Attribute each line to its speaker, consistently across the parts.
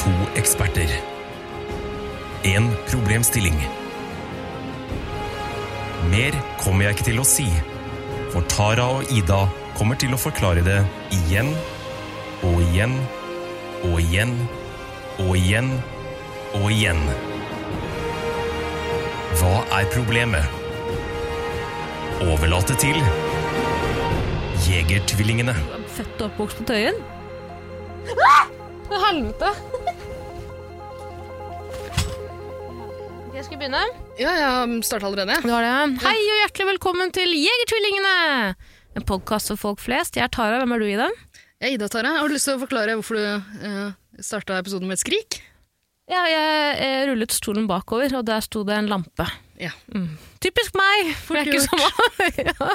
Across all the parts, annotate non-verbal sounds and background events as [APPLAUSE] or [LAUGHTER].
Speaker 1: To eksperter. En problemstilling. Mer kommer jeg ikke til å si, for Tara og Ida kommer til å forklare det igjen og igjen og igjen og igjen og igjen. Hva er problemet? Overlate til Jegertvillingene.
Speaker 2: Født og oppvokst på Tøyen?
Speaker 3: Til helvete! Jeg skal begynne.
Speaker 4: Ja, jeg starta allerede. jeg.
Speaker 3: Du har det. Hei og hjertelig velkommen til Jegertvillingene! En podkast for folk flest. Jeg er Tara, hvem er du, Ida?
Speaker 4: Jeg er Ida Tara. Har du lyst til å forklare hvorfor du uh, starta episoden med et skrik?
Speaker 3: Ja, jeg eh, rullet stolen bakover, og der sto det en lampe.
Speaker 4: Ja.
Speaker 3: Typisk meg! For jeg er ikke som [LAUGHS] ja.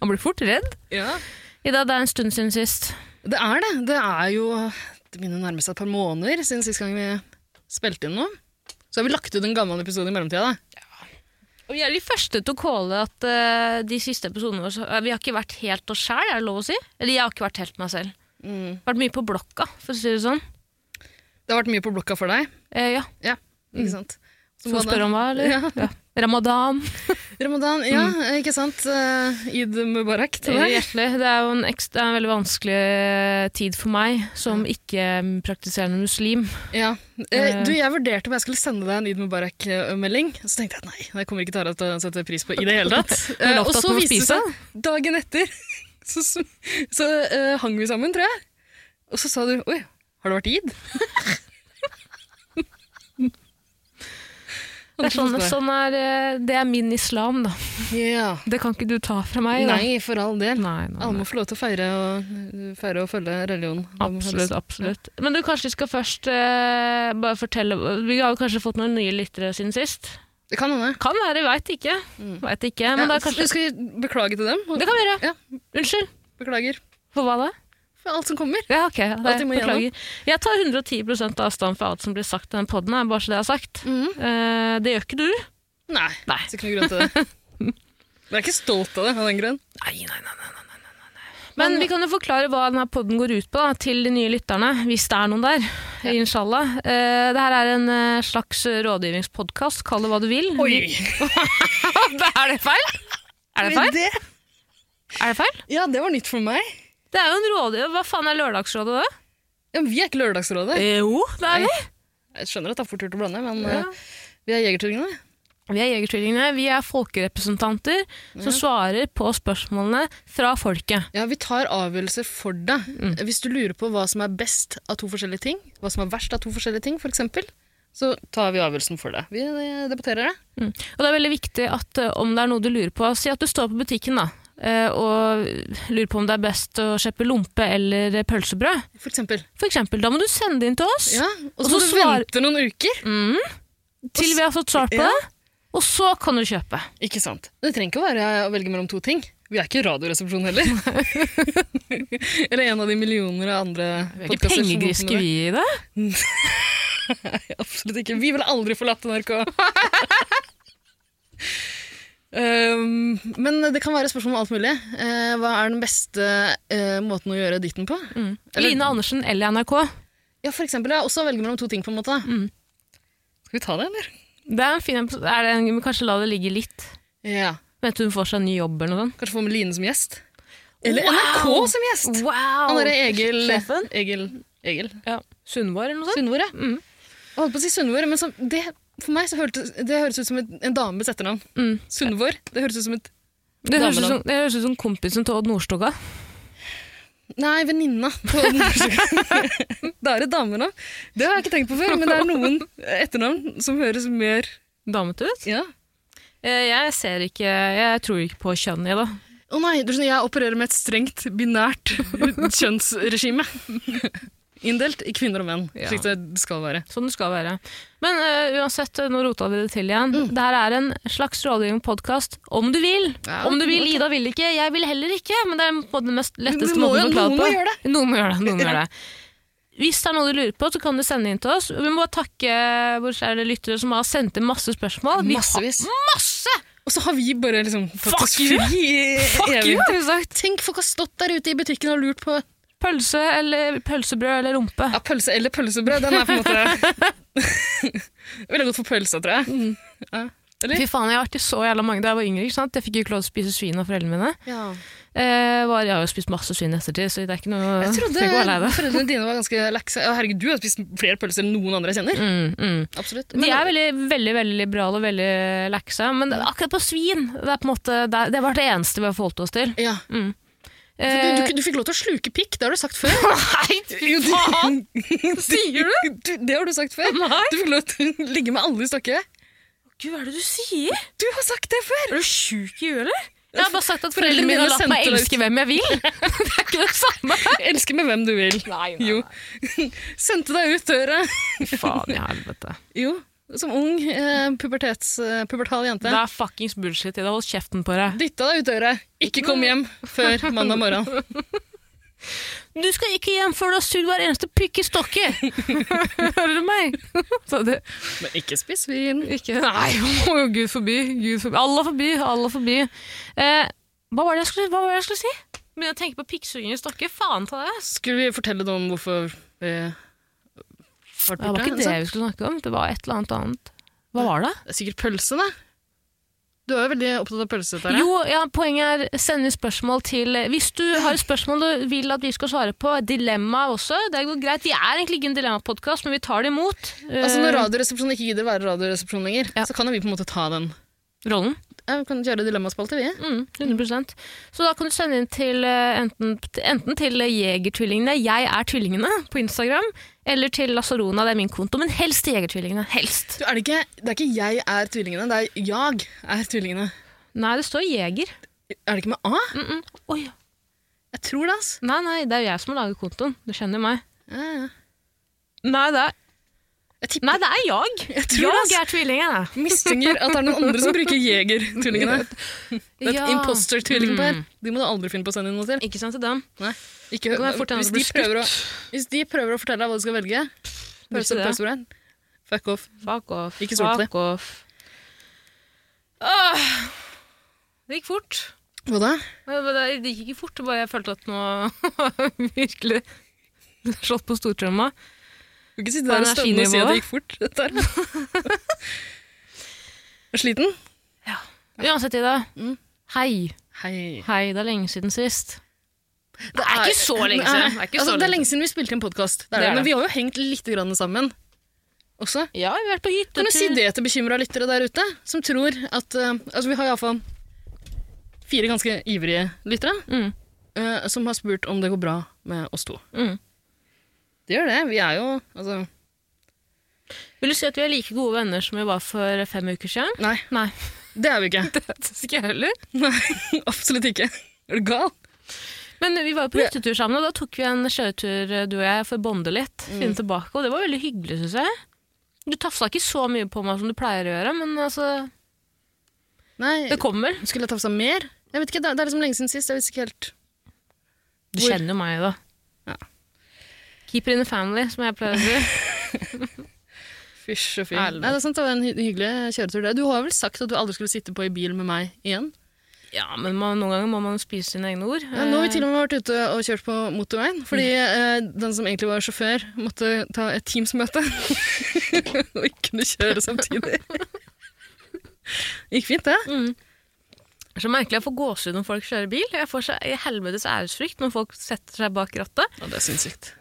Speaker 3: Man blir fort redd.
Speaker 4: ja.
Speaker 3: Ida, det er en stund siden sist.
Speaker 4: Det er det. Det er jo Det begynner å nærme seg et par måneder siden sist gang vi spilte inn noe. Så har vi lagt ut en gammel episode i mellomtida. da.
Speaker 3: Og Vi er de første til å calle at eh, de siste episodene våre så- eh, Vi har ikke vært helt oss sjæl, er det lov å si? Eller jeg har ikke vært helt meg selv.
Speaker 4: Mm.
Speaker 3: Vært mye på blokka, for å si det sånn.
Speaker 4: Det har vært mye på blokka for deg.
Speaker 3: Eh, ja.
Speaker 4: Ja, ikke sant?
Speaker 3: Skal vi spørre om hva, eller?
Speaker 4: Ja.
Speaker 3: Ja. Ramadan.
Speaker 4: Ramadan, ja,
Speaker 3: Mm.
Speaker 4: ikke sant? Eh, Eid mubarak til
Speaker 3: Eh,
Speaker 4: deg.
Speaker 3: Hjertelig. Det er jo en, ekstra, det er en veldig vanskelig eh, tid for meg som ikke-praktiserende muslim.
Speaker 4: Ja. Eh, Du, jeg vurderte om jeg skulle sende deg en Eid mubarak-melding. Så tenkte jeg nei, det kommer ikke Tara til å sette pris på i det
Speaker 3: [LAUGHS]
Speaker 4: hele tatt.
Speaker 3: Men
Speaker 4: Eh,
Speaker 3: lovte
Speaker 4: og
Speaker 3: at
Speaker 4: så
Speaker 3: man må
Speaker 4: viste det
Speaker 3: spise.
Speaker 4: seg, dagen etter, [LAUGHS] så, så, så eh, hang vi sammen, tror jeg. Og så sa du oi, har det vært Eid?
Speaker 3: [LAUGHS] Det er, sånn, sånn er, eh, det er min islam, da.
Speaker 4: Ja.
Speaker 3: Det kan ikke du ta fra meg. Da.
Speaker 4: Nei, for all del.
Speaker 3: Nei, nei,
Speaker 4: Alle
Speaker 3: nei.
Speaker 4: må få lov til å feire og, feire og følge religion. De må
Speaker 3: Absolutt.
Speaker 4: følges.
Speaker 3: absolutt. Men du, kanskje vi skal først eh, bare fortelle Vi har jo kanskje fått noen nye lyttere siden sist?
Speaker 4: Det kan hende.
Speaker 3: Kan være, veit ikke. Vet ikke, men
Speaker 4: Mm. Ja,
Speaker 3: da kanskje
Speaker 4: Skal vi beklage til dem?
Speaker 3: Det kan vi gjøre.
Speaker 4: Ja.
Speaker 3: Unnskyld.
Speaker 4: Beklager
Speaker 3: For hva da?
Speaker 4: for alt som kommer.
Speaker 3: Ja, ok. ja,
Speaker 4: Alt
Speaker 3: Det,
Speaker 4: vi må
Speaker 3: beklager. Jeg tar 110 avstand fra alt som blir sagt i den poden, bare så det er sagt.
Speaker 4: Mm.
Speaker 3: Eh, det gjør ikke du.
Speaker 4: Nei.
Speaker 3: Nei.
Speaker 4: Så ikke noe grunn til det.
Speaker 3: [LAUGHS]
Speaker 4: Men jeg er ikke stolt av det av den grunn.
Speaker 3: Nei, nei, nei, nei, nei, nei, nei. Men vi kan jo forklare hva denne podden går ut på da, til de nye lytterne, hvis det er noen der. Inshallah. Eh, det her er en eh, slags rådgivningspodkast, kall det hva du vil. [LAUGHS] er det feil? Er det feil? Er det feil?
Speaker 4: Ja, det var nytt for meg.
Speaker 3: Det er jo en rådgiver. Hva faen er Lørdagsrådet, da?
Speaker 4: Ja, men vi er ikke Lørdagsrådet.
Speaker 3: Eh, Jo, det er vi.
Speaker 4: Jeg skjønner at det er fort gjort å blande, men
Speaker 3: Ja.
Speaker 4: eh, vi er Jegertvillingene.
Speaker 3: Vi er Jegertvillingene. Vi er folkerepresentanter som svarer på spørsmålene fra folket.
Speaker 4: Ja, vi tar avgjørelser for deg.
Speaker 3: Mm.
Speaker 4: Hvis du lurer på hva som er best av to forskjellige ting, hva som er verst av to forskjellige ting, for eksempel, så tar vi avgjørelsen for deg. Vi eh, debatterer det.
Speaker 3: Mm. Og det er veldig viktig at eh, om det er noe du lurer på, si at du står på butikken da, eh, og lurer på om det er best å kjøpe lompe eller eh, pølsebrød.
Speaker 4: For eksempel.
Speaker 3: For eksempel, da må du sende det inn til oss,
Speaker 4: Ja, og
Speaker 3: Og
Speaker 4: så
Speaker 3: så
Speaker 4: må du
Speaker 3: svar-
Speaker 4: vente noen uker.
Speaker 3: til vi har fått svar på
Speaker 4: Ja.
Speaker 3: det, og så kan du kjøpe.
Speaker 4: Ikke sant. Det trenger ikke å være å velge mellom to ting. Vi er ikke Radioresepsjon
Speaker 3: [LAUGHS]
Speaker 4: heller. Eller en av de millioner av andre
Speaker 3: Vi er ikke
Speaker 4: podcaster som
Speaker 3: pengegriske
Speaker 4: åpner det.
Speaker 3: vi i det.
Speaker 4: Absolutt ikke. Vi ville aldri forlatt
Speaker 3: [LAUGHS]
Speaker 4: NRK. um, men det kan være spørsmål om alt mulig. Eh, hva er den beste eh, måten å gjøre ditten på? Eller-
Speaker 3: Mm. Line Andersen eller NRK.
Speaker 4: Ja, for eksempel. Ja, også velge mellom to ting, på en måte. da.
Speaker 3: Mm.
Speaker 4: Skal vi ta det, eller?
Speaker 3: Det er en fin episode. Er det en, kanskje la det ligge litt.
Speaker 4: Ja.
Speaker 3: Venter hun får seg en ny jobb eller noe sånt.
Speaker 4: Kanskje få med Line som gjest? Eller
Speaker 3: Wow!
Speaker 4: NRK som gjest!
Speaker 3: Wow!
Speaker 4: Han derre Egil
Speaker 3: Sjefen?
Speaker 4: Egil, Egil.
Speaker 3: Ja. Sundvår eller noe sånt.
Speaker 4: Sundvor, ja. Jeg holdt på å si Sundvor, men så, det, for meg så hørtes det høres ut som et, en dames etternavn.
Speaker 3: Mm.
Speaker 4: Sundvor. Det høres ut som et
Speaker 3: Det høres ut
Speaker 4: Damen
Speaker 3: som, det høres ut som kompisen til Odd Nordstoga.
Speaker 4: Nei, venninna. på [LAUGHS] norsk. det er et damenavn. Det har jeg ikke tenkt på før, men det er noen etternavn som høres mer
Speaker 3: Damete ut.
Speaker 4: Ja.
Speaker 3: Eh, Jeg ser ikke Jeg tror ikke på kjønn i det.
Speaker 4: Å nei, du skjønner, jeg opererer med et strengt
Speaker 3: [LAUGHS]
Speaker 4: binært kjønnsregime. Inndelt i kvinner og menn,
Speaker 3: Ja.
Speaker 4: slik det skal være.
Speaker 3: Sånn det skal være. Men eh, uansett, eh, nå rota vi det til igjen.
Speaker 4: Mm.
Speaker 3: Det her er en slags rådgivning-podkast om du vil.
Speaker 4: Ja,
Speaker 3: om du vil.
Speaker 4: ok.
Speaker 3: Ida vil ikke, jeg vil heller ikke. Men det er på den mest letteste
Speaker 4: Men vi må
Speaker 3: måten
Speaker 4: jo-
Speaker 3: å klare
Speaker 4: noen
Speaker 3: på.
Speaker 4: må gjøre det.
Speaker 3: Noen må gjøre det.
Speaker 4: [LAUGHS]
Speaker 3: Noen må gjøre det. Hvis det er noe du lurer på, så kan du sende inn til oss. Vi må bare takke våre kjære lyttere som har sendt inn masse spørsmål. Vi
Speaker 4: Massevis.
Speaker 3: har masse!
Speaker 4: Og så har vi bare liksom fått
Speaker 3: Fuck
Speaker 4: oss
Speaker 3: you!
Speaker 4: fri i
Speaker 3: Fuck
Speaker 4: evig
Speaker 3: you, har vi sagt.
Speaker 4: Tenk, folk har stått der ute i butikken og lurt på
Speaker 3: Pølse eller pølsebrød eller rumpe.
Speaker 4: Ja, pølse eller pølsebrød, den er på en måte [LAUGHS] Jeg ville gått for pølsa, tror jeg. Ja. Eller?
Speaker 3: Fy faen, jeg har vært i så jævla mange da jeg var yngre. ikke sant? Jeg fikk jo ikke lov til å spise svin av foreldrene mine. Eh, var, jeg har jo spist masse svin i ettertid, så det er ikke noe
Speaker 4: Jeg
Speaker 3: trenger ikke å være lei
Speaker 4: trodde
Speaker 3: deg.
Speaker 4: foreldrene dine var ganske lekse. Å, herregud, du har spist flere pølser enn noen andre jeg kjenner.
Speaker 3: Mm, mm.
Speaker 4: Absolutt.
Speaker 3: De
Speaker 4: Men-
Speaker 3: er veldig, veldig veldig liberale og veldig lekse, men akkurat på svin det er på en måte, det, er, det var det eneste vi har forholdt oss til.
Speaker 4: ja. du,
Speaker 3: Eh,
Speaker 4: du, du fikk lov til å sluke pikk, det har du sagt før.
Speaker 3: [LAUGHS] Nei, [LAUGHS] fy faen!
Speaker 4: [LAUGHS]
Speaker 3: Sier du?
Speaker 4: du? Det har du sagt før.
Speaker 3: Nei.
Speaker 4: Du fikk lov til å ligge med alle i stokket.
Speaker 3: Gud, hva er det du sier?
Speaker 4: Du har sagt det før!
Speaker 3: Er du sjuk i huet, eller? Jeg har bare sagt at foreldrene mine
Speaker 4: Foreldrene
Speaker 3: har
Speaker 4: dine
Speaker 3: latt meg
Speaker 4: sendte deg
Speaker 3: elske hvem jeg vil. [LAUGHS] Det er ikke det samme.
Speaker 4: Elsker med hvem du vil.
Speaker 3: Nei, [LAUGHS]
Speaker 4: Jo. [LAUGHS] Sendte deg ut døra.
Speaker 3: Faen i helvete.
Speaker 4: Jo. Som ung, eh, pubertets, eh, pubertal jente.
Speaker 3: Det er fuckings bullshit. Jeg har holdt kjeften på deg.
Speaker 4: Dytta deg ut døra. Ikke kom hjem før mandag morgen.
Speaker 3: Du skal ikke hjem før du har sugd hver eneste pikk i [LAUGHS] stokket! Hører du meg? Så det,
Speaker 4: Men ikke spis vin.
Speaker 3: ikke, nei, [LAUGHS] må jo Gud forby. Gud forby. Alle forby, alle forby. Eh, hva var det jeg skulle, hva var det jeg skulle si? Begynner å tenke på pikksuging i stokket. Faen ta deg, ass!
Speaker 4: Skulle vi fortelle noe om hvorfor eh, vi har vært
Speaker 3: Det var
Speaker 4: borte?
Speaker 3: ikke det vi skulle snakke om. Det var et eller annet annet. Hva var det?
Speaker 4: Det er Sikkert pølse, da. Du er jo veldig opptatt av pølse. Tara.
Speaker 3: Jo, ja, poenget er send inn spørsmål til eh, Hvis du har et spørsmål du vil at vi skal svare på, dilemma også, det går greit. Vi er egentlig ikke en dilemmapodkast, men vi tar det imot.
Speaker 4: Altså Når
Speaker 3: Eh,
Speaker 4: Radioresepsjonen ikke gidder være Radioresepsjonen lenger,
Speaker 3: Ja.
Speaker 4: så kan jo vi på en måte ta den.
Speaker 3: rollen.
Speaker 4: Ja, vi kan kjøre dilemmaspalte, vi.
Speaker 3: Mm, 100 Så da kan du sende inn til eh, enten, enten til Jegertvillingene, jeg er tvillingene, på Instagram, eller til Lasarona, det er min konto, men helst til Jegertvillingene. Helst.
Speaker 4: Du, er det, ikke, det er ikke 'jeg er tvillingene', det er 'jag er tvillingene'.
Speaker 3: Nei, det står Jeger.
Speaker 4: Er det ikke med A?
Speaker 3: Mm -mm. Oi.
Speaker 4: Jeg tror det, altså.
Speaker 3: Nei, nei, det er jo jeg som har laget kontoen. Du kjenner jo meg.
Speaker 4: Ja, ja.
Speaker 3: Nei, det er,
Speaker 4: Jeg tipper
Speaker 3: nei, det er jeg.
Speaker 4: [LAUGHS] Jeg tror det,
Speaker 3: Jeg
Speaker 4: altså.
Speaker 3: er tvillingene.
Speaker 4: mistenker at det er noen andre som bruker jeger-tvillingene. Det er et
Speaker 3: Ja.
Speaker 4: imposter-tvillingpar. De må du aldri finne på å sende inn noe til.
Speaker 3: Ikke sant til dem?
Speaker 4: Nei. Mm. Ikke,
Speaker 3: Da kan jeg fort hende
Speaker 4: hvis,
Speaker 3: det
Speaker 4: de
Speaker 3: blir
Speaker 4: prøver å, hvis de prøver å fortelle deg hva du skal velge
Speaker 3: Visste
Speaker 4: Pølse
Speaker 3: det.
Speaker 4: pølsebrød. Fuck off.
Speaker 3: Fuck off.
Speaker 4: Ikke stol på
Speaker 3: fuck off. Åh, det gikk fort.
Speaker 4: Hva da?
Speaker 3: Men Det det gikk ikke fort, det bare jeg følte at nå [LAUGHS] virkelig slått på stortrømma.
Speaker 4: Du kan ikke sitte
Speaker 3: Hva er
Speaker 4: der og stønne og si at
Speaker 3: energinivået?
Speaker 4: det gikk fort. Dette her. [LAUGHS] Er du Sliten?
Speaker 3: Uansett, Ida.
Speaker 4: Mm.
Speaker 3: Hei.
Speaker 4: Hei.
Speaker 3: Hei, det er lenge siden sist. Det er ikke så lenge
Speaker 4: Nei.
Speaker 3: siden. Det er ikke så
Speaker 4: altså, det er
Speaker 3: lenge
Speaker 4: lenge siden vi spilte en podkast.
Speaker 3: Det er
Speaker 4: Men
Speaker 3: det.
Speaker 4: vi har jo hengt litt grann sammen også.
Speaker 3: Ja, vi har vært på hyttetur.
Speaker 4: Kan du si det til bekymra lyttere der ute, som tror at eh, Altså, vi har iallfall fire ganske ivrige lyttere
Speaker 3: Mm.
Speaker 4: eh, som har spurt om det går bra med oss to.
Speaker 3: Mm.
Speaker 4: Det gjør det. Vi er jo Altså,
Speaker 3: Vil du si at vi er like gode venner som vi var for fem uker siden?
Speaker 4: nei,
Speaker 3: Nei,
Speaker 4: det er vi ikke.
Speaker 3: [LAUGHS] det syns ikke jeg heller.
Speaker 4: [LAUGHS] Nei, [LAUGHS] Absolutt ikke. Er du gal?
Speaker 3: Men vi var jo på hyttetur sammen, og da tok vi en kjøretur, du og jeg, for å bonde litt. Finne tilbake, og det var veldig hyggelig, syns jeg. Du tafsa ikke så mye på meg som du pleier å gjøre, men altså,
Speaker 4: Nei,
Speaker 3: det kommer.
Speaker 4: skulle jeg tafsa mer? Jeg vet ikke, Det er- det er liksom lenge siden sist. Jeg vet ikke helt
Speaker 3: Du
Speaker 4: Hvor-
Speaker 3: kjenner jo meg, da.
Speaker 4: Ja.
Speaker 3: Keep it in the family, som jeg pleier å
Speaker 4: [LAUGHS]
Speaker 3: si.
Speaker 4: Fysj og fy.
Speaker 3: Helvete.
Speaker 4: Nei, det er sant, det var en hy hyggelig kjøretur. det. Du har vel sagt at du aldri skulle sitte på i bil med meg igjen?
Speaker 3: Ja, men man, noen ganger må man spise sine egne ord.
Speaker 4: Ja, nå har vi til og
Speaker 3: Eh.
Speaker 4: med vært ute og kjørt på motorveien, fordi eh, den som egentlig var sjåfør, måtte ta et Teams-møte. [LAUGHS] og ikke kunne kjøre samtidig. Gikk fint, det.
Speaker 3: Det er Eh, så merkelig jeg får gåsehud når folk kjører bil. Jeg får så i helvetes æresfrykt når folk setter seg bak rattet.
Speaker 4: Ja, det er sinnssykt.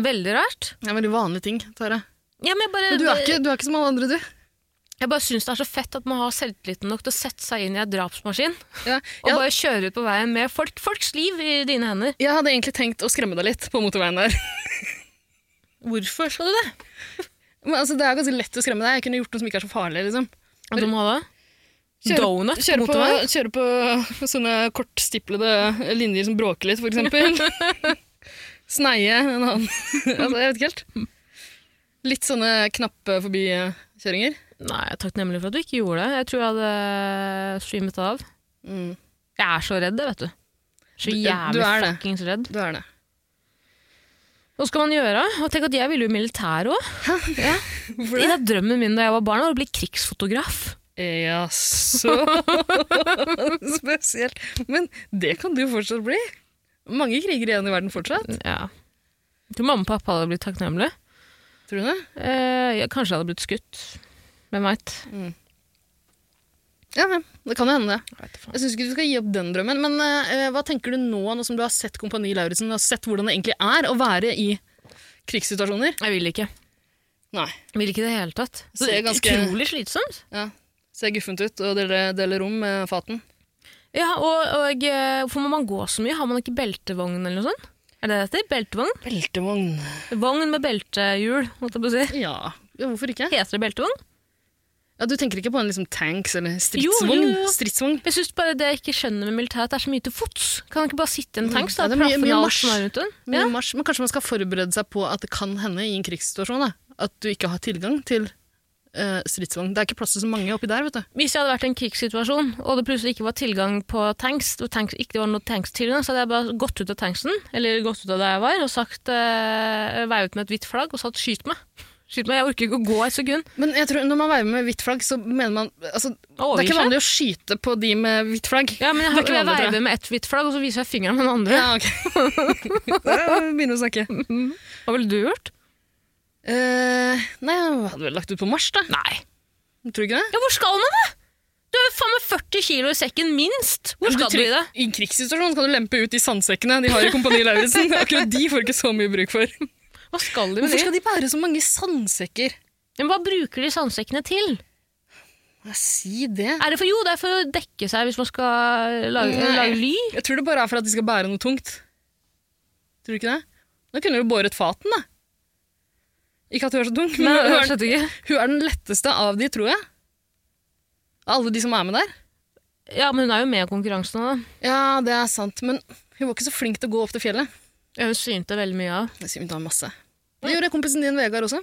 Speaker 3: Veldig rart.
Speaker 4: Det er veldig vanlige ting, Tara.
Speaker 3: Ja, men jeg bare,
Speaker 4: Men du er ikke, du er ikke som alle andre, du.
Speaker 3: jeg bare syns det er så fett at man har selvtilliten nok til å sette seg inn i en drapsmaskin.
Speaker 4: Ja,
Speaker 3: Og
Speaker 4: jeg,
Speaker 3: bare kjøre ut på veien med folk, folks liv i dine hender.
Speaker 4: jeg hadde egentlig tenkt å skremme deg litt på motorveien der.
Speaker 3: Hvorfor skal du det?
Speaker 4: Men altså, det er ganske lett å skremme deg. Jeg kunne gjort noe som ikke er så farlig, liksom.
Speaker 3: Og du må ha det?
Speaker 4: Kjøre-
Speaker 3: Donut på
Speaker 4: Kjøre på,
Speaker 3: motorveien?
Speaker 4: kjøre på [LAUGHS] sånne kortstiplede linjer som bråker litt, for eksempel. Sneie en annen. [LAUGHS] altså, jeg vet ikke helt. Litt sånne knappe forbikjøringer.
Speaker 3: Nei, jeg er takknemlig for at du ikke gjorde det. Jeg tror jeg hadde streamet av.
Speaker 4: Mm,
Speaker 3: Jeg er så redd, det, vet du. Så
Speaker 4: Du-
Speaker 3: jævlig
Speaker 4: du er det.
Speaker 3: fuckings redd.
Speaker 4: du er det.
Speaker 3: Hva skal man gjøre? Og tenk at jeg ville jo i militæret òg. Ja.
Speaker 4: Hvorfor
Speaker 3: I den drømmen min da jeg var barn, var å bli krigsfotograf.
Speaker 4: Jaså Spesielt. Men det kan du fortsatt bli. Mange kriger igjen i verden fortsatt.
Speaker 3: Ja. Jeg tror mamma og pappa hadde blitt takknemlige.
Speaker 4: Tror du det?
Speaker 3: Eh, jeg kanskje hadde blitt skutt. Hvem veit?
Speaker 4: Ja, men det kan jo hende, det. Jeg syns ikke du skal gi opp den drømmen. Men eh, hva tenker du nå, nå som du har sett Kompani Lauritzen, og sett hvordan det egentlig er å være i krigssituasjoner?
Speaker 3: Jeg vil ikke.
Speaker 4: Nei.
Speaker 3: Vil ikke i det hele tatt.
Speaker 4: Så det er ganske-
Speaker 3: Utrolig slitsomt.
Speaker 4: Ja. Ser guffent ut, og dere deler rom med Faten.
Speaker 3: Ja, og, og eh, Hvorfor må man gå så mye? Har man ikke beltevogn eller noe sånt? Er det det heter? Beltevogn?
Speaker 4: Beltevogn.
Speaker 3: Vogn med beltehjul, holdt jeg på å si.
Speaker 4: Ja. ja, hvorfor ikke?
Speaker 3: Heter det beltevogn?
Speaker 4: Ja, Du tenker ikke på en liksom tanks eller
Speaker 3: Jo,
Speaker 4: stridsvogn?
Speaker 3: jo, jo.
Speaker 4: stridsvogn.
Speaker 3: Jeg synes bare det jeg ikke skjønner med militæret, det er så mye til fots. Kan man ikke bare sitte i en tanks?
Speaker 4: Mm. Ja,
Speaker 3: Da,
Speaker 4: det er mye-
Speaker 3: plaffe
Speaker 4: mye
Speaker 3: ned alt
Speaker 4: marsj.
Speaker 3: som er rundt den?
Speaker 4: Men i mars- Men kanskje man skal forberede seg på at det kan hende i en krigssituasjon da, at du ikke har tilgang til eh, stridsvogn. Det er ikke plass til så mange oppi der, vet du.
Speaker 3: Hvis jeg hadde vært i en krigssituasjon, og det plutselig ikke var tilgang på tanks, og tanks ikke det var noe tanks tilgang, så hadde jeg bare gått ut av tanksen, eller gått ut av der jeg var, og sagt uh, veivet med et hvitt flagg og sagt 'skyt meg'. Skyt meg, Jeg orker ikke å gå et sekund.
Speaker 4: Men jeg tror når man veiver med hvitt flagg, så mener man altså, Det
Speaker 3: Overgir
Speaker 4: er ikke
Speaker 3: seg.
Speaker 4: vanlig å skyte på de med hvitt flagg.
Speaker 3: Ja, men jeg
Speaker 4: Det er
Speaker 3: har
Speaker 4: ikke
Speaker 3: jeg
Speaker 4: vanlig, tror jeg.
Speaker 3: veiver med ett hvitt flagg, og så viser jeg fingeren med den andre.
Speaker 4: Ja, ok. [LAUGHS] Begynner å snakke.
Speaker 3: Hva ville du gjort?
Speaker 4: Eh, nei, jeg hadde vel lagt ut på mars, da.
Speaker 3: Nei.
Speaker 4: Tror du ikke det?
Speaker 3: Ja, hvor skal man da? Du har jo faen meg 40 kilo i sekken, minst. Hvor skal du i det?
Speaker 4: I en krigssituasjon kan du lempe ut de sandsekkene de har i Kompani Lauritzen. Akkurat de får ikke så mye bruk for.
Speaker 3: Hva skal de med
Speaker 4: Hvorfor
Speaker 3: det?
Speaker 4: skal de bære så mange sandsekker?
Speaker 3: Men hva bruker de sandsekkene til?
Speaker 4: Ja, si det.
Speaker 3: Er det for, jo, det er for å dekke seg hvis man skal lage,
Speaker 4: Nei.
Speaker 3: lage ly.
Speaker 4: Jeg tror det bare er for at de skal bære noe tungt. Tror du ikke det? Da kunne du jo båret faten, da. Ikke at hun er så tung, men
Speaker 3: Nei,
Speaker 4: hun,
Speaker 3: jeg
Speaker 4: er,
Speaker 3: skjønte ikke.
Speaker 4: hun er den letteste av de, tror jeg. Av alle de som er med der.
Speaker 3: Ja, men hun er jo med i konkurransen da.
Speaker 4: Ja, det er sant, men hun var ikke så flink til å gå opp til fjellet.
Speaker 3: Ja, hun synte veldig mye av.
Speaker 4: Det sier hun tar masse. Det gjorde kompisen din Vegard også.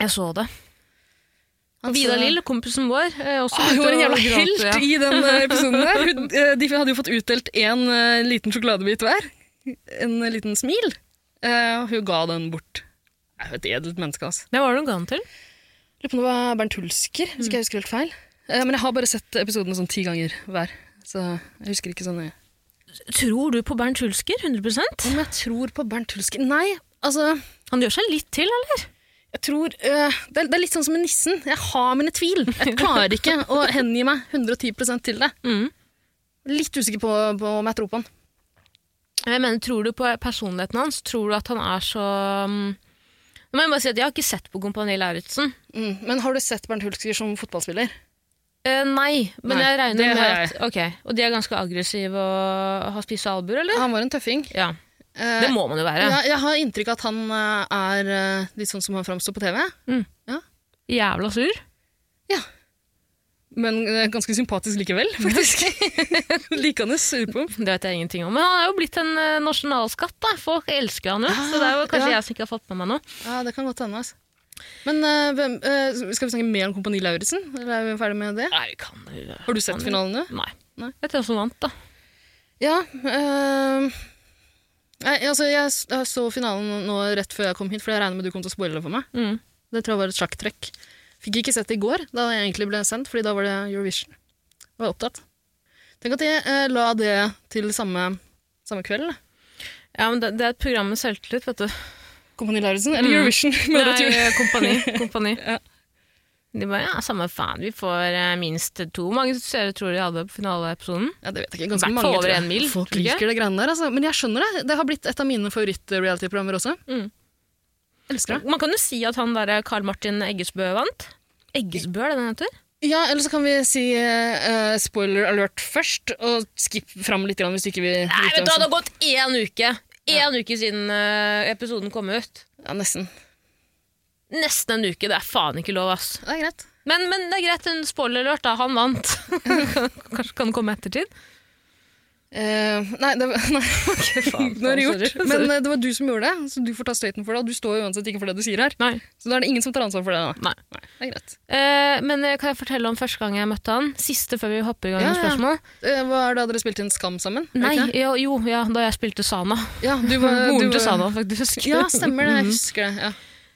Speaker 3: Jeg så det.
Speaker 4: Han
Speaker 3: Vidar
Speaker 4: så-
Speaker 3: Lill, kompisen vår, eh, også
Speaker 4: Ah, hun
Speaker 3: begynte
Speaker 4: var en
Speaker 3: å
Speaker 4: jævla
Speaker 3: gråte,
Speaker 4: helt
Speaker 3: ja.
Speaker 4: i den eh, episoden [LAUGHS] der. Hun, eh, de hadde jo fått utdelt en eh, liten sjokoladebit hver. En eh, liten smil. Eh, og hun ga den bort. Det er jo et edelt menneske, altså.
Speaker 3: Men hva var det hun ga den til?
Speaker 4: Lurer på om det var Bernt Hulsker, hvis ikke jeg husker helt feil. Eh, men jeg har bare sett episodene sånn ti ganger hver. Så jeg husker ikke sånn nøye.
Speaker 3: Tror du på Bernt Hulsker, 100
Speaker 4: Om jeg tror på Bernt Hulsker Nei, altså
Speaker 3: Han gjør seg litt til, eller?
Speaker 4: jeg tror, eh, det, er, det er litt sånn som med nissen. Jeg har mine tvil. Jeg klarer ikke å hengi meg 110 til det.
Speaker 3: Mm.
Speaker 4: Litt usikker på, på om jeg tror på han.
Speaker 3: Jeg mener, tror du på personligheten hans? Tror du at han er så... mm, Nå må jeg bare si at jeg har ikke sett på Kompani Lauritsen.
Speaker 4: Mm. Men har du sett Bernt Hulsker som fotballspiller?
Speaker 3: Eh, nei, men
Speaker 4: Nei,
Speaker 3: jeg regner
Speaker 4: det
Speaker 3: med
Speaker 4: har
Speaker 3: at... Ok, og de er ganske aggressive og har spist albuer, eller?
Speaker 4: Han var en tøffing.
Speaker 3: Ja,
Speaker 4: Eh,
Speaker 3: det må man jo være.
Speaker 4: jeg, jeg har inntrykk av at han eh, er eh, litt sånn som han framstår på TV.
Speaker 3: Jævla sur.
Speaker 4: Men eh, ganske sympatisk likevel,
Speaker 3: [LAUGHS]
Speaker 4: faktisk. [LAUGHS] Likende surpomp.
Speaker 3: Det vet jeg ingenting om. Men han er jo blitt en eh, nasjonalskatt, da. Folk elsker han jo. så det er jo kanskje
Speaker 4: ja.
Speaker 3: jeg som ikke har fått med meg noe.
Speaker 4: Ja, det kan godt hende. Altså. Men eh, hvem, eh, skal vi snakke mer om Kompani Lauritzen? Eller er vi ferdig med det?
Speaker 3: Nei, kan du
Speaker 4: Har du sett finalen nå?
Speaker 3: Nei.
Speaker 4: Nei.
Speaker 3: Vet du hvem som vant, da?
Speaker 4: Ja. eh, nei, altså, jeg, s- jeg så finalen nå rett før jeg kom hit, for jeg regner med du kom til å spoile det for meg.
Speaker 3: Mm.
Speaker 4: Det tror jeg var et sjakktrekk. Fikk ikke sett det i går, da jeg egentlig ble sendt, fordi da var det Eurovision. Da var jeg opptatt. Tenk at jeg eh, la det til samme, samme kveld. da.
Speaker 3: Ja, men det, det er et program med selvtillit, vet du.
Speaker 4: Kompani Lauritzen eller
Speaker 3: Mm.
Speaker 4: Eurovision? [LAUGHS] med
Speaker 3: Nei,
Speaker 4: rett jul.
Speaker 3: eh, [LAUGHS] kompani. [LAUGHS] kompani.
Speaker 4: Ja.
Speaker 3: De bare ja, samme faen, vi får eh, minst to. Hvor mange seere tror de hadde på finaleepisoden?
Speaker 4: Ja, det vet jeg ikke. Ganske
Speaker 3: Hvert
Speaker 4: mange,
Speaker 3: fall
Speaker 4: tror
Speaker 3: over
Speaker 4: jeg.
Speaker 3: en mil,
Speaker 4: Folk
Speaker 3: tror du ikke?
Speaker 4: liker det greiene der, altså. Men jeg skjønner det. Det har blitt et av mine favoritt-reality-programmer også.
Speaker 3: Mm.
Speaker 4: Elsker det.
Speaker 3: Man kan jo si at han derre Carl Martin Eggesbø vant. Eggesbø, er det den heter?
Speaker 4: Ja, eller så kan vi si eh, spoiler alert først, og skip fram litt grann hvis du ikke vil
Speaker 3: Nei, vet
Speaker 4: vite
Speaker 3: du,
Speaker 4: hvem
Speaker 3: det
Speaker 4: som-
Speaker 3: har gått én uke! Én uke siden eh, episoden kom ut.
Speaker 4: Ja, nesten.
Speaker 3: Nesten en uke, det er faen ikke lov, ass.
Speaker 4: Det er greit.
Speaker 3: Men, men det er greit, hun spoiler alert, da. Han vant. [LAUGHS] Kanskje kan det komme ettertid?
Speaker 4: Eh, nei, det, var- [LAUGHS] nei,
Speaker 3: faen, altså.
Speaker 4: nå er det gjort.
Speaker 3: sorry. [LAUGHS]
Speaker 4: Men eh, det var du som gjorde det, så du får ta støyten for det. Og du står jo uansett ikke for det du sier her,
Speaker 3: Nei.
Speaker 4: så da er det ingen som tar ansvar for det. Da.
Speaker 3: Nei.
Speaker 4: Nei, det er greit.
Speaker 3: Eh, men eh, kan jeg fortelle om første gang jeg møtte han? Siste før vi hopper i gang
Speaker 4: Ja,
Speaker 3: med
Speaker 4: ja.
Speaker 3: spørsmål?
Speaker 4: Eh, hva er det, hadde dere spilt inn Skam sammen? Er det
Speaker 3: Nei,
Speaker 4: ikke det?
Speaker 3: jo, jo ja, da jeg spilte Sana.
Speaker 4: Ja, du var,
Speaker 3: [LAUGHS]
Speaker 4: du
Speaker 3: Moren
Speaker 4: var-
Speaker 3: til Mhm. Sana, faktisk.
Speaker 4: Ja, stemmer det. Jeg husker det. Ja.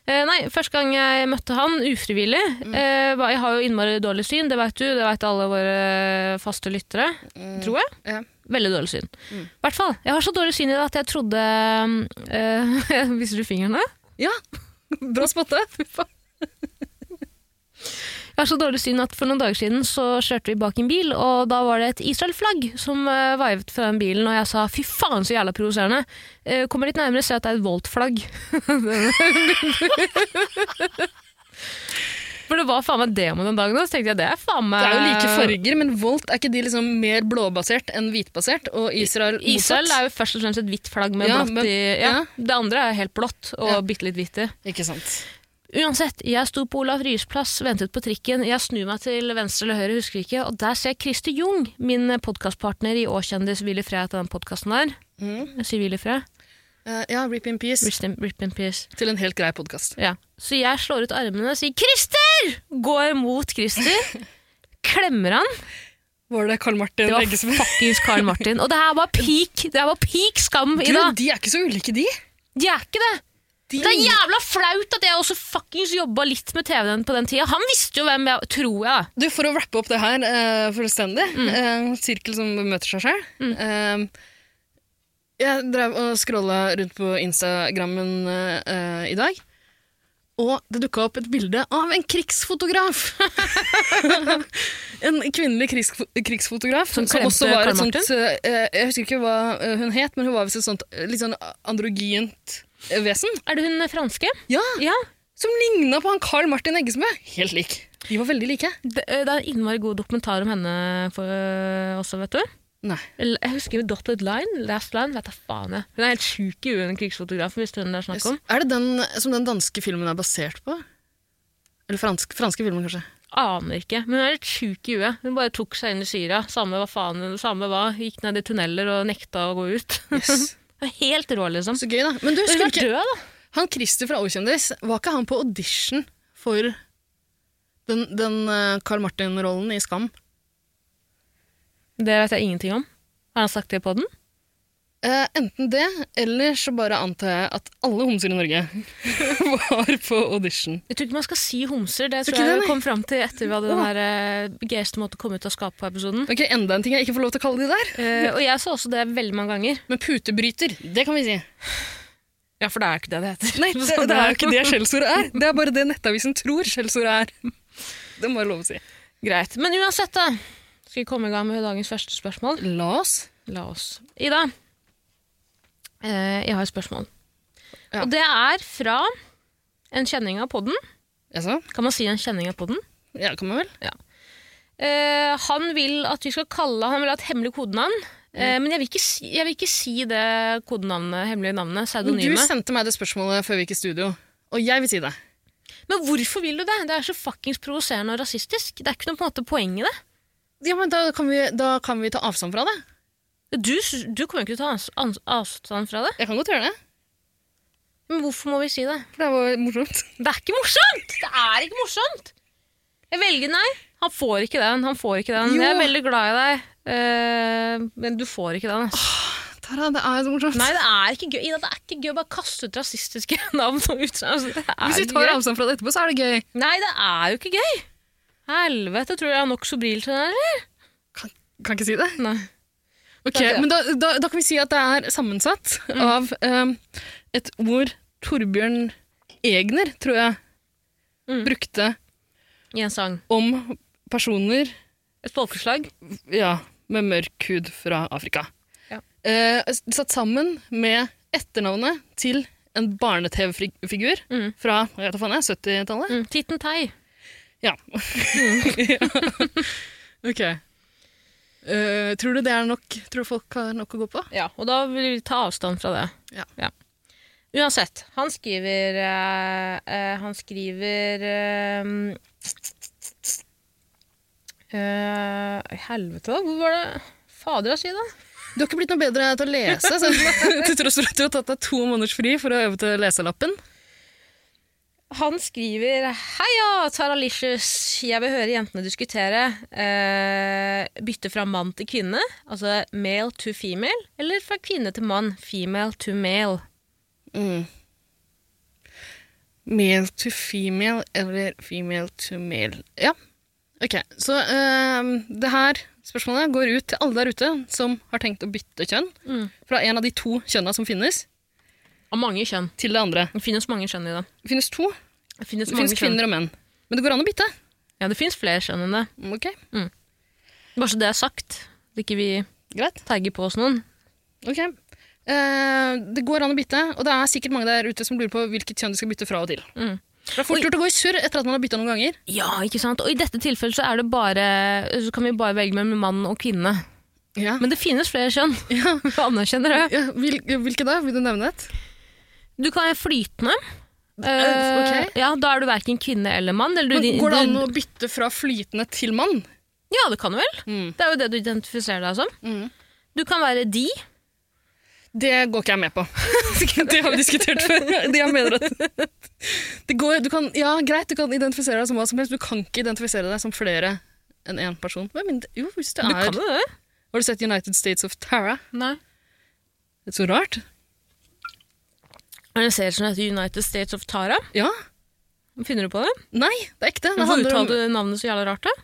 Speaker 3: Eh, nei, første gang jeg møtte han, ufrivillig
Speaker 4: Mm.
Speaker 3: eh, var- Jeg har jo innmari dårlig syn, det veit du, det veit alle våre faste lyttere, tror jeg.
Speaker 4: Mm. Ja.
Speaker 3: Veldig dårlig syn. I
Speaker 4: Mm.
Speaker 3: hvert fall. Jeg har så dårlig syn i det at jeg trodde [LAUGHS] øh, Viser du fingrene?
Speaker 4: Ja, [LAUGHS] bra spotte.
Speaker 3: Jeg har så dårlig syn at for noen dager siden så kjørte vi bak en bil, og da var det et Israel-flagg som uh, veivet fra den bilen, og jeg sa fy faen så jævla provoserende. Eh, kommer litt nærmere og ser at det er et Volt-flagg. [LAUGHS] for det var faen meg demo den dagen, og så tenkte jeg det er faen meg
Speaker 4: Det er jo like
Speaker 3: Eh.
Speaker 4: farger, men Volt er ikke de liksom mer blåbasert enn hvitbasert? Og Israel motsatt?
Speaker 3: Israel er jo først og fremst et hvitt flagg med
Speaker 4: Ja,
Speaker 3: blått
Speaker 4: men-
Speaker 3: i ja.
Speaker 4: ja.
Speaker 3: Det andre er helt blått og
Speaker 4: Ja.
Speaker 3: bitte litt hvitt i.
Speaker 4: Ikke sant.
Speaker 3: Uansett, jeg sto på Olav Ryes plass, ventet på trikken. Jeg snur meg til venstre eller høyre, husker ikke, og der ser jeg Christer Jung, min podkastpartner i Åkjendis Willy Frey etter den podkasten der.
Speaker 4: Mm.
Speaker 3: Jeg sier Willy Frey.
Speaker 4: Eh, ja, Rip in Peace.
Speaker 3: Rest in- Rip in peace.
Speaker 4: Til en helt grei podkast.
Speaker 3: Ja. Så jeg slår ut armene og sier 'Christer!' Går mot Christer. Klemmer han.
Speaker 4: Var det Karl Martin
Speaker 3: Det var
Speaker 4: Eggesem?
Speaker 3: fuckings Karl Martin. Og det her var peak, det her var peak skam,
Speaker 4: Du,
Speaker 3: Ida.
Speaker 4: de er ikke så ulike, de.
Speaker 3: De er ikke det.
Speaker 4: de
Speaker 3: Det er jævla flaut at jeg også fuckings jobba litt med TV-en på den tida. Han visste jo hvem jeg Tror jeg, da.
Speaker 4: Du, For å rappe opp det her eh, fullstendig,
Speaker 3: Mm.
Speaker 4: eh, sirkel som møter seg sjøl Jeg drev og scrolla rundt på Instagrammen eh, eh, i dag, og det dukka opp et bilde av en krigsfotograf! [LAUGHS] en kvinnelig krigsf krigsfotograf
Speaker 3: Som
Speaker 4: som,
Speaker 3: klemte
Speaker 4: også var
Speaker 3: Karl
Speaker 4: et sånt eh, Jeg husker ikke hva eh, hun het, men hun var visst et sånt eh, litt sånn androgint eh, vesen.
Speaker 3: Er det hun franske?
Speaker 4: Ja,
Speaker 3: Ja,
Speaker 4: Som ligna på han Carl Martin Eggesmø! Helt lik. De var veldig like.
Speaker 3: Det, eh, det er en innmari god dokumentar om henne for, eh, også, vet du.
Speaker 4: Nei.
Speaker 3: Eller, Jeg husker jo Dotted Line, Last Line, vet jeg faen jeg. Hun er helt sjuk i huet, den krigsfotografen, hvis det er hun det er snakk om.
Speaker 4: Er det den som den danske filmen er basert på? Eller fransk, franske filmen, kanskje?
Speaker 3: Aner ikke, men hun er helt sjuk i huet. Hun bare tok seg inn i Syria, samme hva faen, samme hva, gikk ned i tunneler og nekta å gå ut. [LAUGHS] Hun er helt rå, liksom.
Speaker 4: [LAUGHS] Så gøy, da. Men du,
Speaker 3: Men Hun
Speaker 4: skulle
Speaker 3: er
Speaker 4: ikke
Speaker 3: død, da.
Speaker 4: Han Christer fra Åkjendis, var ikke han på audition for den, den eh, Carl Martin-rollen i Skam?
Speaker 3: Det vet jeg ingenting om. Har han sagt det på den?
Speaker 4: Eh, enten det, eller så bare antar jeg at alle homser i Norge [LAUGHS] var på audition.
Speaker 3: Jeg tror ikke man skal si homser, det tror
Speaker 4: Tror ikke
Speaker 3: jeg
Speaker 4: det,
Speaker 3: vi
Speaker 4: nei.
Speaker 3: kom fram til etter vi hadde den her eh, gøyeste måten å komme ut av skapet på episoden.
Speaker 4: Ok, Enda en ting jeg ikke får lov til å kalle de der.
Speaker 3: Eh, og jeg så også det veldig mange ganger.
Speaker 4: Men putebryter, det kan vi si.
Speaker 3: Ja, for det er jo ikke det det heter. [LAUGHS]
Speaker 4: Nei, det,
Speaker 3: Sånn
Speaker 4: det er
Speaker 3: er
Speaker 4: jo ikke det skjellsordet er. Det er bare det Nettavisen tror skjellsordet er. Det må jeg lov å si.
Speaker 3: Greit. Men uansett, da. Skal vi komme i gang med dagens første spørsmål?
Speaker 4: La oss
Speaker 3: La oss. Ida, eh, jeg har et spørsmål.
Speaker 4: Ja.
Speaker 3: Og det er fra en kjenning av podden.
Speaker 4: Jaså?
Speaker 3: Kan man si en kjenning av podden?
Speaker 4: Ja, det kan man vel?
Speaker 3: Eh, han vil at vi skal kalle Han vil ha et hemmelig kodenavn. Eh, men jeg vil, ikke si, jeg vil ikke si det kodenavnet, hemmelige navnet,
Speaker 4: Men du
Speaker 3: pseudonymet.
Speaker 4: sendte meg det spørsmålet før vi gikk i studio, og jeg vil si det.
Speaker 3: Men hvorfor vil du det? Det er så fuckings provoserende og rasistisk. Det er ikke noe på en måte poeng i det.
Speaker 4: Ja, men da kan vi, da kan vi ta avstand fra det.
Speaker 3: Du, s- du kommer jo ikke til å ta ans- ans- avstand fra det.
Speaker 4: Jeg kan godt gjøre det,
Speaker 3: Men hvorfor må vi si det?
Speaker 4: for det var morsomt.
Speaker 3: Det er ikke morsomt! Det er ikke morsomt! Jeg velger nei. Han får ikke den. han får ikke den.
Speaker 4: Jo.
Speaker 3: Jeg er veldig glad i deg, eh, men du får ikke den. Altså.
Speaker 4: [LAUGHS] Tara, det er så morsomt.
Speaker 3: Nei, det er ikke gøy. Ida, det er ikke gøy å bare kaste ut rasistiske [LAUGHS] navn og utsagn. Altså, det er
Speaker 4: Hvis vi
Speaker 3: ikke
Speaker 4: tar
Speaker 3: gøy.
Speaker 4: avstand fra det etterpå, så er det gøy.
Speaker 3: Nei, det er jo ikke gøy! Helvete, tror du jeg har nok sobril til den? eller?
Speaker 4: Kan, kan ikke si det.
Speaker 3: Nei.
Speaker 4: Ok,
Speaker 3: Takk, ja.
Speaker 4: Men da, da, da kan vi si at det er sammensatt av um, et ord Torbjørn Egner, tror jeg,
Speaker 3: Mm.
Speaker 4: brukte
Speaker 3: I en sang.
Speaker 4: om personer
Speaker 3: Et folkeslag.
Speaker 4: ja, med mørk hud fra Afrika.
Speaker 3: Ja.
Speaker 4: Eh, satt sammen med etternavnet til en barne-TV-figur
Speaker 3: Mm.
Speaker 4: fra jeg vet da faen jeg, 70-tallet.
Speaker 3: Mm, Titten Tei.
Speaker 4: Ja. Mm. [LAUGHS] ok. Eh, tror du det er nok? Tror du folk har nok å gå på?
Speaker 3: Ja, og da vil vi ta avstand fra det.
Speaker 4: Ja.
Speaker 3: Uansett, han skriver eh, eh, Han skriver eh, eh, Helvete, da. Hvor var det Fader av sida?
Speaker 4: Du har ikke blitt noe bedre til å lese, så [LAUGHS] til tross for at du har tatt deg to måneders fri for å øve til leselappen.
Speaker 3: Han skriver Heia, Taralicious. Jeg vil høre jentene diskutere. eh, bytte fra mann til kvinne, altså male to female, eller fra kvinne til mann, female to male.
Speaker 4: Mm. Male to female eller female to male. Ja, ok. Så eh, det her Spørsmålet går ut til alle der ute som har tenkt å bytte kjønn.
Speaker 3: Mm.
Speaker 4: Fra en av de to kjønna som finnes,
Speaker 3: Av mange kjønn.
Speaker 4: til det andre.
Speaker 3: Det finnes mange kjønn i det.
Speaker 4: Det finnes to.
Speaker 3: Det finnes,
Speaker 4: Det
Speaker 3: mange
Speaker 4: finnes
Speaker 3: kjønn.
Speaker 4: kvinner og menn. Men det går an å bytte.
Speaker 3: Ja, det finnes flere kjønn enn det.
Speaker 4: Ok,
Speaker 3: Bare så det er sagt. Så ikke vi
Speaker 4: greit.
Speaker 3: tagger på oss noen.
Speaker 4: Ok. Eh, det går an å bytte, og det er sikkert mange der ute som lurer på hvilket kjønn de skal bytte fra og til.
Speaker 3: Mm.
Speaker 4: For Det er fort gjort å gå i surr etter at man har bytta noen ganger.
Speaker 3: Ja, ikke sant? Og i dette tilfellet så, er det bare, så kan vi bare velge mellom mann og kvinne.
Speaker 4: Ja.
Speaker 3: Men det finnes flere [LAUGHS] kjønn.
Speaker 4: Ja.
Speaker 3: Vi anerkjenner det.
Speaker 4: hvil, hvilke da? Vil du nevne et?
Speaker 3: Du kan være flytende.
Speaker 4: Eh,
Speaker 3: Eh, ja, da er du verken kvinne eller mann. Eller du,
Speaker 4: Men går det an
Speaker 3: du-
Speaker 4: å bytte fra flytende til mann?
Speaker 3: Ja, det kan du vel.
Speaker 4: Mm.
Speaker 3: Det er jo det du identifiserer deg som.
Speaker 4: Mm.
Speaker 3: Du kan være de.
Speaker 4: Det går ikke jeg med på. [LAUGHS] det
Speaker 3: [LAUGHS]
Speaker 4: har vi diskutert før. Det jeg mener at det går, du kan, Ja, greit, du kan identifisere deg som hva som helst. Du kan ikke identifisere deg som flere enn én person. Hvem mindre? Jo, hvis det
Speaker 3: Du kan
Speaker 4: er
Speaker 3: jo det.
Speaker 4: Har du sett United States of Tara?
Speaker 3: Nei.
Speaker 4: Det er så rart.
Speaker 3: Er det en serie som heter United States of Tara?
Speaker 4: Ja.
Speaker 3: Finner du på det?
Speaker 4: Nei, det er ekte. Det
Speaker 3: Hvorfor
Speaker 4: handler om-
Speaker 3: uttalte du navnet så jævla rart? da?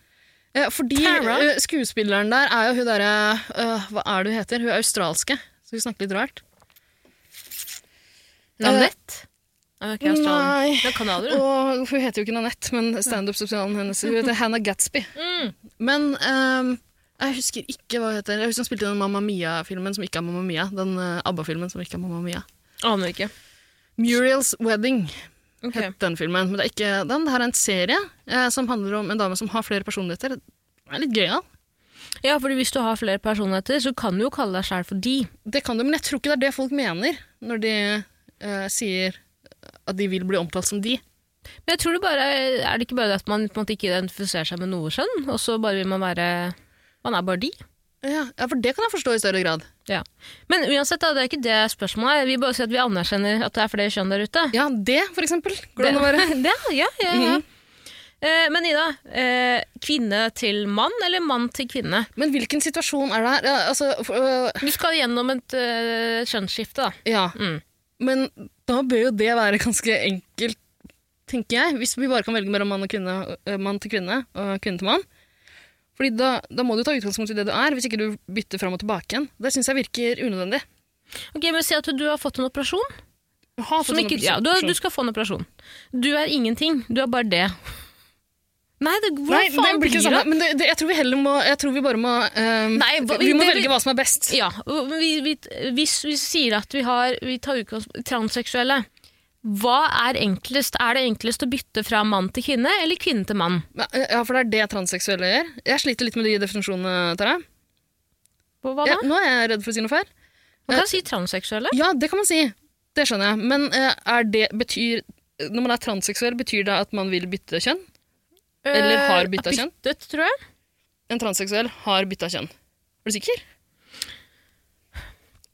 Speaker 4: Ja, fordi
Speaker 3: Tara?
Speaker 4: eh, skuespilleren der er jo hun derre øh, Hva er det hun heter? Hun er australske, så hun snakker litt rart. Eh,
Speaker 3: Nanette? Nei, det er ikke australier.
Speaker 4: Nei.
Speaker 3: Eh, Det er kanadier. da.
Speaker 4: Og hun heter jo ikke Nanette, men standup-sosialen hennes. Hun heter Hannah Gatsby.
Speaker 3: Mm.
Speaker 4: Men ehm, jeg husker ikke hva hun heter. Jeg husker hun spilte i den Mamma Mia-filmen som ikke er Mamma Mia. Den eh, ABBA-filmen som ikke er Mamma Mia.
Speaker 3: Aner ikke.
Speaker 4: Muriel's Wedding
Speaker 3: Ok.
Speaker 4: het den filmen. Men det er ikke den. Det her er en serie eh, som handler om en dame som har flere personligheter. Det er litt gøyal.
Speaker 3: Ja, fordi Hvis du har flere personligheter, så kan du jo kalle deg sjæl for de.
Speaker 4: Det kan du, men jeg tror ikke det er det folk mener når de eh, sier at de vil bli omtalt som de.
Speaker 3: Men jeg tror det bare, Er det ikke bare det at man på en måte ikke identifiserer seg med noe skjønn, og så bare vil man være Man er bare de?
Speaker 4: Ja, ja, for det kan jeg forstå i større grad.
Speaker 3: Ja. Men uansett, da, det er ikke det spørsmålet er. Vi bare sier at vi anerkjenner at det er flere kjønn der ute.
Speaker 4: Ja, det, for eksempel. Går det Mhm. an å være?
Speaker 3: det, [LAUGHS] ja, ja, ja. Eh, men Ida, eh, kvinne til mann eller mann til kvinne?
Speaker 4: Men hvilken situasjon er det her? Ja, altså, for, øh,
Speaker 3: Du skal gjennom et eh, kjønnsskifte, da.
Speaker 4: ja.
Speaker 3: Mm.
Speaker 4: Men da bør jo det være ganske enkelt, tenker jeg. Hvis vi bare kan velge mellom mann, og kvinne, øh, mann til kvinne og kvinne til mann. Fordi da, da må du ta utgangspunkt i det du er, hvis ikke du bytter fram og tilbake igjen. Det syns jeg virker unødvendig.
Speaker 3: Ok, men Si at du har fått en operasjon.
Speaker 4: Ha,
Speaker 3: Som ikke, ja, du, du skal få en operasjon. Du er ingenting. Du er bare det. Nei, det,
Speaker 4: Nei,
Speaker 3: hvordan
Speaker 4: det
Speaker 3: faen
Speaker 4: blir ikke det
Speaker 3: det?
Speaker 4: samme. Men det, det, jeg, tror vi heller må, jeg tror vi bare må øhm,
Speaker 3: Nei, hva-
Speaker 4: Vi må
Speaker 3: det-
Speaker 4: velge hva som er best.
Speaker 3: Ja, og vi, vi, hvis vi sier at vi, har, vi tar utgangspunkt transseksuelle, hva er enklest? Er det enklest å bytte fra mann til kvinne, eller kvinne til mann?
Speaker 4: Men, øh, Ja, For det er det transseksuelle gjør. Jeg sliter litt med de definisjonene, Tara.
Speaker 3: Hva hva da?
Speaker 4: Ja, nå er jeg redd for å si noe feil.
Speaker 3: Man kan si transseksuelle.
Speaker 4: Ja, det kan man si. Det skjønner jeg. Men eh, er det, betyr, når man er transseksuell, betyr det at man vil bytte kjønn? Eller har
Speaker 3: Eh,
Speaker 4: byttet kjønn?
Speaker 3: Byttet, tror jeg.
Speaker 4: En transseksuell har bytta kjønn. Er du sikker?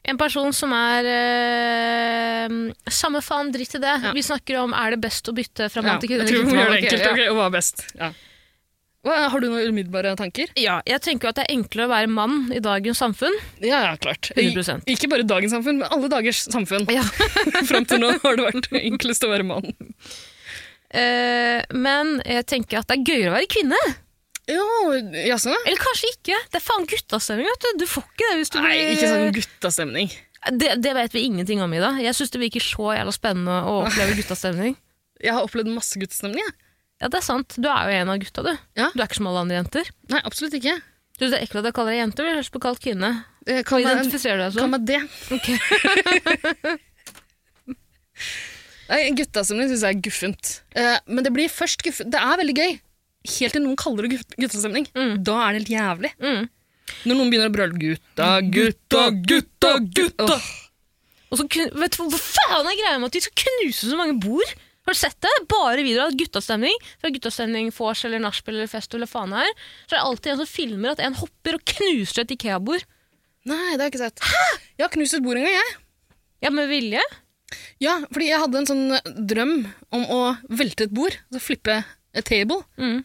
Speaker 3: En person som er eh, Samme faen, dritt i det.
Speaker 4: Ja.
Speaker 3: Vi snakker om er det best å bytte fra mann til kvinne.
Speaker 4: jeg tror
Speaker 3: eller
Speaker 4: vi må
Speaker 3: kvinne til
Speaker 4: gjøre det
Speaker 3: mann?
Speaker 4: enkelt.
Speaker 3: Ok,
Speaker 4: ok, og hva er best? Ja. Hva, har du noen umiddelbare tanker?
Speaker 3: ja. ja, jeg tenker jo at det er enklere å være mann i dagens samfunn.
Speaker 4: Ja, ja, klart. I-
Speaker 3: 100%.
Speaker 4: Ikke bare dagens samfunn, men alle dagers samfunn. [LAUGHS]
Speaker 3: Ja.
Speaker 4: Fram til nå har det vært enklest å være mann.
Speaker 3: Eh, men jeg tenker at det er gøyere å være kvinne.
Speaker 4: Ja, jaså?
Speaker 3: Eller kanskje ikke. Det er faen guttastemning. vet du. Du får ikke det hvis du
Speaker 4: Nei,
Speaker 3: blir-
Speaker 4: ikke sånn guttastemning.
Speaker 3: det, det vet vi ingenting om, Ida. Jeg syns det virker så jævla spennende å oppleve guttastemning.
Speaker 4: Jeg har opplevd masse guttastemning. jeg.
Speaker 3: Ja, det er sant. Du er jo en av gutta, du.
Speaker 4: Ja.
Speaker 3: Du er ikke som alle andre jenter.
Speaker 4: Nei, absolutt ikke.
Speaker 3: Du synes det er ekkelt at jeg kaller deg jente, du høres på kalt kvinne.
Speaker 4: Eh, Kall meg,
Speaker 3: Identifiserer du deg
Speaker 4: kall
Speaker 3: sånn?
Speaker 4: meg det.
Speaker 3: Ok.
Speaker 4: [LAUGHS] Nei, Guttastemning syns jeg er guffent. Eh, men det blir først guffent. Det er veldig gøy. Helt til noen kaller det guff- guttastemning. Da er det helt jævlig.
Speaker 3: Mm.
Speaker 4: Når noen begynner å brøle 'gutta, gutta, gutta, gutta'.
Speaker 3: Og så kun, vet du, hva- Hva faen er greia med at de skal knuse så mange bord? Har du sett det? Bare videoer av guttastemning. Fra guttastemning, vors eller nachspiel eller fest eller faen her. Så er det alltid en som filmer at en hopper og knuser et Ikea-bord.
Speaker 4: Nei, det har jeg ikke sett. Jeg har knust et bord en gang, jeg.
Speaker 3: Ja, med vilje.
Speaker 4: Ja, fordi jeg hadde en sånn drøm om å velte et bord. Altså flippe a table.
Speaker 3: Mm.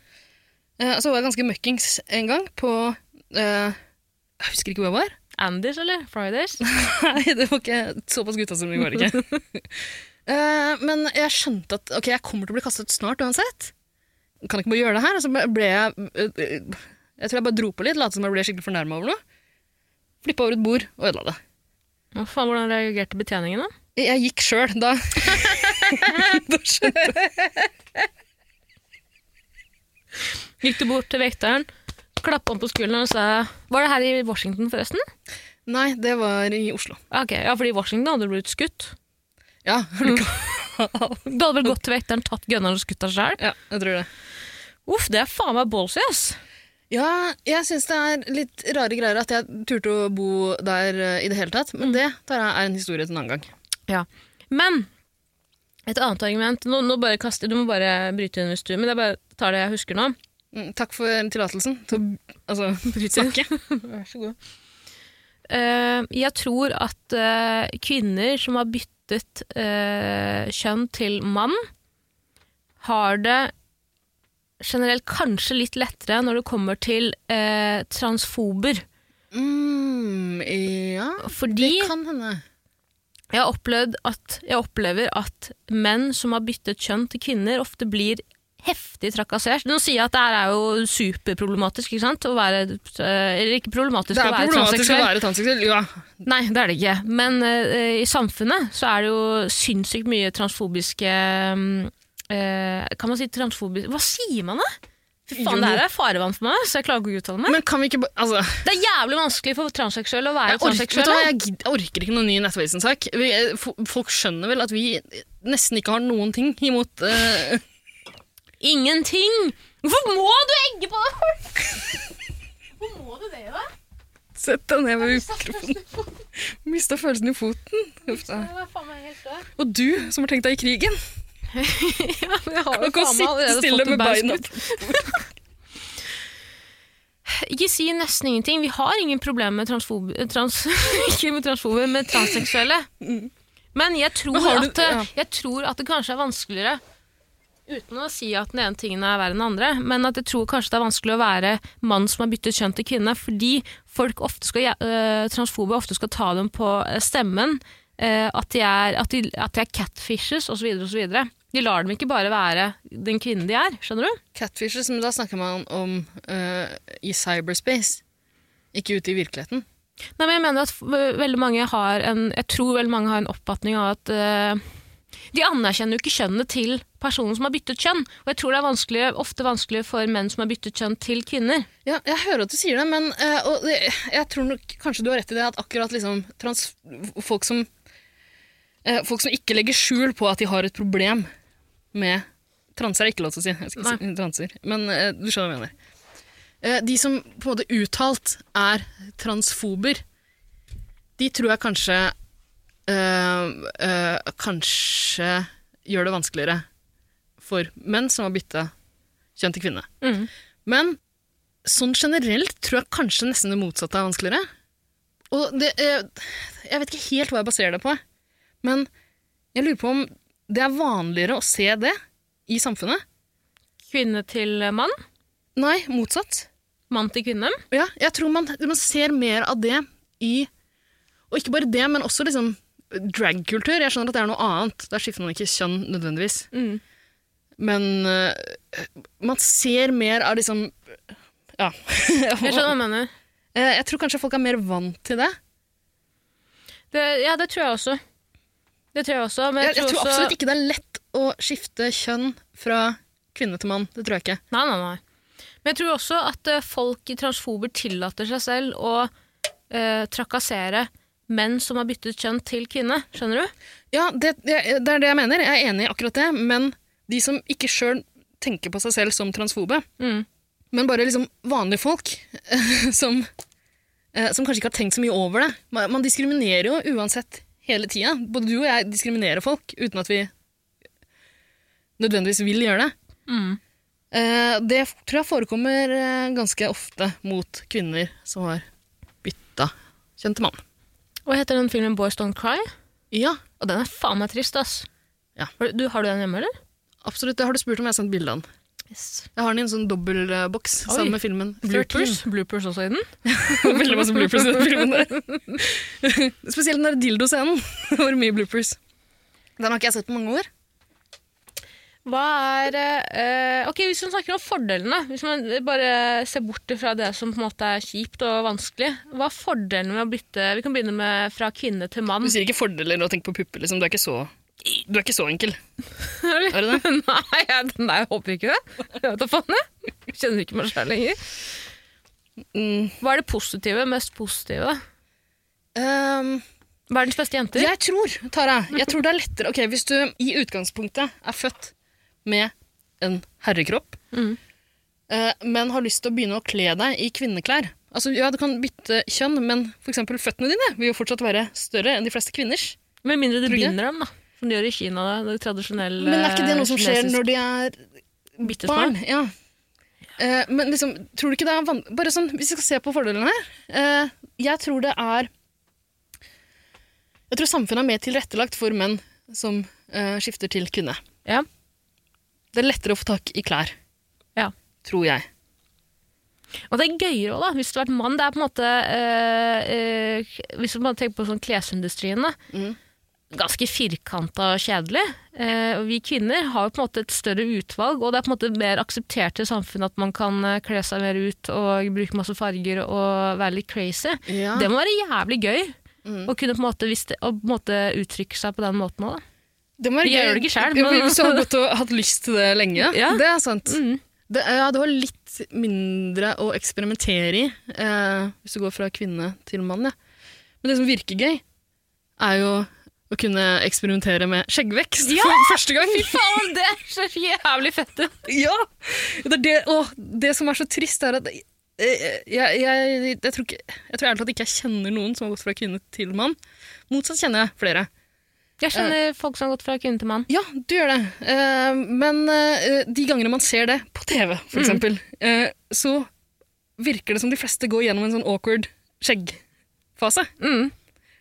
Speaker 4: Eh, og så var jeg ganske møkkings en gang på eh, Jeg husker ikke hvor jeg var.
Speaker 3: Andys eller Fridays?
Speaker 4: Nei, det var ikke såpass guttastemning var det ikke. [LAUGHS] Eh, men jeg skjønte at ok, jeg kommer til å bli kastet snart uansett. Kan ikke bare gjøre det her. Og så ble jeg eh, eh, Jeg tror jeg bare dro på litt, lot som jeg ble skikkelig fornærma over noe. Flippa over et bord og ødela det.
Speaker 3: Hva faen, hvordan reagerte betjeningen, da?
Speaker 4: Jeg gikk sjøl [LAUGHS] da. da skjønte jeg.
Speaker 3: Gikk du bort til vekteren, klappa han på skulderen og sa Var det her i Washington, forresten?
Speaker 4: Nei, det var i Oslo.
Speaker 3: Ja, Ok, Ja, fordi i Washington hadde du blitt skutt.
Speaker 4: Ja, er du klar?
Speaker 3: Du hadde vel gått til vekteren, tatt gunneren og skutt deg sjøl?
Speaker 4: ja jeg tror det.
Speaker 3: Uff, det er faen meg ballsy, ass.
Speaker 4: Ja, jeg syns det er litt rare greier at jeg turte å bo der eh, i det hele tatt, men det tar jeg er en historie til en annen gang.
Speaker 3: Ja. Men et annet argument nå, nå bare kaster, Du må bare bryte inn hvis du Men jeg bare tar det jeg husker [LAUGHS] nå.
Speaker 4: Mm, Takk for tillatelsen til
Speaker 3: Mm.
Speaker 4: å altså, snakke.
Speaker 3: [LAUGHS] Vær så god. Eh, jeg tror at eh, kvinner som har byttet eh, kjønn til mann, har det generelt kanskje litt lettere når det kommer til eh, transfober.
Speaker 4: Mm, ja,
Speaker 3: Fordi
Speaker 4: det kan hende.
Speaker 3: Jeg har opplevd at jeg opplever at menn som har byttet kjønn til kvinner, ofte blir heftig trakassert. Nå sier jeg at det her er jo superproblematisk, ikke sant? Å være, eh, eller ikke problematisk,
Speaker 4: Det er
Speaker 3: å være
Speaker 4: problematisk å
Speaker 3: transseksuell.
Speaker 4: være transseksuell. Ja.
Speaker 3: Nei, det er det ikke. Men eh, i samfunnet så er det jo sinnssykt mye transfobiske mm, eh, Kan man si transfobisk Hva sier man, da? Fy faen,
Speaker 4: Jo.
Speaker 3: det her er farevann for meg, så jeg klarer ikke å uttale meg.
Speaker 4: Men kan vi ikke bare altså,
Speaker 3: Det er jævlig vanskelig for transseksuelle å være
Speaker 4: jeg, orker, vet du
Speaker 3: transseksuelle.
Speaker 4: hva, jeg, gid- jeg orker ikke noen ny Nettavisen-sak. Vi, eh, fo- Folk skjønner vel at vi nesten ikke har noen ting imot eh, [LAUGHS]
Speaker 3: Ingenting! Hvorfor må du egge på det? Hvorfor må du det, da?
Speaker 4: Sett deg ned med mikrofonen. Mista følelsen i foten. Uff da.
Speaker 3: Jeg var faen meg helt død.
Speaker 4: Og du som har tenkt deg i krigen.
Speaker 3: Ja, men [LAUGHS] jeg har jo
Speaker 4: Kan ikke
Speaker 3: faen meg
Speaker 4: sitte
Speaker 3: allerede
Speaker 4: stille
Speaker 3: fått en
Speaker 4: med
Speaker 3: bæsj
Speaker 4: beina
Speaker 3: ut. Ikke si nesten ingenting. Vi har ingen problemer med transfob... Trans, [LAUGHS] ikke med transfober, med transseksuelle. Men jeg tror,
Speaker 4: Men har du-
Speaker 3: at, det-
Speaker 4: ja.
Speaker 3: jeg tror at det kanskje er vanskeligere Uten å si at den ene tingen er verre enn den andre, men at jeg tror kanskje det er vanskelig å være mann som har byttet kjønn til kvinne, fordi folk ofte skal, eh, transfobe ofte skal ta dem på eh, stemmen, eh, at, de er, at, de, at de er catfishes osv. osv. De lar dem ikke bare være den kvinnen de er, skjønner du?
Speaker 4: Catfishes, men da snakker man om eh, i cyberspace. Ikke ute i virkeligheten.
Speaker 3: Nei, men jeg mener at eh, veldig mange har en, jeg tror veldig mange har en oppfatning av at eh, de anerkjenner jo ikke kjønnet til personen som har byttet kjønn. Og jeg tror det er vanskelig, ofte vanskelig for menn som har byttet kjønn til kvinner.
Speaker 4: Ja, jeg hører at du sier det, men eh, og det, jeg tror nok kanskje du har rett i det at akkurat liksom trans, folk som eh, Folk som ikke legger skjul på at de har et problem med Transer er ikke lov til å si, jeg skal ikke si transer, men eh, du skjønner hva jeg mener. Eh, de som på en måte uttalt er transfober, de tror jeg kanskje eh, eh, Kanskje gjør det vanskeligere for menn som har bytta kjønn til kvinne. Men sånn generelt tror jeg kanskje nesten det motsatte er vanskeligere. Og det, eh, jeg vet ikke helt hva jeg baserer det på, men jeg lurer på om det er vanligere å se det i samfunnet.
Speaker 3: Kvinne til mann,
Speaker 4: Nei, motsatt.
Speaker 3: mann til kvinne.
Speaker 4: Ja, jeg tror man, man ser mer av det i Og ikke bare det, men også liksom dragkultur. Jeg skjønner at det er noe annet. Der skifter man ikke kjønn nødvendigvis.
Speaker 3: Mm.
Speaker 4: Men eh, man ser mer av liksom Ja.
Speaker 3: [LAUGHS]
Speaker 4: Jeg,
Speaker 3: Jeg skjønner hva du mener.
Speaker 4: jeg tror kanskje folk er mer vant til det.
Speaker 3: Det, ja, det tror jeg også. Det tror jeg også, men jeg,
Speaker 4: Jeg, jeg tror
Speaker 3: også,
Speaker 4: absolutt ikke det er lett å skifte kjønn fra kvinne til mann. Det tror jeg ikke.
Speaker 3: Nei, nei, nei. Men jeg tror også at eh, folk i transfober tillater seg selv å eh, trakassere menn som har byttet kjønn til kvinne. Skjønner du?
Speaker 4: Ja, det, det, det er det jeg mener. Jeg er enig i akkurat det. Men de som ikke sjøl tenker på seg selv som transfobe,
Speaker 3: Mm.
Speaker 4: men bare liksom vanlige folk [LAUGHS] som, eh, som kanskje ikke har tenkt så mye over det Man man diskriminerer jo uansett hele tida. Både du og jeg diskriminerer folk uten at vi nødvendigvis vil gjøre det.
Speaker 3: Mm.
Speaker 4: Eh, Det tror jeg forekommer eh, ganske ofte mot kvinner som har bytta kjønn til mann.
Speaker 3: Hva heter den filmen Boys Don't Cry?
Speaker 4: Ja,
Speaker 3: Og den er faen meg trist, ass.
Speaker 4: Ja.
Speaker 3: Har du, har du den hjemme, eller?
Speaker 4: absolutt. Det har du spurt om. Jeg har sendt bilde av den.
Speaker 3: Yes.
Speaker 4: Jeg har den i en sånn dobbeltboks
Speaker 3: Oi.
Speaker 4: sammen med filmen.
Speaker 3: Bloopers. Bloopers også i den.
Speaker 4: 13. [LAUGHS] Veldig masse bloopers i den filmen der. [LAUGHS] Spesielt [LAUGHS] den der dildo-scenen. Det var mye bloopers. Den har ikke jeg sett på mange år.
Speaker 3: Hva er eh, Ok, Hvis man snakker om fordelene, hvis man bare ser bort fra det som på en måte er kjipt og vanskelig, hva er fordelene med å bytte Vi kan begynne med fra kvinne til mann.
Speaker 4: Du sier ikke fordeler og tenker på pupper, liksom. Du er ikke så, du er ikke så enkel.
Speaker 3: Eller?
Speaker 4: Er du det?
Speaker 3: [LAUGHS] Nei, jeg, nei, jeg håper ikke det. Jeg vet da faen, jeg. Jeg Kjenner ikke meg sjøl lenger.
Speaker 4: Mm.
Speaker 3: Hva er det positive, mest positive? da?
Speaker 4: Ehm,
Speaker 3: Verdens beste jenter?
Speaker 4: jeg tror, Tara, jeg tror det er lettere Ok, Hvis du i utgangspunktet er født med en herrekropp,
Speaker 3: Mm.
Speaker 4: eh, men har lyst til å begynne å kle deg i kvinneklær Altså, ja, Du kan bytte kjønn, men for eksempel føttene dine vil jo fortsatt være større enn de fleste kvinners.
Speaker 3: Med mindre du
Speaker 4: Tror du
Speaker 3: binder dem, da. Som de gjør i Kina. Det tradisjonelle
Speaker 4: Men er ikke det noe som skjer når de er
Speaker 3: bittesmå?
Speaker 4: barn? Ja. Eh, men liksom, tror du ikke det er van- Bare sånn, Hvis vi skal se på fordelene her eh, Jeg tror det er Jeg tror samfunnet er mer tilrettelagt for menn som eh, skifter til kvinne.
Speaker 3: Ja.
Speaker 4: Det er lettere å få tak i klær.
Speaker 3: Ja.
Speaker 4: Tror jeg.
Speaker 3: Og det er gøyere òg, da. Hvis du har vært mann. Det er på en måte eh, eh, Hvis du bare tenker på sånn klesindustrien, da.
Speaker 4: Mm.
Speaker 3: Ganske firkanta og kjedelig. Eh, og vi kvinner har jo på en måte et større utvalg, og det er på en måte mer akseptert i samfunnet at man kan eh, kle seg mer ut og bruke masse farger og være litt crazy. Det
Speaker 4: Det,
Speaker 3: må være jævlig gøy.
Speaker 4: Mm.
Speaker 3: Å kunne på en måte, hvis det, å på en måte uttrykke seg på den måten òg, da.
Speaker 4: må være
Speaker 3: Vi gjør
Speaker 4: gøy.
Speaker 3: det ikke selv,
Speaker 4: Ja,
Speaker 3: men-
Speaker 4: Hvis du har gått og hatt lyst til det lenge.
Speaker 3: [LAUGHS] Ja.
Speaker 4: Det er sant.
Speaker 3: Mm.
Speaker 4: Det, er- ja, du har litt mindre å eksperimentere i eh, hvis du går fra kvinne til mann. Ja. Men det som virker gøy, er jo å kunne eksperimentere med skjeggvekst
Speaker 3: Ja!
Speaker 4: for første gang.
Speaker 3: Fy faen, det ser jævlig fett ut!
Speaker 4: [LAUGHS] Ja! Det, er det, å, det som er så trist, er at eh, jeg, jeg, jeg, jeg tror, ikke, jeg tror ærlig talt ikke jeg kjenner noen som har gått fra kvinne til mann. Motsatt kjenner jeg flere.
Speaker 3: Jeg kjenner folk som har gått fra kvinne til mann.
Speaker 4: Ja, du gjør det. Eh, men eh, de gangene man ser det på TV, for eksempel, eh, så virker det som de fleste går gjennom en sånn awkward skjeggfase.
Speaker 3: Mm.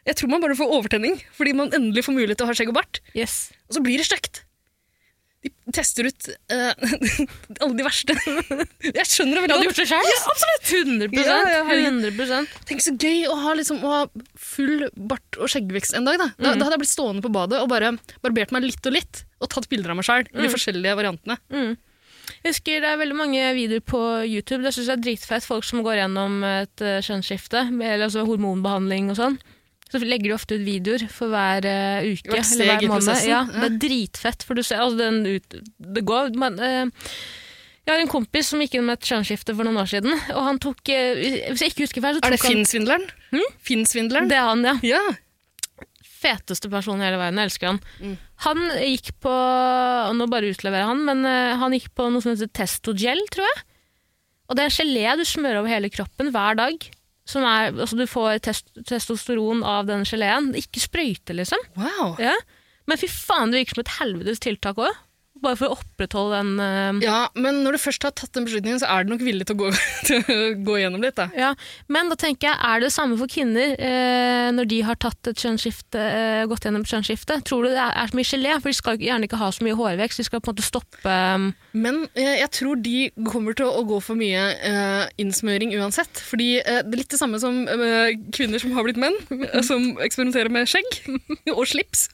Speaker 4: Jeg tror man bare får overtenning, fordi man endelig får mulighet til å ha skjegg og bart.
Speaker 3: Yes.
Speaker 4: Og så blir det stygt. De tester ut eh, [LAUGHS] alle de verste. jeg skjønner det veldig godt.
Speaker 3: gjort det sjøl? Ja, absolutt! 100,
Speaker 4: Ja, ja, herregud.
Speaker 3: 100%.
Speaker 4: Tenk så gøy å ha, liksom, å ha full bart og skjeggvekst en dag. Da. Da, da hadde jeg blitt stående på badet og bare barbert meg litt og litt, og tatt bilder av meg sjøl i de forskjellige variantene.
Speaker 3: Mm. Jeg husker det er veldig mange videoer på YouTube. Det syns jeg er dritfett. Folk som går gjennom et eh, kjønnsskifte, med- eller altså hormonbehandling og sånn. Så legger de ofte ut videoer for hver eh, uke.
Speaker 4: Hvert steg
Speaker 3: eller hver
Speaker 4: i
Speaker 3: måned.
Speaker 4: prosessen,
Speaker 3: Ja,
Speaker 4: ja.
Speaker 3: det er dritfett, for du ser altså, den ut, Det går. Men, eh, jeg har en kompis som gikk gjennom et kjønnsskifte for noen år siden. Og han tok eh, Hvis jeg ikke husker feil, så
Speaker 4: Er det
Speaker 3: tok han Hm?
Speaker 4: Finn-svindleren? Finn-svindleren?
Speaker 3: Det er han, ja.
Speaker 4: Ja.
Speaker 3: feteste personen i hele verden. Jeg elsker han.
Speaker 4: Mm.
Speaker 3: Han gikk på og Nå bare utleverer jeg han, men eh, han gikk på noe som heter Testogel, tror jeg. Og det er en gelé du smører over hele kroppen hver dag. Som er, altså du får test, testosteron av den geleen. Ikke sprøyte, liksom.
Speaker 4: Wow.
Speaker 3: Ja. Men fy faen, det virker som et helvetes tiltak òg. Bare for å opprettholde den eh,
Speaker 4: Ja, men når du først har tatt den beslutningen, så er du nok villig til å gå, [LAUGHS] til å gå gjennom litt, da.
Speaker 3: ja. Men da tenker jeg, er det det samme for kvinner eh, når de har tatt et kjønnsskifte, eh, gått gjennom et kjønnsskifte? Tror du det er, er så mye gelé? For de skal jo gjerne ikke ha så mye hårvekst. De skal på en måte stoppe eh,
Speaker 4: Men eh, jeg tror de kommer til å gå for mye eh, innsmøring uansett. Fordi eh, det er litt det samme som eh, kvinner som har blitt menn, eh, som eksperimenterer med skjegg [LAUGHS] og slips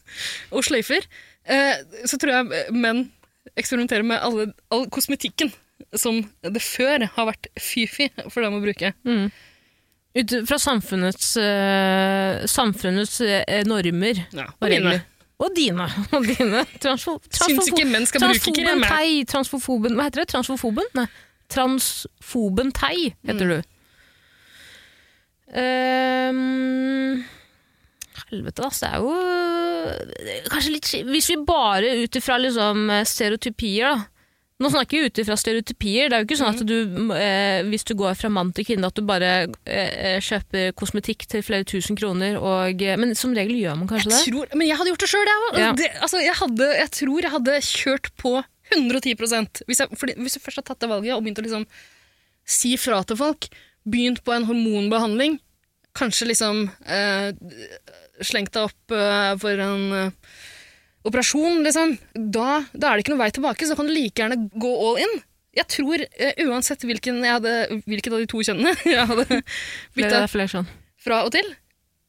Speaker 4: og sløyfer. Eh, så tror jeg eh, menn eksperimenterer med alle, all kosmetikken som det før har vært fy-fy for dem å bruke.
Speaker 3: Ut fra samfunnets, eh, samfunnets eh, normer
Speaker 4: Ja,
Speaker 3: og regler. Og dine. [LAUGHS] Og dine. Transfo
Speaker 4: Syns
Speaker 3: transfo
Speaker 4: ikke menn skal bruke
Speaker 3: transfoben
Speaker 4: krem. jeg.
Speaker 3: tei. Transfofoben Hva heter det? Transfofoben? Nei. Transfoben tei,
Speaker 4: Mm.
Speaker 3: heter du. Ehm, helvete, ass. Det er jo det er Kanskje litt sk- Hvis vi bare ut ifra liksom, eh, stereotypier, da. Nå snakker vi ut ifra stereotypier. Det er jo ikke sånn
Speaker 4: Mm.
Speaker 3: at du, eh, hvis du går fra mann til kvinne, at du bare eh, eh, kjøper kosmetikk til flere tusen kroner og eh, Men som regel gjør man kanskje det?
Speaker 4: Jeg tror, men jeg hadde gjort det sjøl, jeg òg.
Speaker 3: Ja.
Speaker 4: Det- Altså, jeg, hadde- jeg tror jeg hadde kjørt på 110 hvis, jeg, fordi, hvis du først har tatt det valget og begynt å liksom si fra til folk, begynt på en hormonbehandling, kanskje liksom eh, slengt deg opp eh, for en eh, operasjon, liksom, da, da er det ikke noen vei tilbake. Så kan du like gjerne gå all in. Jeg tror eh, uansett hvilken jeg hadde, hvilket av de to kjønnene [LAUGHS] jeg hadde
Speaker 3: Flere-
Speaker 4: bytta
Speaker 3: flere sånn.
Speaker 4: fra og til,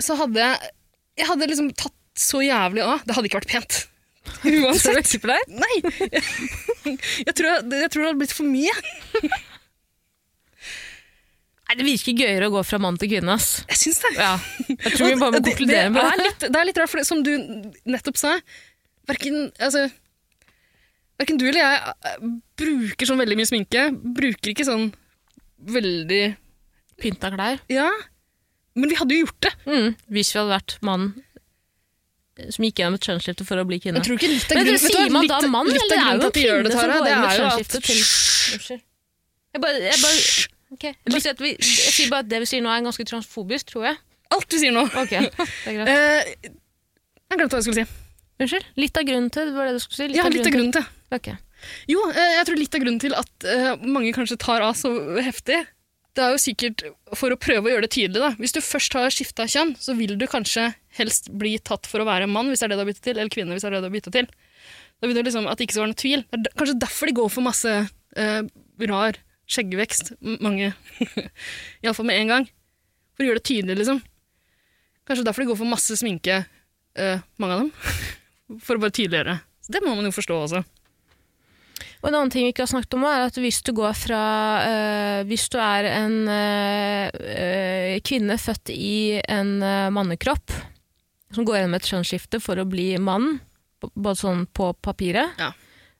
Speaker 4: så hadde jeg, jeg hadde liksom tatt så jævlig av. Det hadde ikke vært pent. [LAUGHS]
Speaker 3: Tror du
Speaker 4: Uansett.
Speaker 3: jeg tipper der?
Speaker 4: Nei! [LAUGHS] Jeg tror, jeg, jeg tror det hadde blitt for mye.
Speaker 3: Nei, det virker gøyere å gå fra mann til kvinne, ass.
Speaker 4: Jeg syns det.
Speaker 3: Ja. Jeg tror vi bare må
Speaker 4: Og det-
Speaker 3: konkludere med det
Speaker 4: er
Speaker 3: her.
Speaker 4: litt- Det er litt rart, for det, som du nettopp sa, hverken, altså, hverken du eller jeg eh, bruker sånn veldig mye sminke. Bruker ikke sånn veldig
Speaker 3: Pynta klær.
Speaker 4: Ja. Men vi hadde jo gjort det.
Speaker 3: Mm. Hvis vi hadde vært mann som gikk gjennom et kjønnsskifte for å bli kvinne.
Speaker 4: Jeg tror ikke litt av
Speaker 3: Men
Speaker 4: grunnen,
Speaker 3: dere
Speaker 4: vet du hva,
Speaker 3: sier man da
Speaker 4: litt-
Speaker 3: mann,
Speaker 4: litt
Speaker 3: eller
Speaker 4: av
Speaker 3: det er
Speaker 4: grunnen
Speaker 3: jo
Speaker 4: til at vi gjør det,
Speaker 3: kvinner som
Speaker 4: Tara,
Speaker 3: går
Speaker 4: det
Speaker 3: inn i
Speaker 4: er jo
Speaker 3: kjønnsskiftet til-
Speaker 4: at
Speaker 3: Unnskyld. Jeg bare, sånn jeg bare, ok. jeg bare sier at vi, jeg sier bare at det vi sier nå er ganske transfobisk, tror jeg.
Speaker 4: Alt vi sier nå
Speaker 3: Ok, det er greit.
Speaker 4: Eh, Jeg glemte hva jeg skulle si.
Speaker 3: [LAUGHS] Unnskyld? Litt av grunnen til det, var det du skulle si?
Speaker 4: Ja, litt av grunnen til
Speaker 3: til. Ok.
Speaker 4: Jo, eh, jeg tror litt av grunnen til at eh, mange kanskje tar av så heftig, det er jo sikkert for å prøve å gjøre det tydelig. da. Hvis du først har skifta kjønn, så vil du kanskje helst bli tatt for å være mann, hvis det er det du har byttet til, eller kvinne, hvis det er det du har byttet til. Da vil du liksom at det ikke skal være noe tvil. Det er d- kanskje derfor de går for masse eh, rar skjeggvekst, m- mange, [LAUGHS] iallfall med en gang. For å gjøre det tydelig, liksom. Kanskje derfor de går for masse sminke, eh, mange av dem, [LAUGHS] for å bare tydeliggjøre. Det må man jo forstå også.
Speaker 3: Og en annen ting vi ikke har snakket om, er at hvis du går fra eh, Hvis du er en eh, eh, kvinne født i en eh, mannekropp, som går gjennom et kjønnsskifte for å bli mann, b- både sånn på papiret,
Speaker 4: Ja.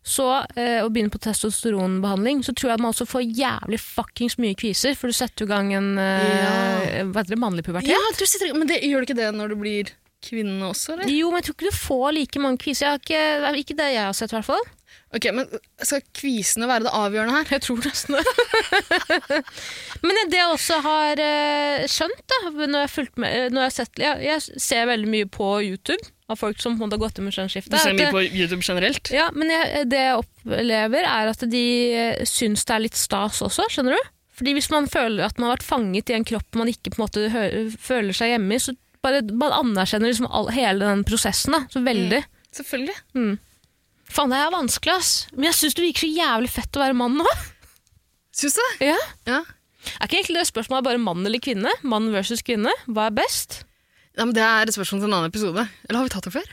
Speaker 3: så eh, å begynne på testosteronbehandling, så tror jeg at man også får jævlig fuckings mye kviser, for du setter jo i gang en eh, hva heter det, mannlig pubertet.
Speaker 4: Ja, du sitter, men det, gjør du ikke det når du blir kvinne også, eller?
Speaker 3: Jo, men jeg tror ikke du får like mange kviser. Jeg har ikke, det er ikke det jeg har sett, i hvert fall.
Speaker 4: Ok, men Skal kvisene være det avgjørende her?
Speaker 3: [LAUGHS] Jeg tror nesten det. [LAUGHS] Men det jeg også har eh, skjønt, da, når jeg, har fulgt med, eh, når jeg, har sett, jeg, jeg ser veldig mye på YouTube av folk som på en måte har gått inn med kjønnsskifte.
Speaker 4: Du ser
Speaker 3: at
Speaker 4: mye
Speaker 3: det-
Speaker 4: på YouTube generelt.
Speaker 3: Ja, men jeg, det jeg opplever, er at de eh, syns det er litt stas også, skjønner du? Fordi hvis man føler at man har vært fanget i en kropp man ikke på en måte hø- føler seg hjemme i, så bare, man anerkjenner liksom all, hele den prosessen da, så veldig.
Speaker 4: Mm. Selvfølgelig.
Speaker 3: Faen, det er vanskelig, ass. Men jeg syns det virker så jævlig fett å være mann nå.
Speaker 4: Syns du det?
Speaker 3: Ja.
Speaker 4: Ja.
Speaker 3: Er ikke egentlig det spørsmålet bare mann eller kvinne? Mann versus kvinne, hva er best?
Speaker 4: ja, men Det er et spørsmål til en annen episode. Eller har vi tatt det før?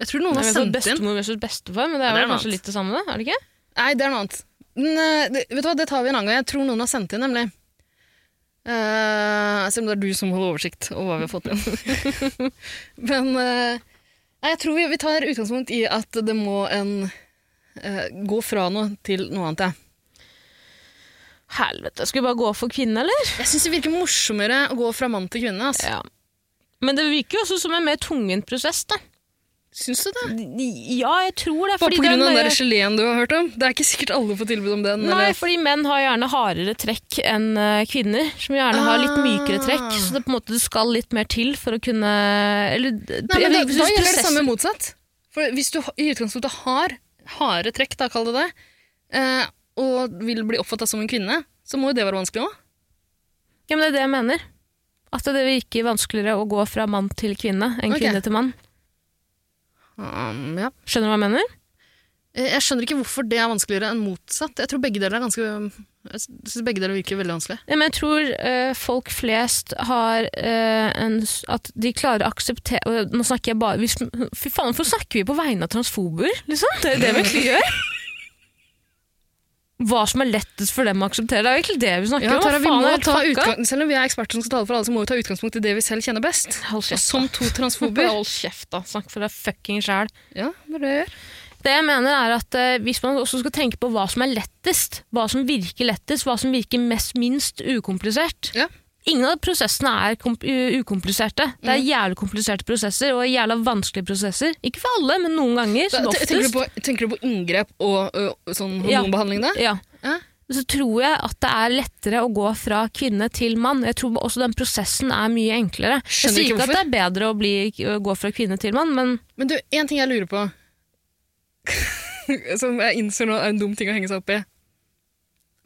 Speaker 4: Jeg tror noen
Speaker 3: Jeg
Speaker 4: har
Speaker 3: vet ikke,
Speaker 4: sendt inn.
Speaker 3: Bestemor versus bestefar, men det er
Speaker 4: Det er
Speaker 3: vel
Speaker 4: noe
Speaker 3: kanskje
Speaker 4: annet.
Speaker 3: litt det samme, er det ikke?
Speaker 4: Nei, det er noe annet. Men, eh, det, vet du hva, det tar vi en annen gang. Jeg tror noen har sendt inn, nemlig. Eh, selv om det er du som holder oversikt over hva vi har fått inn. [LAUGHS] Men eh, nei, jeg tror vi, vi tar utgangspunkt i at det må en eh, gå fra noe til noe annet. Ja.
Speaker 3: Helvete, skal vi bare gå for kvinne, eller?
Speaker 4: Jeg syns det virker morsommere å gå fra mann til kvinne. Altså.
Speaker 3: Ja. Men det virker jo også som en mer tungvint prosess, da.
Speaker 4: Syns du det?
Speaker 3: Ja, jeg tror det.
Speaker 4: Bare
Speaker 3: fordi
Speaker 4: pga.
Speaker 3: det er
Speaker 4: den
Speaker 3: nøye-
Speaker 4: der geleen du har hørt om? Det er ikke sikkert alle får tilbud om den.
Speaker 3: Nei,
Speaker 4: eller-
Speaker 3: fordi menn har gjerne hardere trekk enn eh, kvinner, som gjerne har litt mykere trekk.
Speaker 4: Ah.
Speaker 3: Så det, på en måte, det skal litt mer til for å kunne Eller
Speaker 4: Nei, men da,
Speaker 3: jeg
Speaker 4: da
Speaker 3: synes
Speaker 4: gjelder det
Speaker 3: prosessen-
Speaker 4: samme motsatt. For hvis du i utgangspunktet har harde trekk, da, kall det det, eh, og vil bli oppfatta som en kvinne, så må jo det være vanskelig òg.
Speaker 3: Ja, men det er det jeg mener. At det virker vanskeligere å gå fra mann til kvinne enn
Speaker 4: Ok.
Speaker 3: kvinne til mann.
Speaker 4: Um, ja.
Speaker 3: Skjønner du hva jeg mener?
Speaker 4: Eh, Jeg skjønner ikke hvorfor det er vanskeligere enn motsatt. Jeg tror begge deler er ganske Jeg synes begge deler virker veldig vanskelig.
Speaker 3: Ja, men jeg tror eh, folk flest har eh, en s- At de klarer å akseptere og Nå snakker jeg bare hvis, Fy faen, hvorfor snakker vi på vegne av transfober? Liksom? Det er det vi
Speaker 4: [LAUGHS]
Speaker 3: egentlig gjør. Hva som er lettest for dem å akseptere. Det er jo egentlig det vi snakker
Speaker 4: Ja,
Speaker 3: om.
Speaker 4: Tara,
Speaker 3: Hva
Speaker 4: vi
Speaker 3: faen
Speaker 4: må
Speaker 3: er helt
Speaker 4: ta
Speaker 3: fucka?
Speaker 4: utgang, selv om vi er eksperter som skal tale for alle, så må vi ta utgangspunkt i det vi selv kjenner best.
Speaker 3: Hold
Speaker 4: Og
Speaker 3: kjeft,
Speaker 4: som to
Speaker 3: da.
Speaker 4: transfober [LAUGHS]
Speaker 3: Hold kjeft, da. Snakk for deg fucking sjæl.
Speaker 4: Ja, det er det jeg gjør.
Speaker 3: Det jeg mener er at eh, Hvis man også skal tenke på hva som er lettest, hva som virker lettest, hva som virker mest minst ukomplisert
Speaker 4: Ja.
Speaker 3: Ingen av prosessene er kom- u- ukompliserte. Det
Speaker 4: Mm.
Speaker 3: er jævlig kompliserte prosesser og jævla vanskelige prosesser. Ikke for alle, men noen ganger.
Speaker 4: Da,
Speaker 3: Som Sånn
Speaker 4: te-
Speaker 3: oftest.
Speaker 4: tenker, du på, tenker du på inngrep og ø, sånn
Speaker 3: Ja.
Speaker 4: hormonbehandling, da?
Speaker 3: Ja.
Speaker 4: Ja.
Speaker 3: Så tror jeg at det er lettere å gå fra kvinne til mann. Jeg tror også den prosessen er mye enklere. jeg
Speaker 4: Skjønner ikke
Speaker 3: sier ikke at det er bedre å, bli, å gå fra kvinne til mann, men
Speaker 4: Men du, én ting jeg lurer på, [LAUGHS] som jeg innser nå er en dum ting å henge seg opp i.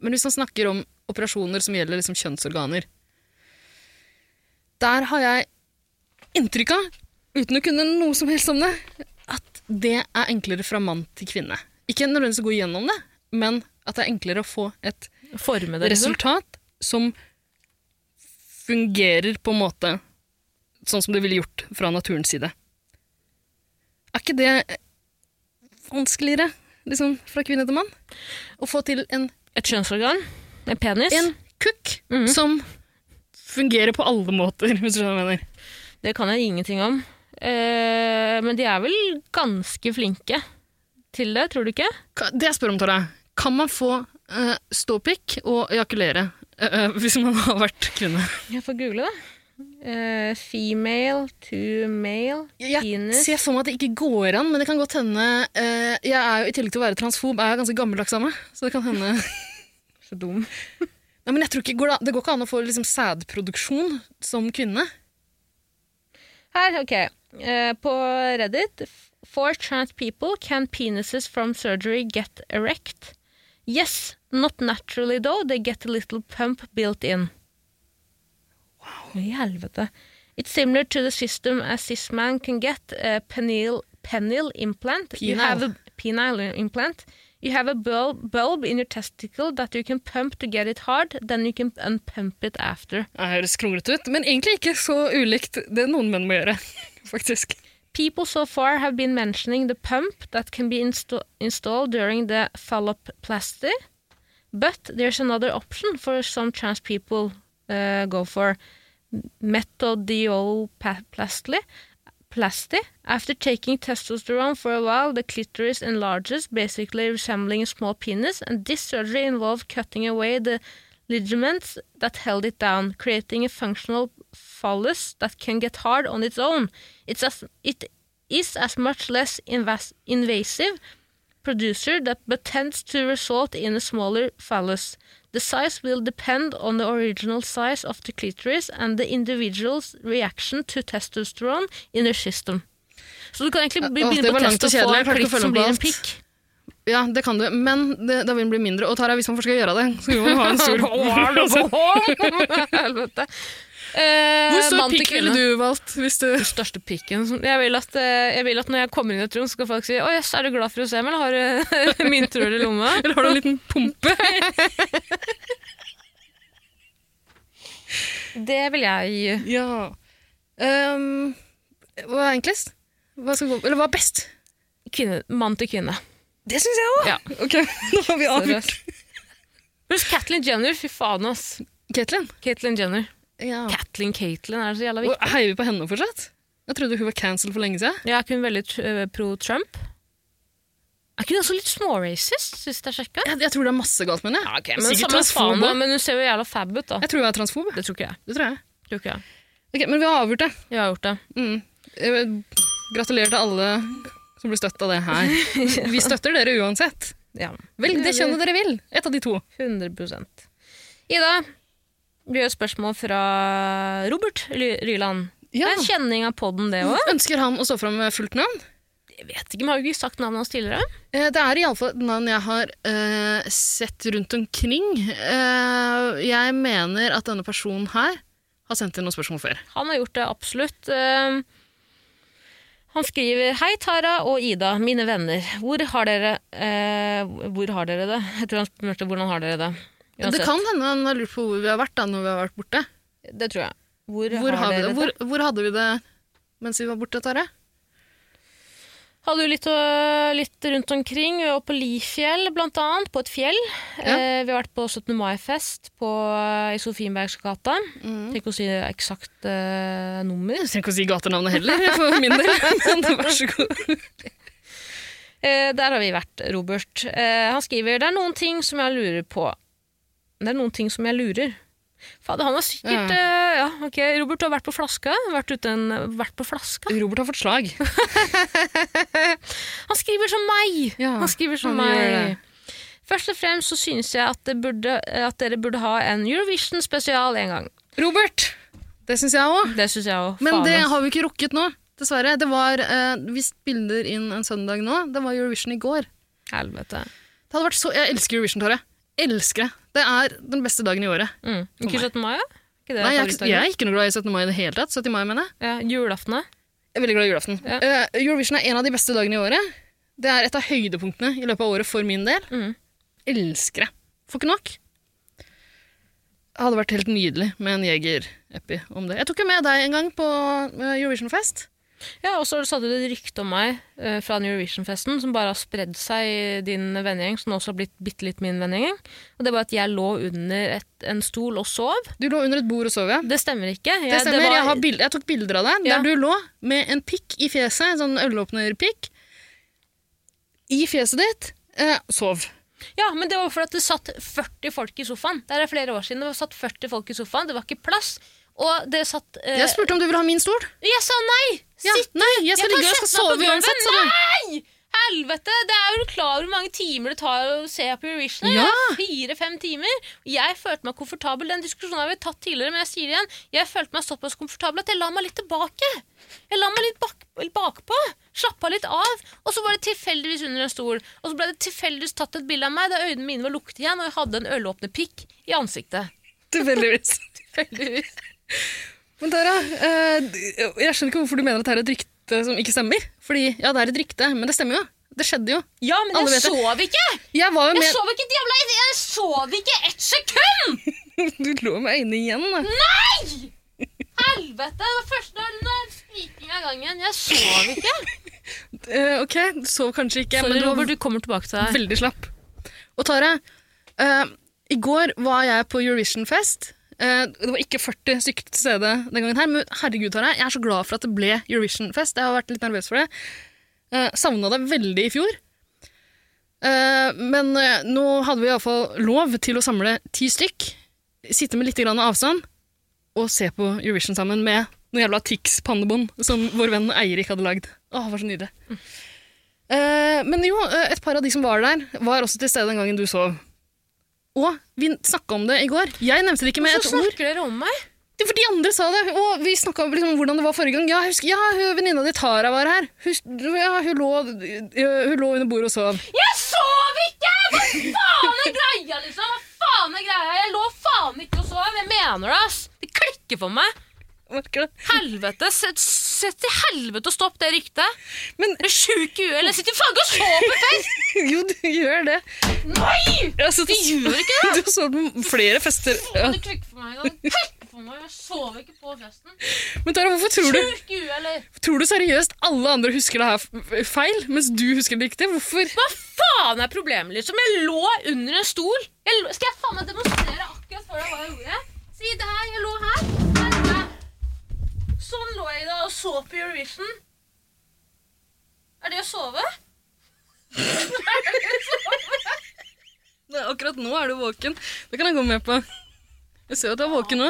Speaker 4: Men hvis man snakker om operasjoner som gjelder liksom kjønnsorganer Der har jeg inntrykk av, uten å kunne noe som helst om det, at det er enklere fra mann til kvinne. Ikke nødvendigvis å gå gjennom det, men at det er enklere å få et
Speaker 3: forme det. liksom.
Speaker 4: resultat som fungerer på en måte sånn som det ville gjort fra naturens side. Er ikke det vanskeligere liksom, fra kvinne til mann å få til en,
Speaker 3: Et kjønnsorgan? En penis?
Speaker 4: en kukk
Speaker 3: Mhm.
Speaker 4: som fungerer på alle måter, [LAUGHS] hvis du skjønner hva jeg mener.
Speaker 3: Det kan jeg ingenting om. Eh, men de er vel ganske flinke til det, tror du ikke?
Speaker 4: Ka- Det jeg spør om, Tara, kan man få eh, ståpikk og ejakulere eh, eh, hvis man [LAUGHS] har vært kvinne?
Speaker 3: Jeg får google det. Eh, female to male
Speaker 4: Jeg
Speaker 3: penis.
Speaker 4: ser for meg at det ikke går an, men det kan godt hende eh, Jeg er jo i tillegg til å være transfob, er jeg ganske gammeldags av meg. Så det
Speaker 3: [LAUGHS]
Speaker 4: kan hende Nei,
Speaker 3: Så dum.
Speaker 4: men jeg tror ikke, går det, an- det går ikke an å få liksom, sædproduksjon som kvinne.
Speaker 3: Her, ok. Eh, på Reddit For trans people, can penises from surgery get erect? Yes, not naturally though, they get a little pump built in. Wow. I helvete. It's similar to the system a cis man can get a penile, penile implant. You
Speaker 4: Penile.
Speaker 3: have a penile implant. You have a bulb, bulb in your testicle that you can pump to get it hard, then you can unpump it after.
Speaker 4: Det høres kronglete ut, men egentlig ikke så ulikt det noen menn må gjøre. [LAUGHS] faktisk.
Speaker 3: People so far have been mentioning the pump that can be insta- installed during the phalloplasty, but there's another option for some trans people uh, go for metodioplasty. Plasty. After taking testosterone for a while, the clitoris enlarges, basically resembling a small penis, and this surgery involved cutting away the ligaments that held it down, creating a functional phallus that can get hard on its own. It's as, it is as much less invas- invasive producer that but tends to result in a smaller phallus. The size will depend on the original size of the clitoris and the individual's reaction to testosterone in their system. Så du kan egentlig
Speaker 4: Åh,
Speaker 3: begynne
Speaker 4: det
Speaker 3: på
Speaker 4: var langt
Speaker 3: test
Speaker 4: og
Speaker 3: og få en klikk
Speaker 4: kjedelig. Jeg klarte ikke å følge
Speaker 3: som
Speaker 4: med
Speaker 3: blir
Speaker 4: på
Speaker 3: en
Speaker 4: alt.
Speaker 3: pikk.
Speaker 4: Ja, det kan du, men det, da vil den bli mindre. Og Tara, hvis man først skal gjøre det, så vil man ha en
Speaker 3: [LAUGHS]
Speaker 4: stor [LAUGHS] Altså,
Speaker 3: Helvete. Eh,
Speaker 4: Hvor stor
Speaker 3: mann til
Speaker 4: pikk
Speaker 3: kvinne.
Speaker 4: ville du valgt? Hvis du... [LAUGHS]
Speaker 3: største pikken. som- Jeg vil at, eh, jeg vil at når jeg kommer inn i et rom, så skal folk si «Å, jøss, er du glad for å se meg, eller har du [LAUGHS] myntrull i lomma?»
Speaker 4: Eller har du en liten pumpe?
Speaker 3: Det vil jeg...
Speaker 4: Ja. Ehm, hva er enklest? Hva skal gå, eller hva er best?
Speaker 3: Kvinne, mann til kvinne.
Speaker 4: Det syns jeg òg!
Speaker 3: Ja.
Speaker 4: Ok, [LAUGHS] nå får vi avbryte.
Speaker 3: Seriøst. Husk Catelyn Jenner, fy faen ass.
Speaker 4: Caitlyn.
Speaker 3: Catelyn Jenner.
Speaker 4: Ja.
Speaker 3: Catelyn, Catelyn, er det så jævla viktig?
Speaker 4: Og Heier vi på henne fortsatt? Jeg trodde hun var cancelled for lenge siden.
Speaker 3: Jeg er kun veldig tr- eh, pro-Trump. Er ikke hun også litt små-racist, synes jeg sjekket?
Speaker 4: Jeg, jeg tror det er masse galt med henne. Ja, okay,
Speaker 3: Men samme faen da, men hun ser jo jævla fab ut da.
Speaker 4: Jeg tror hun er transfob.
Speaker 3: Det tror ikke jeg.
Speaker 4: Det tror jeg.
Speaker 3: Tror ikke jeg.
Speaker 4: Ok, Men vi har avgjort det.
Speaker 3: Jeg har gjort det.
Speaker 4: Mm. Eh, Gratulerer til alle som blir støtt av det [LAUGHS] her. Vi støtter dere uansett.
Speaker 3: Ja.
Speaker 4: Velg det kjønnet dere vil. Et av de to.
Speaker 3: 100 Ida, vi har et spørsmål fra Robert Ly- Ryland. Det
Speaker 4: Ja.
Speaker 3: er en kjenning av podden, det òg.
Speaker 4: Ønsker han å stå fram med fullt navn?
Speaker 3: Jeg vet ikke, vi har jo ikke sagt navnet hans tidligere.
Speaker 4: Eh, Det er iallfall et navn jeg har eh, sett rundt omkring. Eh, jeg mener at denne personen her har sendt inn noen spørsmål før.
Speaker 3: Han har gjort det absolutt. Ehm, Han skriver Hei, Tara og Ida, mine venner. Hvor har dere eh, Hvor har dere det? Jeg tror han spurte hvordan har dere det.
Speaker 4: Det kan hende han har lurt på hvor vi har vært da, når vi har vært borte.
Speaker 3: det tror jeg. Hvor,
Speaker 4: Hvor,
Speaker 3: har
Speaker 4: har vi
Speaker 3: dere
Speaker 4: det? Hvor, hvor hadde vi det mens vi var borte, Tare?
Speaker 3: Hadde jo litt, å- litt rundt omkring. Vi var på Lifjell, blant annet. På et fjell.
Speaker 4: Ja.
Speaker 3: Eh, vi har vært på 17. mai-fest på, i Sofienbergsgata.
Speaker 4: Mm.
Speaker 3: Tenk å si eksakt eh, nummer.
Speaker 4: Jeg trenger ikke å si gatenavnet [LAUGHS] heller, for min
Speaker 3: [LAUGHS]
Speaker 4: del. Men vær så god.
Speaker 3: Eh, der har vi vært, Robert. Eh, han skriver det er noen ting som jeg lurer på. Det er noen ting som jeg lurer. Fader, han har sikkert
Speaker 4: Ja.
Speaker 3: eh, ja, ok, Robert, du har vært på Flaska. Vært, uten, vært på flaska.
Speaker 4: Robert har fått slag.
Speaker 3: Han skriver som meg!
Speaker 4: Ja,
Speaker 3: han skriver som
Speaker 4: han gjør
Speaker 3: meg. Først og fremst så synes jeg at, det burde, at dere burde ha en Eurovision-spesial en gang.
Speaker 4: Robert! Det syns jeg òg.
Speaker 3: Det syns jeg òg.
Speaker 4: Men det har vi ikke rukket nå, dessverre. Det var, eh, vi spiller inn en søndag nå. Det var Eurovision i går.
Speaker 3: Helvete.
Speaker 4: Det hadde vært så, jeg elsker Eurovision, Tore. Elsker det. Det er den beste dagen i året.
Speaker 3: Mm. Ikke 17. mai, da? Ikke det
Speaker 4: Nei, jeg, er ikke-
Speaker 3: favorittdagen?
Speaker 4: jeg er ikke noe glad i 17. mai i det hele tatt. 17. mai, mener jeg.
Speaker 3: Ja, julaften, da?
Speaker 4: Jeg er veldig glad i julaften.
Speaker 3: Ja.
Speaker 4: Eh, Eurovision er en av de beste dagene i året. Det er et av høydepunktene i løpet av året for min del.
Speaker 3: Mm.
Speaker 4: Elsker det. Får ikke nok. Det hadde vært helt nydelig med en Jeger-epi om det. Jeg tok jo med deg en gang på eh, Eurovision-fest.
Speaker 3: Ja, og så satte du et rykte om meg eh, fra den Eurovision-festen som bare har spredd seg i din vennegjeng, som også har blitt bitte litt min vennegjeng. Og det var at jeg lå under et, en stol og sov.
Speaker 4: Du lå under et bord og sov, ja.
Speaker 3: Det stemmer ikke. Jeg,
Speaker 4: Det stemmer.
Speaker 3: var,
Speaker 4: jeg, har bild, jeg tok bilder av deg
Speaker 3: Ja.
Speaker 4: der du lå med en pikk i fjeset, en sånn ølåpnerpikk, i fjeset ditt. Eh, sov.
Speaker 3: Ja, men det var fordi at det satt 40 folk i sofaen. Det her er flere år siden. Det var satt 40 folk i sofaen. Det var ikke plass. Og det satt eh,
Speaker 4: Jeg spurte om du ville ha min stol.
Speaker 3: Jeg sa nei!
Speaker 4: Ja.
Speaker 3: Sitt!
Speaker 4: Nei, jeg
Speaker 3: Jeg kan
Speaker 4: skal ligge og jeg skal
Speaker 3: sette meg på
Speaker 4: sove
Speaker 3: gulvet.
Speaker 4: uansett, sa du.
Speaker 3: Nei! Helvete! Det er jo klar over hvor mange timer det tar å se på Eurovision.
Speaker 4: Ja.
Speaker 3: Fire-fem timer. Jeg følte meg komfortabel. Den diskusjonen har vi tatt tidligere, men jeg sier det igjen. Jeg følte meg såpass komfortabel at jeg la meg litt tilbake. Jeg la meg litt bak, bakpå. Slappa litt av. Og så var det tilfeldigvis under en stol. Og så ble det tilfeldigvis tatt et bilde av meg da øynene mine var lukket igjen, og jeg hadde en ølåpne pikk i ansiktet.
Speaker 4: Tilfeldigvis.
Speaker 3: Tilfeldigvis.
Speaker 4: Men Tara, eh, jeg skjønner ikke hvorfor du mener at det er et rykte som ikke stemmer. Fordi, ja, det er et rykte, men det stemmer jo. Det skjedde jo.
Speaker 3: Ja, men
Speaker 4: Alle
Speaker 3: jeg
Speaker 4: vet det.
Speaker 3: sov ikke!
Speaker 4: Jeg var jo
Speaker 3: Jeg
Speaker 4: med
Speaker 3: sov ikke et jævla Jeg sov ikke ett sekund!
Speaker 4: [LAUGHS] Du lå med øynene igjen, da.
Speaker 3: Helvete! Det var første når skriking av gangen. Jeg sov [LAUGHS] ikke.
Speaker 4: Eh, ok, du sov kanskje ikke, men
Speaker 3: Sorry,
Speaker 4: du var
Speaker 3: Robert, du kommer tilbake til deg.
Speaker 4: veldig slapp. Og Tara, eh, i går var jeg på Eurovision-fest. Eh, det var ikke 40 stykker til stede den gangen her, men herregud, Tara, jeg er så glad for at det ble Eurovision-fest. Jeg har vært litt nervøs for det. Uh, Savna det veldig i fjor. Eh, men eh, nå hadde vi iallfall lov til å samle ti stykk, sitte med litt grann avstand og se på Eurovision sammen med noen jævla Tix-pannebånd som vår venn Eirik hadde lagd. Åh, det var så nydelig. Eh, men jo, eh, et par av de som var der, var også til stede den gangen du sov. Og vi snakka om det i går. Jeg nevnte det ikke med
Speaker 3: Hvorfor
Speaker 4: et ord.
Speaker 3: snakker dere om meg?
Speaker 4: Det er fordi andre sa det, og vi snakka om liksom, hvordan det var forrige gang. Ja, husk, ja hun venninna di Tara var her. Husk, ja, hun, lå, øh, hun lå under bordet og sov.
Speaker 3: Jeg sov ikke! Hva faen er greia, liksom? Hva faen er greia? Jeg lå faen ikke og sov. Jeg mener det, ass. Det klikker for meg.
Speaker 4: Merker det.
Speaker 3: Helvete. Sett sett til helvete og stopp det ryktet.
Speaker 4: Men
Speaker 3: Jeg er sjuk i huet. eller Jeg sitter faen ikke og [LAUGHS] sover på fest!
Speaker 4: [LAUGHS] jo, du gjør det.
Speaker 3: Nei!
Speaker 4: Jeg har sittet-
Speaker 3: Det gjør ikke det.
Speaker 4: [LAUGHS] Du har sovet på flere fester. Ja.
Speaker 3: Det klikker for meg. Det klikker for meg. Jeg sover ikke på festen.
Speaker 4: Men Tara, hvorfor tror du,
Speaker 3: Sjuk i huet, eller?
Speaker 4: tror du seriøst alle andre husker det her f- feil, mens du husker det riktig? Hvorfor?
Speaker 3: Hva faen er problemet, liksom? Jeg lå under en stol. Jeg lå, skal jeg faen meg demonstrere akkurat for deg hva jeg gjorde? Si det her. Jeg lå her. her lå jeg. Sånn lå jeg da og så på Eurovision. Er det å sove?
Speaker 4: Nei, akkurat nå er du våken. Det kan jeg gå med på. Jeg ser jo at du er våken nå.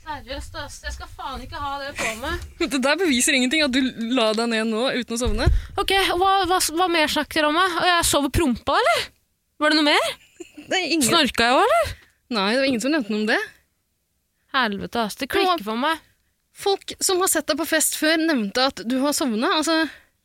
Speaker 3: Seriøst, ass. Jeg skal faen ikke ha det på meg.
Speaker 4: Det der beviser ingenting, at du la deg ned nå uten å sovne.
Speaker 3: Ok, og Hva, hva, hva mer snakker dere om? da? Jeg sov og prompa, eller? Var det noe mer?
Speaker 4: Det er ingen...
Speaker 3: Snorka jeg òg, eller?
Speaker 4: Nei, det var ingen som nevnte noe om det.
Speaker 3: Helvete, ass. Det klikker for meg.
Speaker 4: Folk som har sett deg på fest før, nevnte at du har sovna. Altså,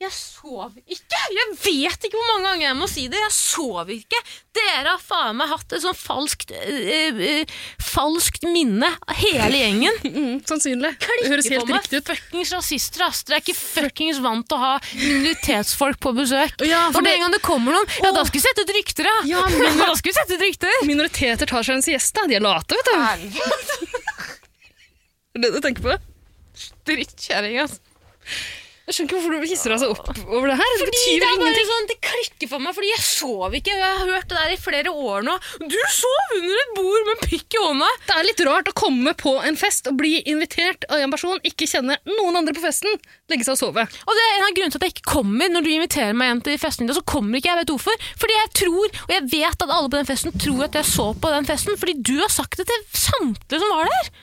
Speaker 3: Jeg sov ikke! Jeg vet ikke hvor mange ganger jeg må si det. Jeg sov ikke. Dere har faen meg hatt et sånn falskt øh, øh, Falskt minne, hele gjengen.
Speaker 4: mm, sannsynlig. [LAUGHS] Det høres
Speaker 3: Ikke
Speaker 4: helt
Speaker 3: for meg.
Speaker 4: riktig ut.
Speaker 3: Fuckings rasister, ass. Dere er ikke fuckings vant til å ha minoritetsfolk på besøk.
Speaker 4: Å ja, for
Speaker 3: for
Speaker 4: det-
Speaker 3: den gang det kommer noen, ja, da skal vi sette ut rykter, ja! [LAUGHS]
Speaker 4: Ja, men-
Speaker 3: Da skal vi sette ut rykter!
Speaker 4: Minoriteter tar seg en siesta. De er late, vet du. Det er det du tenker på?
Speaker 3: Drittkjerring, ass.
Speaker 4: Jeg skjønner ikke hvorfor du hisser deg så opp over det her. Det
Speaker 3: Fordi
Speaker 4: betyr
Speaker 3: det er bare
Speaker 4: ingenting.
Speaker 3: sånn, det klikker for meg, fordi jeg sov ikke. og Jeg har hørt det der i flere år nå. Du sov under et bord med pikk i hånda!
Speaker 4: Det er litt rart å komme på en fest og bli invitert av en person, ikke kjenne noen andre på festen, legge seg og sove.
Speaker 3: Og det er en av grunnene til at jeg ikke kommer når du inviterer meg hjem til festen din, så kommer ikke jeg, vet du hvorfor. Fordi jeg tror, og jeg vet at alle på den festen tror at jeg så på den festen, fordi du har sagt det til samtlige som var der.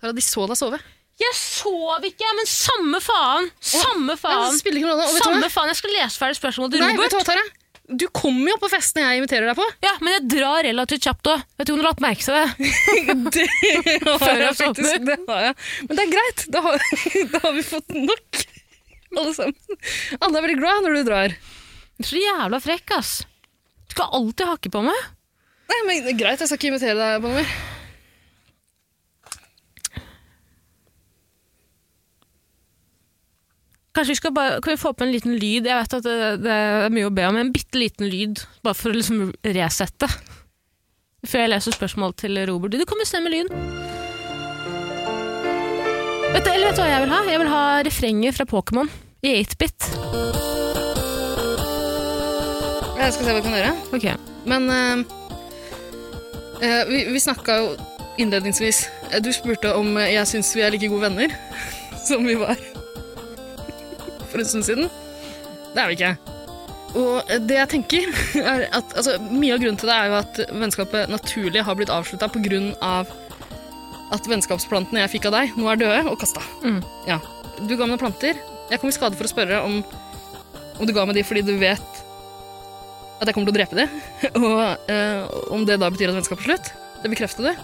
Speaker 4: Tara, de så deg sove.
Speaker 3: Jeg sov ikke, men samme faen. Samme
Speaker 4: Ja,
Speaker 3: faen.
Speaker 4: det spiller ikke noe rolle. Og vet du hva?
Speaker 3: Samme faen. Jeg skal lese ferdig spørsmålet til
Speaker 4: Nei, vet
Speaker 3: Robert.
Speaker 4: du hva, Tara? Du kommer jo på festene jeg inviterer [LAUGHS] deg på.
Speaker 3: Ja, men jeg drar relativt kjapt òg. Vet du om du har lagt merke til det?
Speaker 4: Det har
Speaker 3: jeg sovner.
Speaker 4: Det har jeg. Men det er greit. Da har, [LAUGHS] da har vi fått nok, alle sammen. Alle er veldig glad når du drar.
Speaker 3: Du er så jævla frekk, ass. Du skal alltid hakke på meg.
Speaker 4: Nei, men det er Greit, jeg skal ikke invitere deg på noe mer.
Speaker 3: Kanskje vi skal bare, Kan vi få opp en liten lyd? Jeg vet at det, det er mye å be om, men en bitte liten lyd. Bare for å liksom resette. Før jeg leser spørsmål til Robert. Du kan bestemme lyden. Vet du, eller vet du hva jeg vil ha? Jeg vil ha refrenget fra Pokémon i 8-bit.
Speaker 4: Jeg skal se hva vi kan gjøre.
Speaker 3: Ok.
Speaker 4: Men eh, eh, vi, vi snakka jo innledningsvis Eh, Du spurte om eh, jeg syns vi er like gode venner [LAUGHS] som vi var for en stund siden. Det er vi ikke. Og eh, det jeg tenker [LAUGHS] er at altså, Mye av grunnen til det er jo at vennskapet naturlig har blitt avslutta pga. at vennskapsplantene jeg fikk av deg, nå er døde og kasta.
Speaker 3: Mm.
Speaker 4: Ja. Du ga meg noen planter. Jeg kom i skade for å spørre om, om du ga meg de fordi du vet at jeg kommer til å drepe dem. [LAUGHS] Og eh, om det da betyr at vennskapet er slutt. Det bekrefter det.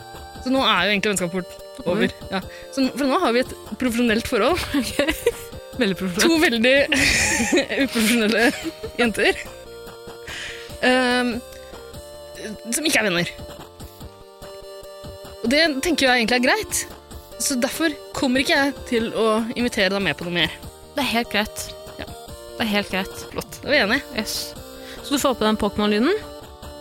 Speaker 4: Så nå er jo egentlig vennskapet vårt over. Ja. Så n- for nå har vi et profesjonelt forhold.
Speaker 3: Veldig profesjonelt.
Speaker 4: To veldig [LAUGHS] uprofesjonelle jenter. Ehm, som ikke er venner. Og det tenker jeg egentlig er greit. Så derfor kommer ikke jeg til å invitere deg med på noe mer.
Speaker 3: Det er helt greit.
Speaker 4: Ja.
Speaker 3: Det er helt greit.
Speaker 4: Flott. Da er vi enige.
Speaker 3: Yes. Så du får på den Pokémon-lyden?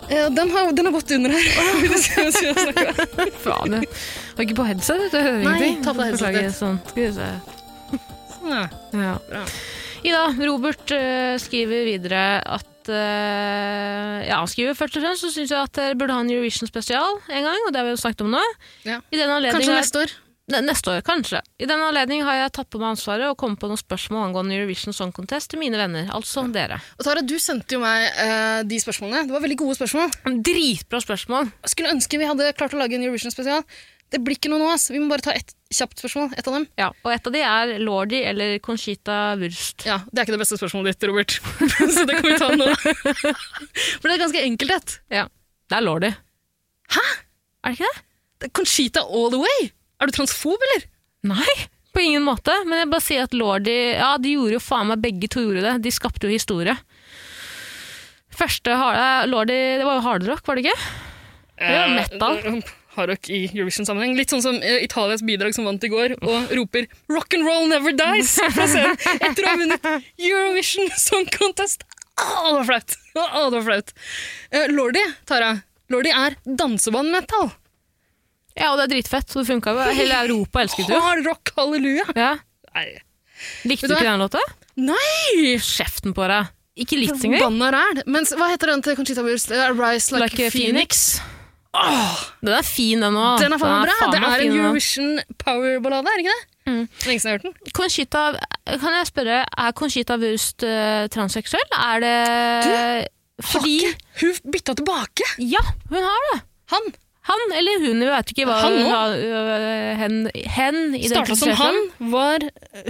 Speaker 4: Eh, den, har, den har gått under [LAUGHS] her. Vil du se hva jeg snakker om?
Speaker 3: Faen, jeg har ikke på headset, vet du. Jeg hører
Speaker 4: Nei,
Speaker 3: ingenting.
Speaker 4: ta på
Speaker 3: Beklager,
Speaker 4: headsetet.
Speaker 3: Sånn. Skal vi se.
Speaker 4: ja.
Speaker 3: Ja.
Speaker 4: Bra.
Speaker 3: Ida, Robert eh, skriver videre at eh, Ja, han skriver først og fremst så syns jeg at dere burde ha en Eurovision-spesial en gang, og det har vi jo snakket om nå.
Speaker 4: Ja.
Speaker 3: I den anledning
Speaker 4: Kanskje
Speaker 3: har-
Speaker 4: neste år.
Speaker 3: Ne- Neste år, kanskje. I den anledning har jeg tatt på meg ansvaret og kommet på noen spørsmål angående Eurovision Song Contest til mine venner, altså dere.
Speaker 4: Og Tara, du sendte jo meg eh, de spørsmålene. Det var veldig gode spørsmål.
Speaker 3: Dritbra spørsmål!
Speaker 4: Jeg skulle ønske vi hadde klart å lage en Eurovision-spesial. Det blir ikke noe nå, ass. Vi må bare ta ett kjapt spørsmål. Et av dem.
Speaker 3: Ja, og et av de er Lordi eller Conchita Wurst.
Speaker 4: Ja, Det er ikke det beste spørsmålet ditt, Robert. [LAUGHS] Så det kan vi ta nå. For det er et ganske enkelt et.
Speaker 3: Ja, det er Lordi. Hæ?! Er det ikke det?
Speaker 4: Det er Conchita all the way! Er du transfob, eller?
Speaker 3: Nei, på ingen måte. Men jeg bare sier at Lordi Ja, de gjorde jo faen meg begge to gjorde det. De skapte jo historie. Første har- eh, Lordi Det var jo hardrock, var det ikke? Ja, metal.
Speaker 4: Eh, Hardrock i Eurovision-sammenheng. Litt sånn som eh, Italias bidrag som vant i går, og roper 'rock and roll never dies' fra scenen etter å ha vunnet Eurovision Song Contest. Åh, det var flaut! Åh, det var flaut. Eh, Lordi, Tara. Lordi er dansebandmetal.
Speaker 3: Ja, og det er dritfett. Så det funka jo. Hele Europa elsket det jo.
Speaker 4: Hard rock, halleluja!
Speaker 3: Ja.
Speaker 4: Nei.
Speaker 3: Likte
Speaker 4: Vet du
Speaker 3: du ikke
Speaker 4: hva?
Speaker 3: den låta?
Speaker 4: Nei!
Speaker 3: Kjeften på deg. Ikke litt engang.
Speaker 4: Forbanna ræl. Men hva heter den til Conchita Wurst? Det er Rise Like,
Speaker 3: Like a Ah,
Speaker 4: a Phoenix.
Speaker 3: Den er fin, den òg.
Speaker 4: Den er faen meg bra! Det
Speaker 3: meg
Speaker 4: er
Speaker 3: fin, Mm.
Speaker 4: en
Speaker 3: den også.
Speaker 4: Eurovision power-ballade, er det ikke det? Lenge siden jeg har hørt den.
Speaker 3: Conchita, kan jeg spørre, er Conchita Wurst eh, transseksuell? Er det Fordi
Speaker 4: Hakke! Hun bytta tilbake!
Speaker 3: Ja, hun har det.
Speaker 4: Han
Speaker 3: Han eller hun, vi vet ikke hva
Speaker 4: Han nå?
Speaker 3: hva, øh, hen, hen
Speaker 4: starta som
Speaker 3: identifiserte
Speaker 4: han,
Speaker 3: dem.
Speaker 4: var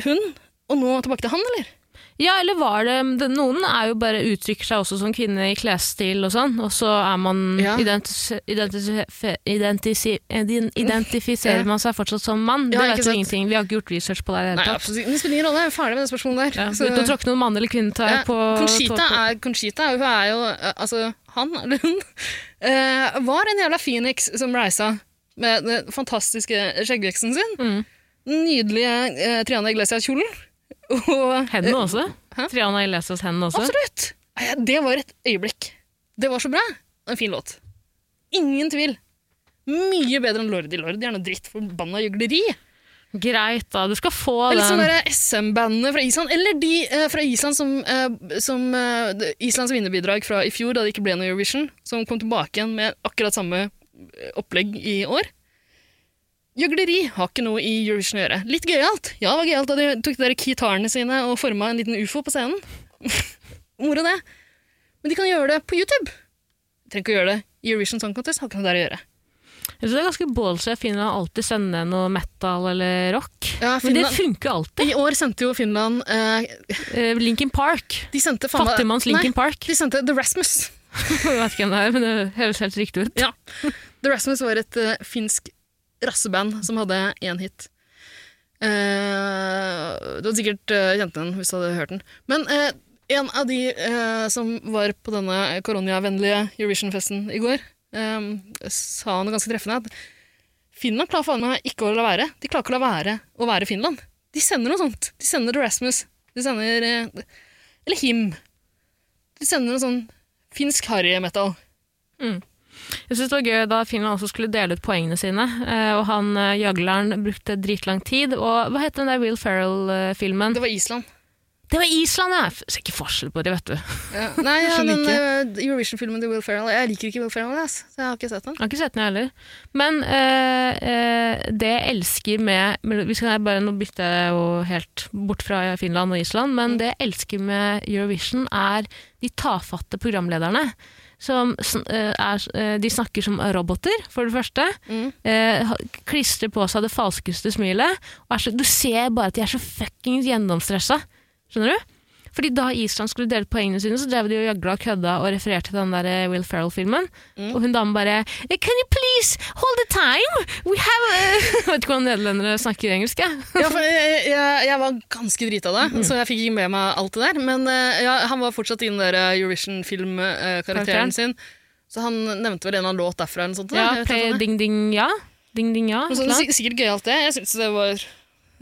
Speaker 4: hun, og nå tilbake til han, eller?
Speaker 3: Ja, eller var det, det Noen er jo bare uttrykker seg også som kvinne i klesstil og sånn, og så er man
Speaker 4: Ja.
Speaker 3: identis- identisi- identisi- ident- Identifiserer
Speaker 4: Ja.
Speaker 3: man seg fortsatt som mann?
Speaker 4: Ja,
Speaker 3: det
Speaker 4: ikke
Speaker 3: vet
Speaker 4: sant?
Speaker 3: vi ingenting. Vi har ikke gjort research på det i det
Speaker 4: Nei,
Speaker 3: hele tatt.
Speaker 4: absolutt. ikke. Det spiller ingen rolle, jeg er ferdig med det spørsmålet der.
Speaker 3: Ja,
Speaker 4: Så-
Speaker 3: Uten å tråkke noen mann eller kvinne tar
Speaker 4: Ja,
Speaker 3: jeg på tå
Speaker 4: Conchita,
Speaker 3: på-
Speaker 4: er, Conchita hun er jo eh, Altså, han eller hun [LAUGHS] eh, var en jævla Phoenix som reisa med den fantastiske skjeggveksten sin.
Speaker 3: Mm.
Speaker 4: Den nydelige eh, Triana Iglesias-kjolen. Og
Speaker 3: Hendene også.
Speaker 4: Eh, hæ?
Speaker 3: Triana Iglesias hendene også.
Speaker 4: Absolutt! Eh, Det var et øyeblikk. Det var så bra. En fin låt. Ingen tvil. Mye bedre enn Lordi. Lordi er noe dritt. Forbanna gjøgleri.
Speaker 3: Greit, da. Du skal få
Speaker 4: Det er
Speaker 3: den.
Speaker 4: litt som det der SM-bandene fra Island, eller de eh, fra Island som, eh, som eh, det- Islands vinnerbidrag fra i fjor, da det ikke ble noe Eurovision, som kom tilbake igjen med akkurat samme eh, opplegg i år. Gjøgleri har ikke noe i Eurovision å gjøre. Litt gøyalt. Ja, det var gøyalt da de tok de der gitarene sine og forma en liten ufo på scenen. [LAUGHS] Moro, det. Men de kan gjøre det på YouTube. Trenger ikke å gjøre det i Eurovision Song Contest. Har ikke noe der å gjøre.
Speaker 3: Jeg synes det er ganske ballsy at Finland alltid sender noe metal eller rock.
Speaker 4: Ja,
Speaker 3: Men det
Speaker 4: Finland-
Speaker 3: funker jo alltid.
Speaker 4: I år sendte jo Finland eh,
Speaker 3: Eh, Linkin Park.
Speaker 4: De sendte faen meg-
Speaker 3: Fattigmanns Linkin
Speaker 4: Nei,
Speaker 3: Park.
Speaker 4: de sendte The Rasmus.
Speaker 3: [LAUGHS] Jeg vet ikke hvem det er, men det høres helt riktig ut.
Speaker 4: Ja. The Rasmus var et eh, finsk rasseband som hadde én hit. Eh, du hadde sikkert eh, kjent den hvis du hadde hørt den. Men eh, en av de eh, som var på denne koronavennlige Eurovision-festen i går, eh, sa noe ganske treffende. at Finland klarer faen meg ikke å la være. De klarer ikke å la være å være Finland. De sender noe sånt. De sender The Rasmus. De sender eh, Eller Him. De sender noe sånn finsk harry metal.
Speaker 3: Jeg synes det var gøy da Finland også skulle dele ut poengene sine, eh, og han eh, gjøgleren brukte dritlang tid. Og hva heter den der Will Ferrell-filmen?
Speaker 4: Det var Island.
Speaker 3: Det var Island, ja! F- Ser ikke forskjell på det, vet du. Jeg
Speaker 4: Ja. [LAUGHS] Nei, ja,
Speaker 3: Skjønner
Speaker 4: den eh, Eurovision-filmen til Will Ferrell Jeg liker ikke Will Ferrell, ass. så jeg har ikke sett den.
Speaker 3: har ikke sett den, jeg heller. Men eh, eh, det jeg elsker med men vi skal bare Nå bytter jeg jo helt bort fra Finland og Island, men det jeg elsker med Eurovision, er de tafatte programlederne. Som sn- eh, er, eh, de snakker som roboter, for det første.
Speaker 4: Mm.
Speaker 3: eh, ha- klistrer på seg det falskeste smilet. Og er så, du ser bare at de er så fuckings gjennomstressa. Skjønner du? Fordi da Island skulle dele ut poengene sine, så drev de og gjøgla og kødda og refererte til den der eh, Will Ferrell-filmen.
Speaker 4: Mm.
Speaker 3: Og hun damen bare eh, Can you please hold the time? We have a [LAUGHS] Jeg vet ikke hvordan nederlendere snakker engelsk, jeg.
Speaker 4: Ja, for jeg, jeg, jeg var ganske drita da, så jeg fikk ikke med meg alt det der. Men eh, ja, han var fortsatt i den der eh,
Speaker 3: Karakteren.
Speaker 4: Eurovision-filmkarakteren sin. Så han nevnte vel en annen låt derfra. Eller noe sånt, da.
Speaker 3: Ja,
Speaker 4: Jeg vet
Speaker 3: play
Speaker 4: ikke hva det er.
Speaker 3: ding ding ja. Ding ding ja.
Speaker 4: Men
Speaker 3: et
Speaker 4: så
Speaker 3: eller
Speaker 4: det
Speaker 3: annet.
Speaker 4: er sik- sikkert gøy alt det. Jeg syns det var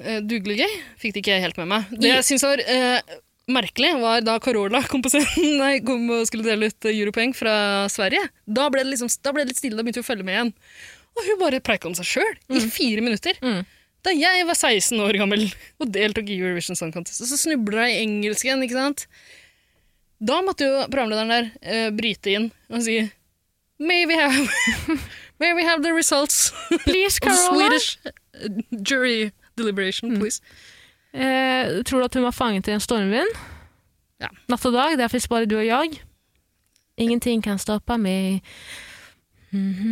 Speaker 4: eh, dugelig gøy. Fikk det ikke helt med meg. Det
Speaker 3: I-
Speaker 4: jeg syns var eh, merkelig, var da Carola kom på scenen [LAUGHS] Nei, kom og skulle dele ut eh, europoeng fra Sverige. Da ble det, liksom, da ble det litt stille, da begynte vi å følge med igjen. Og hun bare preika om seg sjøl i fire minutter.
Speaker 3: Mm.
Speaker 4: Da jeg var 16 år gammel og deltok i Eurovision Song Contest, og så snubla jeg i engelsken, ikke sant Da måtte jo programlederen der eh, bryte inn og si May we have, [LAUGHS] may we have the results [LAUGHS]
Speaker 3: Please,
Speaker 4: of the
Speaker 3: Carola.
Speaker 4: Swedish eh, jury deliberation, please.
Speaker 3: Eh, tror du at hun var fanget i en stormvind?
Speaker 4: Ja.
Speaker 3: Natt og dag, der fins bare du og jeg. Ingenting kan stoppe meg. Mm-hmm.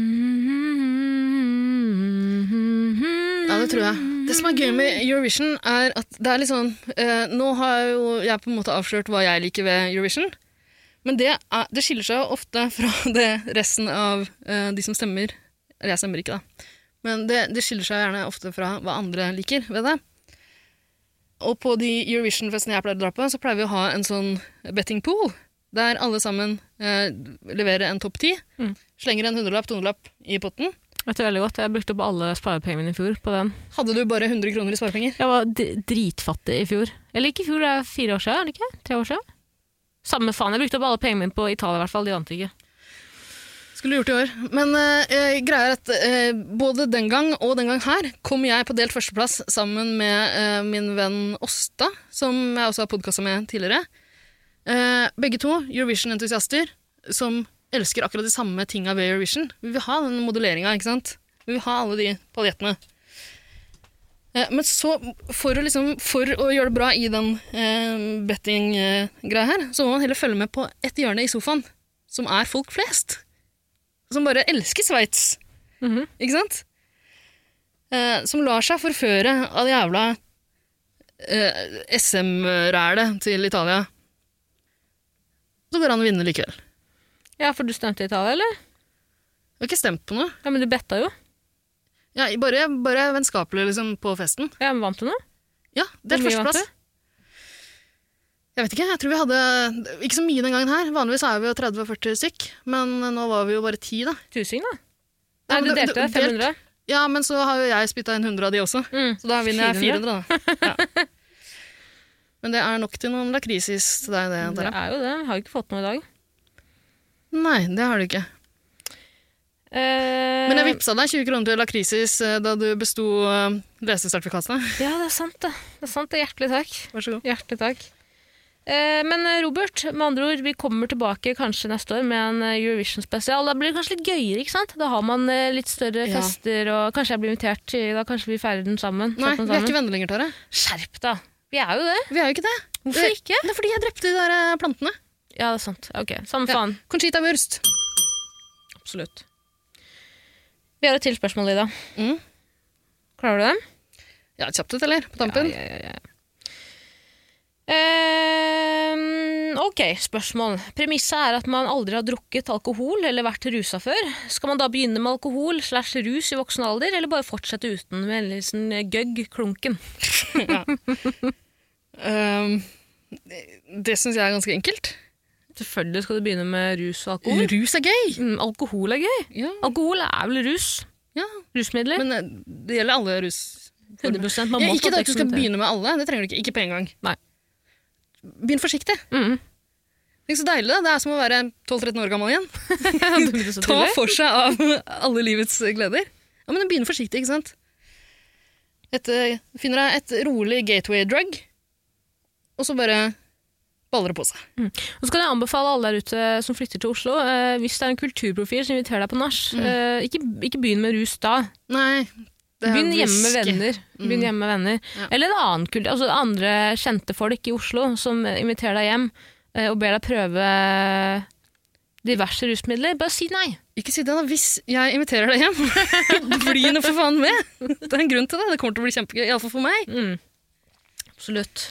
Speaker 4: Ja, det tror jeg. Det som er gøy med Eurovision, er at det er litt sånn eh, Nå har jo jeg på en måte avslørt hva jeg liker ved Eurovision. Men det, er, det skiller seg jo ofte [LAUGHS] fra det resten av eh, de som stemmer Eller jeg stemmer ikke, da. Men det, det skiller seg gjerne ofte fra hva andre liker ved det. Og på de Eurovision-festene jeg pleier å dra på, så pleier vi å ha en sånn betting pool. Der alle sammen eh, leverer en topp ti.
Speaker 3: Mm.
Speaker 4: Slenger en hundrelapp, tohundrelapp i potten.
Speaker 3: Vet du veldig godt, Jeg brukte opp alle sparepengene mine i fjor på den.
Speaker 4: Hadde du bare 100 kroner i sparepenger?
Speaker 3: Jeg var d- dritfattig i fjor. Eller ikke i fjor, det er fire år siden. er det ikke? Tre år siden. Samme faen. Jeg brukte opp alle pengene mine på Italia, i hvert fall. De ante ikke.
Speaker 4: Skulle gjort i år. Men uh, greia er at eh, både den gang og den gang her kom jeg på delt førsteplass sammen med eh, min venn Åsta, som jeg også har podkasta med tidligere. Eh, begge to Eurovision-entusiaster som elsker akkurat de samme tinga ved Eurovision. Vi vil ha den modelleringa, ikke sant? Vi vil ha alle de paljettene. Eh, men så, for å, liksom, for å gjøre det bra i den uh, betting-greia her, så må man heller følge med på et hjørne i sofaen, som er folk flest som bare elsker Sveits.
Speaker 3: Mhm.
Speaker 4: Ikke sant? Eh, som lar seg forføre av det jævla eh, SM-rælet til Italia. Så går det an å vinne likevel. Jeg
Speaker 3: Ja, For du stemte Italia, eller?
Speaker 4: har ikke stemt på noe.
Speaker 3: Ja, Men du betta jo.
Speaker 4: Ja, bare, bare vennskapelig liksom, på festen.
Speaker 3: Ja, men Vant du noe?
Speaker 4: Ja, delt
Speaker 3: Hvor mye vant
Speaker 4: førsteplass. Jeg vet ikke, jeg tror vi hadde Ikke så mye den gangen her. Vanligvis er vi jo 30-40 stykk, men nå var vi jo bare 10, da.
Speaker 3: Tusing, da?
Speaker 4: Ja,
Speaker 3: Nei,
Speaker 4: men
Speaker 3: du
Speaker 4: det-
Speaker 3: delte
Speaker 4: det-
Speaker 3: 500?
Speaker 4: Ja, men så har jo jeg spytta inn 100 av de også.
Speaker 3: Mm.
Speaker 4: Så da vinner jeg
Speaker 3: 400,
Speaker 4: 400, da. Ja. Men det er nok til noen lakrisis til deg, det.
Speaker 3: Det
Speaker 4: antar jeg.
Speaker 3: er jo det. Har jo ikke fått noe i dag.
Speaker 4: Nei, det har du ikke.
Speaker 3: Eh,
Speaker 4: Men jeg vippsa deg 20 kroner til lakrisis eh, da du besto eh, lesesertifikatene. [LAUGHS]
Speaker 3: Ja, det er sant, det. det, er sant, det. Hjertelig takk.
Speaker 4: Vær så god.
Speaker 3: Hjertelig takk. Eh, men eh, Robert, med andre ord, vi kommer tilbake kanskje neste år med en eh, Eurovision-spesial. Da blir det kanskje litt gøyere, ikke sant? Da har man eh, litt større
Speaker 4: Ja.
Speaker 3: fester, og kanskje jeg blir invitert. til- Da kanskje vi feirer den sammen.
Speaker 4: Nei,
Speaker 3: setter den
Speaker 4: vi er ikke
Speaker 3: sammen.
Speaker 4: venner lenger, Tare.
Speaker 3: Skjerp da! Vi er jo det.
Speaker 4: Vi er jo ikke det.
Speaker 3: Hvorfor
Speaker 4: Eh,
Speaker 3: ikke?
Speaker 4: Det er fordi jeg drepte de der eh, plantene.
Speaker 3: Ja, det er sant. Ok, samme
Speaker 4: Ja.
Speaker 3: faen.
Speaker 4: Conchita Wurst.
Speaker 3: Absolutt. Vi har et til spørsmål, Ida.
Speaker 4: Mm.
Speaker 3: Klarer du det?
Speaker 4: Ja, kjapt ut, eller? På tampen.
Speaker 3: Ja, ja, ja, ja. Ehm, ok, spørsmål. Premisset er at man aldri har drukket alkohol eller vært rusa før. Skal man da begynne med alkohol slash rus i voksen alder, eller bare fortsette uten med en liten gøgg, klunken?
Speaker 4: Ehm, det det syns jeg er ganske enkelt.
Speaker 3: Selvfølgelig skal du begynne med rus og alkohol.
Speaker 4: Rus er gøy!
Speaker 3: [LAUGHS] Mm, alkohol er gøy.
Speaker 4: Ja,
Speaker 3: Alkohol er vel rus?
Speaker 4: ja.
Speaker 3: Rusmidler?
Speaker 4: Men eh, det gjelder alle rus.
Speaker 3: 100 man
Speaker 4: Ja,
Speaker 3: må
Speaker 4: ikke
Speaker 3: få
Speaker 4: det at du skal
Speaker 3: eksperimentere.
Speaker 4: begynne med alle. Det trenger du ikke. Ikke på en gang.
Speaker 3: Nei. [LAUGHS]
Speaker 4: Begynn forsiktig.
Speaker 3: Mm.
Speaker 4: Tenk så deilig, da. Det er som å være 12-13 år gammel igjen.
Speaker 3: Du begynte så
Speaker 4: Ta
Speaker 3: tidlig.
Speaker 4: for seg av [LAUGHS] alle livets gleder. Ja, Men den begynner forsiktig, ikke sant? Et, eh, finner deg et rolig gateway drug, og så bare baller det på seg.
Speaker 3: Og så kan jeg anbefale alle der ute som flytter til Oslo, eh, hvis det er en kulturprofil som inviterer deg på nach, eh, ikke, ikke begynn med rus da.
Speaker 4: Nei. det er
Speaker 3: Begynn hjemme med
Speaker 4: whisky.
Speaker 3: venner. Begynn hjemme med venner.
Speaker 4: Ja.
Speaker 3: Eller en annen kult, altså andre kjente folk i Oslo som inviterer deg hjem eh, og ber deg prøve diverse rusmidler. Bare si nei.
Speaker 4: Ikke si det, da. Hvis jeg inviterer deg hjem, [LAUGHS] bli nå for faen med! Det er en grunn til det. Det kommer til å bli kjempegøy. Iallfall for meg.
Speaker 3: Absolutt.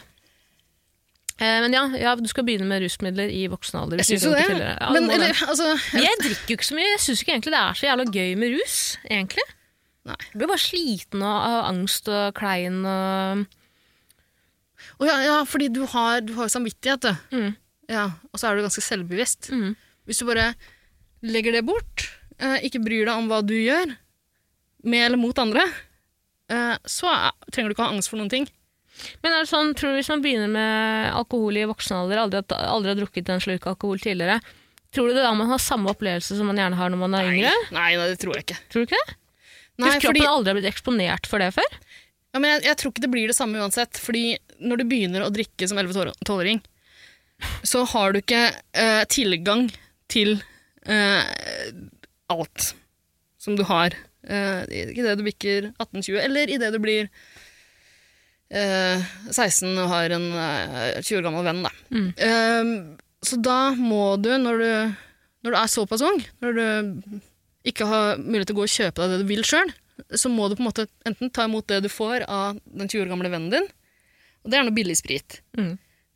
Speaker 3: Eh, men ja, ja, du skal begynne med rusmidler i voksen alder.
Speaker 4: Jeg
Speaker 3: hvis
Speaker 4: syns
Speaker 3: du
Speaker 4: jo det.
Speaker 3: ikke tidligere. Ja, du
Speaker 4: Men
Speaker 3: må
Speaker 4: eller,
Speaker 3: det.
Speaker 4: altså
Speaker 3: jeg drikker jo ikke så mye. Jeg syns ikke egentlig det er så jævla gøy med rus. egentlig.
Speaker 4: Nei.
Speaker 3: Jeg blir bare sliten og av angst og klein og
Speaker 4: Å ja, ja, fordi du har, du har jo samvittighet, du.
Speaker 3: Mm.
Speaker 4: Ja, og så er du ganske selvbevisst.
Speaker 3: Mm.
Speaker 4: Hvis du bare legger det bort, eh, ikke bryr deg om hva du gjør, med eller mot andre, eh, så er, trenger du ikke ha angst for noen ting.
Speaker 3: Men er det sånn, tror du hvis man begynner med alkohol i voksen alder, aldri, har- aldri har drukket en slurk alkohol tidligere, tror du det da man har samme opplevelse som man gjerne har når man er yngre?
Speaker 4: Nei, nei, det tror jeg ikke.
Speaker 3: Tror du ikke det?
Speaker 4: Nei,
Speaker 3: hvis kroppen
Speaker 4: fordi,
Speaker 3: aldri har blitt eksponert for det før?
Speaker 4: ja, men jeg, jeg tror ikke det blir det samme uansett. Fordi når du begynner å drikke som 11-12-åring, så har du ikke eh, tilgang til eh, alt som du har. Uh, Idet du bikker 18-20, eller idet du blir eh, 16 og har en eh, 20 år gammel venn. Da.
Speaker 3: Mm.
Speaker 4: Eh, så da må du når, du, når du er såpass ung, når du ikke har mulighet til å gå og kjøpe deg det du vil sjøl, så må du på en måte enten ta imot det du får av den 20 år gamle vennen din, og det er noe billig sprit.
Speaker 3: Mm.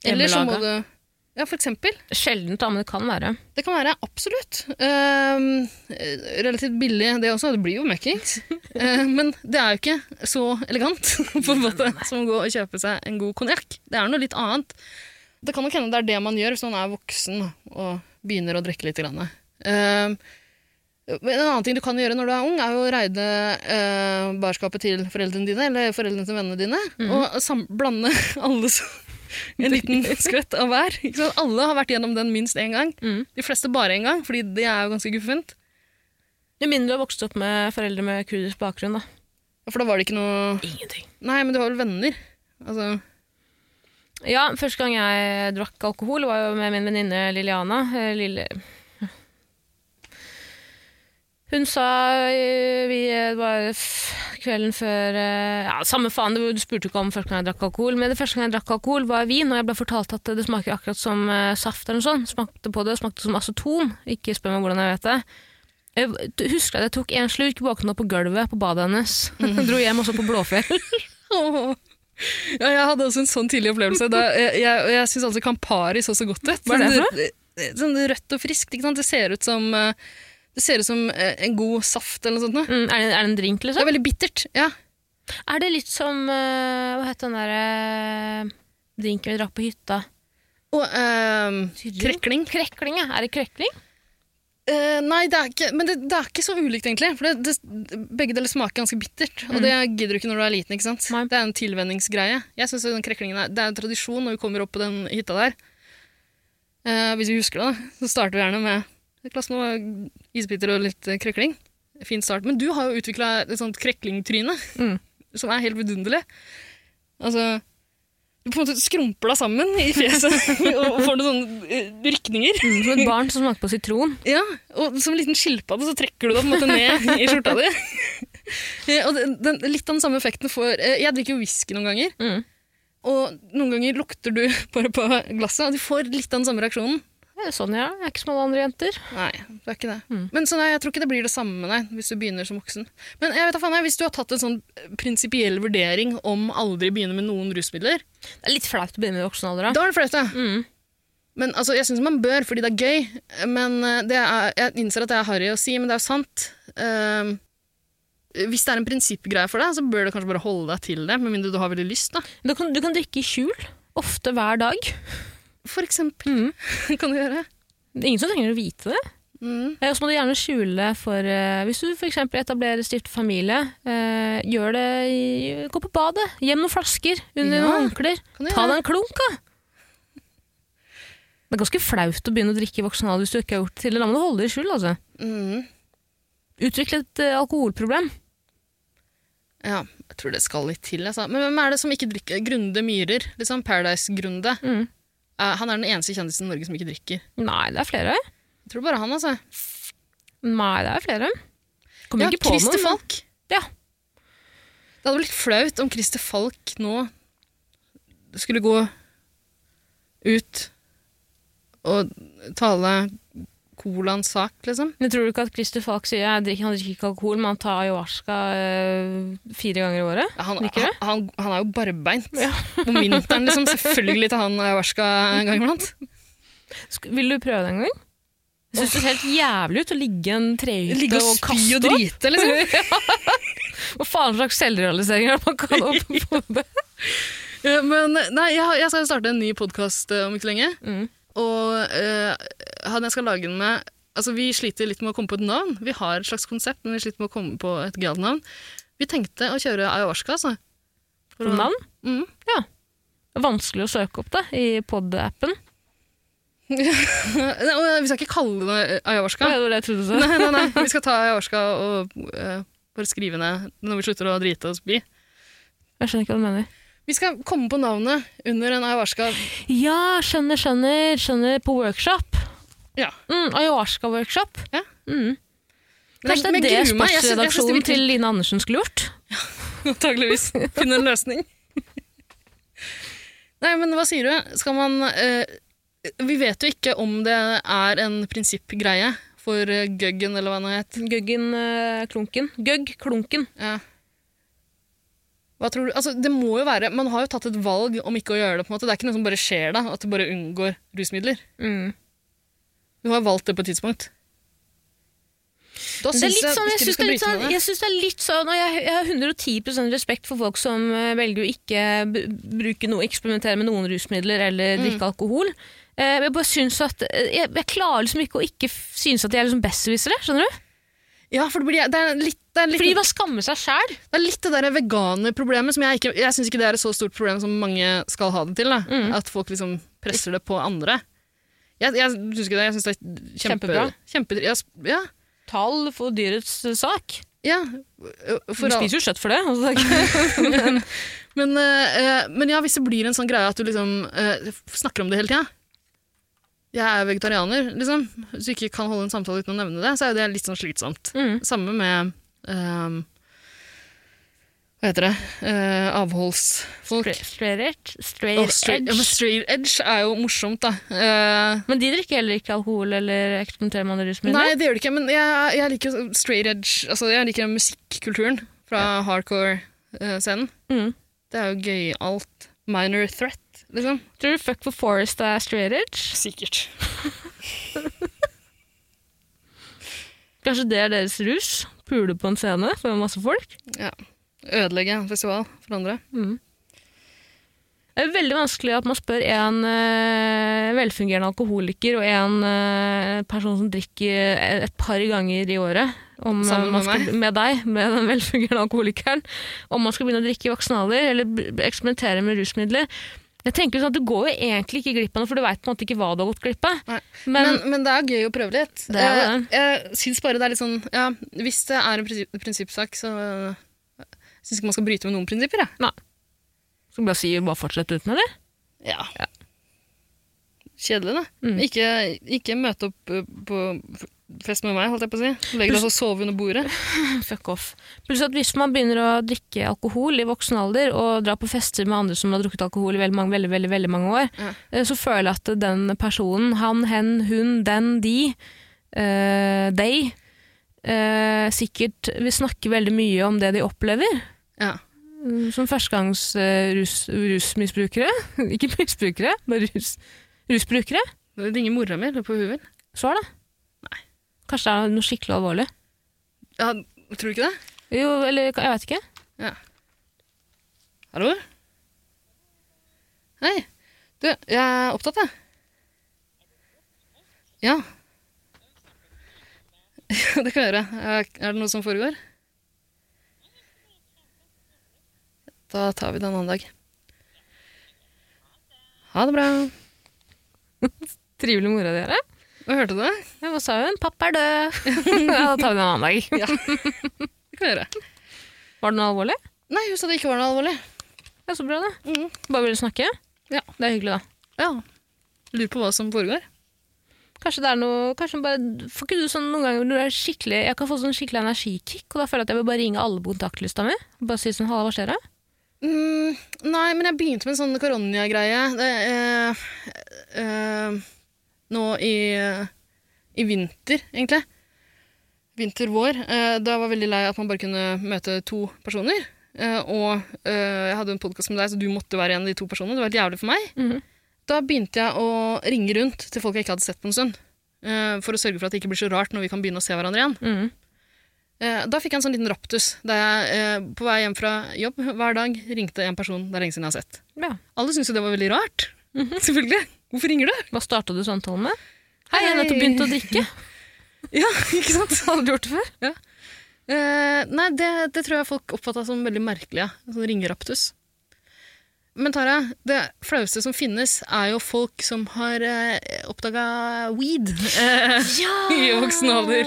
Speaker 4: Eller så må
Speaker 3: Hjemmelaga.
Speaker 4: du Ja, for eksempel.
Speaker 3: Sjeldent, da, men det kan være.
Speaker 4: Det kan være absolutt. Ehm, relativt billig det også, det blir jo møkkings. Eh, men det er jo ikke så elegant [LAUGHS] på en måte, som å gå og kjøpe seg en god konjakk. Det er noe litt annet. Det kan nok hende det er det man gjør hvis man er voksen og begynner å drikke litt. Grann. Ehm, men en annen ting du kan gjøre når du er ung, er jo å reide eh, barskapet til foreldrene dine, eller foreldrene til vennene dine, og sam blande [LAUGHS] alle som en liten skvett av hver. Ikke sant? Alle har vært gjennom den minst én gang.
Speaker 3: Mm.
Speaker 4: De fleste bare én gang, fordi det er jo ganske guffent.
Speaker 3: Med mindre du har vokst opp med foreldre med kurdisk bakgrunn, da.
Speaker 4: For da var det ikke noe
Speaker 3: Ingenting.
Speaker 4: Nei, men du har vel venner? Altså, [LAUGHS]
Speaker 3: Ja, første gang jeg drakk alkohol var jo med min venninne Liliana. eh, Lille... Hun sa eh, vi eh, var f- kvelden før eh, Ja, samme faen, det var- du spurte jo ikke om første gang jeg drakk alkohol. Men det første gang jeg drakk alkohol, var vin, og jeg ble fortalt at det smaker akkurat som eh, saft eller noe sånt. Smakte på det, smakte som aceton. Ikke spør meg hvordan jeg vet det. Jeg du- husker at jeg tok en slurk, våkna på gulvet på badet hennes. [LAUGHS] Dro hjem også på Blåfjell.
Speaker 4: åh. Ja, jeg hadde også en sånn tidlig opplevelse. Da, jeg jeg, jeg syns altså Campari så så godt ut.
Speaker 3: Hva er det for
Speaker 4: Sånn- Sånn rødt og friskt. Ikke sant? Det ser ut som, eh, det ser ut som eh, en god saft eller noe sånt. noe.
Speaker 3: Mm, er, det, er det en drink, liksom?
Speaker 4: Det er veldig bittert. Ja.
Speaker 3: Er det litt som eh, Hva het den derre eh, drinken vi drakk på hytta?
Speaker 4: Og eh,
Speaker 3: Tyrring?
Speaker 4: krekling.
Speaker 3: Krekling, ja. Er det krekling?
Speaker 4: Eh, nei, det er ikke, men det, det er ikke så ulikt, egentlig. For det, det, begge deler smaker ganske bittert. Og det gidder du ikke når du er liten. ikke sant?
Speaker 3: Mm. Nei.
Speaker 4: Det er en tilvenningsgreie. Jeg synes jo den kreklingen er, Det er en tradisjon når vi kommer opp på den hytta der. Eh, hvis vi husker det, da, så starter vi gjerne med et glass med isbiter og litt eh, krekling. Fin start. Men du har jo utvikla et sånt kreklingtryne
Speaker 3: Mm.
Speaker 4: [LAUGHS] som er helt vidunderlig. Altså Du på en måte skrumper deg sammen i fjeset [LAUGHS] og får noen sånne eh, rykninger.
Speaker 3: Mm, Som et barn som smaker på sitron.
Speaker 4: Ja, og som en liten skilpadde så trekker du deg på en måte ned i skjorta di. Eh, og den, den, litt av den samme effekten får eh, Jeg drikker jo whisky noen ganger,
Speaker 3: Mm.
Speaker 4: og noen ganger lukter du [LAUGHS] bare på glasset, og du får litt av den samme reaksjonen.
Speaker 3: Det er sånn jeg er. Jeg er ikke som alle andre jenter.
Speaker 4: Nei, det er ikke det.
Speaker 3: Mm.
Speaker 4: Men så nei, jeg tror ikke det blir det samme nei, hvis du begynner som voksen. Men jeg vet da faen, jeg, hvis du har tatt en sånn prinsipiell vurdering om aldri begynne med noen rusmidler,
Speaker 3: Det er litt flaut å begynne med i voksen alder, da.
Speaker 4: da er det flaut, det.
Speaker 3: Mm.
Speaker 4: Men altså, jeg syns man bør, fordi det er gøy. Men eh, det er, jeg innser at det er harry å si, men det er jo sant. Ehm, hvis det er en prinsippgreie for deg, så bør du kanskje bare holde deg til det, med mindre du har veldig lyst, da.
Speaker 3: Du, kan, du kan drikke i skjul. Ofte hver dag.
Speaker 4: For eksempel
Speaker 3: Mm.
Speaker 4: [LAUGHS] kan du gjøre.
Speaker 3: Det er Ingen som trenger å vite det.
Speaker 4: Mm.
Speaker 3: Eh, Og så må du gjerne skjule for eh, Hvis du f.eks. etablerer stift familie, eh, gjør det i, Gå på badet. Gjem noen flasker under
Speaker 4: Ja.
Speaker 3: noen håndklær.
Speaker 4: Kan
Speaker 3: Ta
Speaker 4: du gjøre.
Speaker 3: deg en klunk, da. Det er ganske flaut å begynne å drikke i voksen alder hvis du ikke har gjort det tidligere. Da må du holde det i skjul. altså.
Speaker 4: Mm.
Speaker 3: Utvikle et eh, alkoholproblem.
Speaker 4: Ja, jeg tror det skal litt til. Altså. Men hvem er det som ikke drikker? Grunde Myhrer, liksom Paradise-Grunde.
Speaker 3: Mm.
Speaker 4: Eh, han er den eneste kjendisen i Norge som ikke drikker.
Speaker 3: Nei, det er flere.
Speaker 4: Jeg tror bare han, altså.
Speaker 3: Nei, det er flere. Kommer
Speaker 4: Ja,
Speaker 3: ikke på
Speaker 4: Christer
Speaker 3: noen.
Speaker 4: Falk.
Speaker 3: Ja.
Speaker 4: Det hadde blitt flaut om Christer Falk nå skulle gå ut og tale colaens sak, liksom.
Speaker 3: Men tror du ikke at Christer Falk sier at han drikker ikke alkohol, men han tar ayahuasca eh, fire ganger i året?
Speaker 4: Han,
Speaker 3: Liker
Speaker 4: han,
Speaker 3: det?
Speaker 4: han, han er jo barbeint
Speaker 3: Ja.
Speaker 4: om vinteren, liksom. Selvfølgelig tar han ayahuasca en gang iblant.
Speaker 3: Sk vil du prøve det en gang? Jeg synes det ser helt jævlig ut å ligge i en
Speaker 4: Ligge
Speaker 3: trehytte
Speaker 4: og
Speaker 3: og
Speaker 4: spy
Speaker 3: kaste
Speaker 4: og
Speaker 3: opp.
Speaker 4: drite,
Speaker 3: [LAUGHS]
Speaker 4: liksom.
Speaker 3: Hva faen slags selvrealisering er det man [LAUGHS] kan opp på det?
Speaker 4: Ja, Eh, Men nei, jeg, har- jeg skal starte en ny podkast om ikke lenge.
Speaker 3: Mm.
Speaker 4: Og eh, han jeg skal lage den med Altså, vi sliter litt med å komme på et navn. Vi har et slags konsept, men vi sliter med å komme på et gøyalt navn. Vi tenkte å kjøre ayahuasca, altså. [LAUGHS] For å-
Speaker 3: Som navn?
Speaker 4: Mm.
Speaker 3: Vanskelig å søke opp det i pod-appen.
Speaker 4: Nei, og Vi skal ikke kalle det ayahuasca.
Speaker 3: Det var det jeg trodde du sa.
Speaker 4: [LAUGHS] Nei, nei, nei. Vi skal ta ayahuasca og eh, bare skrive ned når vi slutter å drite oss bi.
Speaker 3: Jeg skjønner ikke hva du mener.
Speaker 4: Vi skal komme på navnet under en ayahuasca.
Speaker 3: Ja, skjønner, skjønner. Skjønner på workshop.
Speaker 4: Ja.
Speaker 3: Mm, Ayahuasca-workshop.
Speaker 4: Ja.
Speaker 3: Mm.
Speaker 4: Men jeg-
Speaker 3: Kanskje
Speaker 4: men
Speaker 3: det er det
Speaker 4: jeg gruer meg. Jeg synes- jeg synes det
Speaker 3: sportsredaksjonen
Speaker 4: virker-
Speaker 3: til Line Andersen skulle gjort?
Speaker 4: Antageligvis. Finne en løsning. Nei, men hva sier du? Skal man eh, Vi vet jo ikke om det er en prinsippgreie for eh, Gøggen, eller hva han het.
Speaker 3: Gøggen eh, Klunken. Gøgg Klunken.
Speaker 4: Ja. Hva tror du? Altså, det må jo være, Man har jo tatt et valg om ikke å gjøre det. på en måte. Det er ikke noe som bare skjer da, at du bare unngår rusmidler.
Speaker 3: Mm.
Speaker 4: Du har valgt det på et tidspunkt. Da
Speaker 3: Det er
Speaker 4: syns
Speaker 3: litt
Speaker 4: jeg
Speaker 3: sånn, jeg
Speaker 4: ikke du
Speaker 3: syns det
Speaker 4: skal
Speaker 3: er litt
Speaker 4: bryte
Speaker 3: sånn,
Speaker 4: med det.
Speaker 3: jeg synes det er litt sånn og jeg, jeg har 110 respekt for folk som eh, velger å ikke b- bruke noe, eksperimentere med noen rusmidler eller drikke alkohol. Eh, men jeg bare synes at eh, jeg, jeg klarer liksom ikke å ikke f- synes at de er liksom besserwissere. Skjønner du?
Speaker 4: Ja, for det, blir, det, er litt, det, er litt,
Speaker 3: Fordi man skammer seg sjæl.
Speaker 4: det er litt det der veganerproblemet som jeg ikke Jeg syns ikke det er et så stort problem som mange skal ha det til. Da.
Speaker 3: Mm.
Speaker 4: At folk liksom presser det på andre. Jeg, jeg syns ikke det. Jeg syns det er kjempe,
Speaker 3: Kjempebra.
Speaker 4: kjempe- jeg s- ja,
Speaker 3: Tall for dyrets eh, sak.
Speaker 4: ja.
Speaker 3: Du
Speaker 4: For, all-
Speaker 3: spiser jo kjøtt for det. Altså, det er ikke-
Speaker 4: men, eh, eh, men ja, hvis det blir en sånn greie at du liksom eh, snakker om det hele tida Jeg er vegetarianer, liksom. Hvis du ikke kan holde en samtale uten å nevne det, så er jo det litt sånn slitsomt.
Speaker 3: [LAUGHS] mm.
Speaker 4: Samme med ehm, Hva heter det? Eh, avholdsfolk.
Speaker 3: Straight edge. Straight
Speaker 4: Å, straight, ja, men
Speaker 3: edge.
Speaker 4: straight edge er jo morsomt, da. Eh,
Speaker 3: Men de drikker heller ikke alkohol eller eksperimenterer med andre rusmidler?
Speaker 4: nei, det gjør det ikke, men jeg, jeg liker jo straight edge altså, Jeg liker musikkulturen fra hardcore-scenen.
Speaker 3: Mm.
Speaker 4: Det er jo gøyalt. Minor threat, liksom.
Speaker 3: Tror du Fuck for Forest er straight edge?
Speaker 4: Sikkert.
Speaker 3: Kanskje det er deres rus? Pule på en scene for masse folk?
Speaker 4: Ødelegge en festival for andre.
Speaker 3: Det er veldig vanskelig at man spør en eh, velfungerende alkoholiker og en eh, person som drikker et par ganger i året, om, eh,
Speaker 4: Sammen med
Speaker 3: man skal, med deg, med den velfungerende alkoholikeren, om man skal begynne å drikke i voksen alder eller b- eksperimentere med rusmidler. Jeg tenker sånn at Du går jo egentlig ikke glipp av noe, for du veit på en måte ikke hva du har gått glipp av.
Speaker 4: Nei.
Speaker 3: Men,
Speaker 4: Men, men det er gøy å prøve litt.
Speaker 3: Det er
Speaker 4: Eh, Jeg syns bare det er litt sånn ja, Hvis det er en prinsipp, prinsippsak, så eh, syns ikke man skal bryte med noen prinsipper. Jeg.
Speaker 3: skal vi bare si bare fortsett uten, eller?
Speaker 4: Ja. Kjedelig, da.
Speaker 3: Mm.
Speaker 4: Ikke, ikke møte opp eh, på f- fest med meg, holdt jeg på å si. Legg deg og sove under bordet.
Speaker 3: Fuck off. Pluss at hvis man begynner å drikke alkohol i voksen alder, og dra på fester med andre som har drukket alkohol i veldig mange, veldig, veldig, veldig mange år,
Speaker 4: Ja.
Speaker 3: eh, så føler jeg at den personen, han, hen, hun, den, de, eh, they, eh, sikkert vil snakke veldig mye om det de opplever.
Speaker 4: Ja.
Speaker 3: Mm, Som førstegangs eh, rus, rusmisbrukere. [LAUGHS] Ikke misbrukere, bare rus, rusbrukere.
Speaker 4: Det ringer mora mi eller på huet. vel?
Speaker 3: Svar, da. Kanskje det er noe skikkelig alvorlig.
Speaker 4: Ja, tror du ikke det?
Speaker 3: Jo, eller jeg vet ikke.
Speaker 4: Hallo? Hei. Du, jeg er opptatt, jeg. Ja. [LAUGHS] Ja, det kan jeg gjøre. Er er det noe som foregår? Da tar vi det en annen dag. Ha det bra.
Speaker 3: Trivelig mora di her.
Speaker 4: Hva hørte du det?
Speaker 3: Ja, Hva sa hun? 'Pappa er [LAUGHS] død'. ja, da tar vi det en annen dag.
Speaker 4: Det kan jeg gjøre.
Speaker 3: Var det noe alvorlig?
Speaker 4: Nei, hun sa det ikke var noe alvorlig.
Speaker 3: Ja, så bra, da.
Speaker 4: Mhm.
Speaker 3: Bare ville snakke?
Speaker 4: Ja.
Speaker 3: Det er hyggelig, da.
Speaker 4: Ja. Lurer på hva som foregår.
Speaker 3: Kanskje det er noe Kanskje hun bare Får ikke du sånn noen ganger når du er skikkelig Jeg kan få sånn skikkelig energikick, og da føler jeg at jeg vil bare ringe alle på kontaktlista mi. og Bare si sånn 'halla, hva skjer da?'
Speaker 4: Mm, nei, men jeg begynte med en sånn koronagreie eh, eh, nå i, i vinter, egentlig. Vinter-vår. Eh, da var jeg veldig lei at man bare kunne møte to personer. Eh, og eh, jeg hadde en podkast med deg, så du måtte være en av de to personene. Det var helt jævlig for meg.
Speaker 3: Mhm.
Speaker 4: Da begynte jeg å ringe rundt til folk jeg ikke hadde sett på en stund. Eh, for å sørge for at det ikke blir så rart når vi kan begynne å se hverandre igjen.
Speaker 3: Mhm.
Speaker 4: Eh, Da fikk jeg en sånn liten raptus da jeg eh, på vei hjem fra jobb hver dag ringte en person det er lenge siden jeg har sett.
Speaker 3: Ja.
Speaker 4: Alle syntes jo det var veldig rart.
Speaker 3: Mhm.
Speaker 4: Selvfølgelig. Hvorfor ringer
Speaker 3: [LAUGHS]
Speaker 4: du?
Speaker 3: Hva starta du samtalen med? 'Hei, jeg har nettopp
Speaker 4: Hei.
Speaker 3: begynt å [LAUGHS] drikke'.
Speaker 4: Ja, [LAUGHS] ikke sant?
Speaker 3: Hadde du gjort det før?
Speaker 4: Eh, nei, det, det tror jeg folk oppfatta som veldig merkelig. Ja. Sånn ringeraptus. Men Tara, det flaueste som finnes, er jo folk som har eh, oppdaga weed. Eh,
Speaker 3: [LAUGHS] Ja!
Speaker 4: I voksen alder.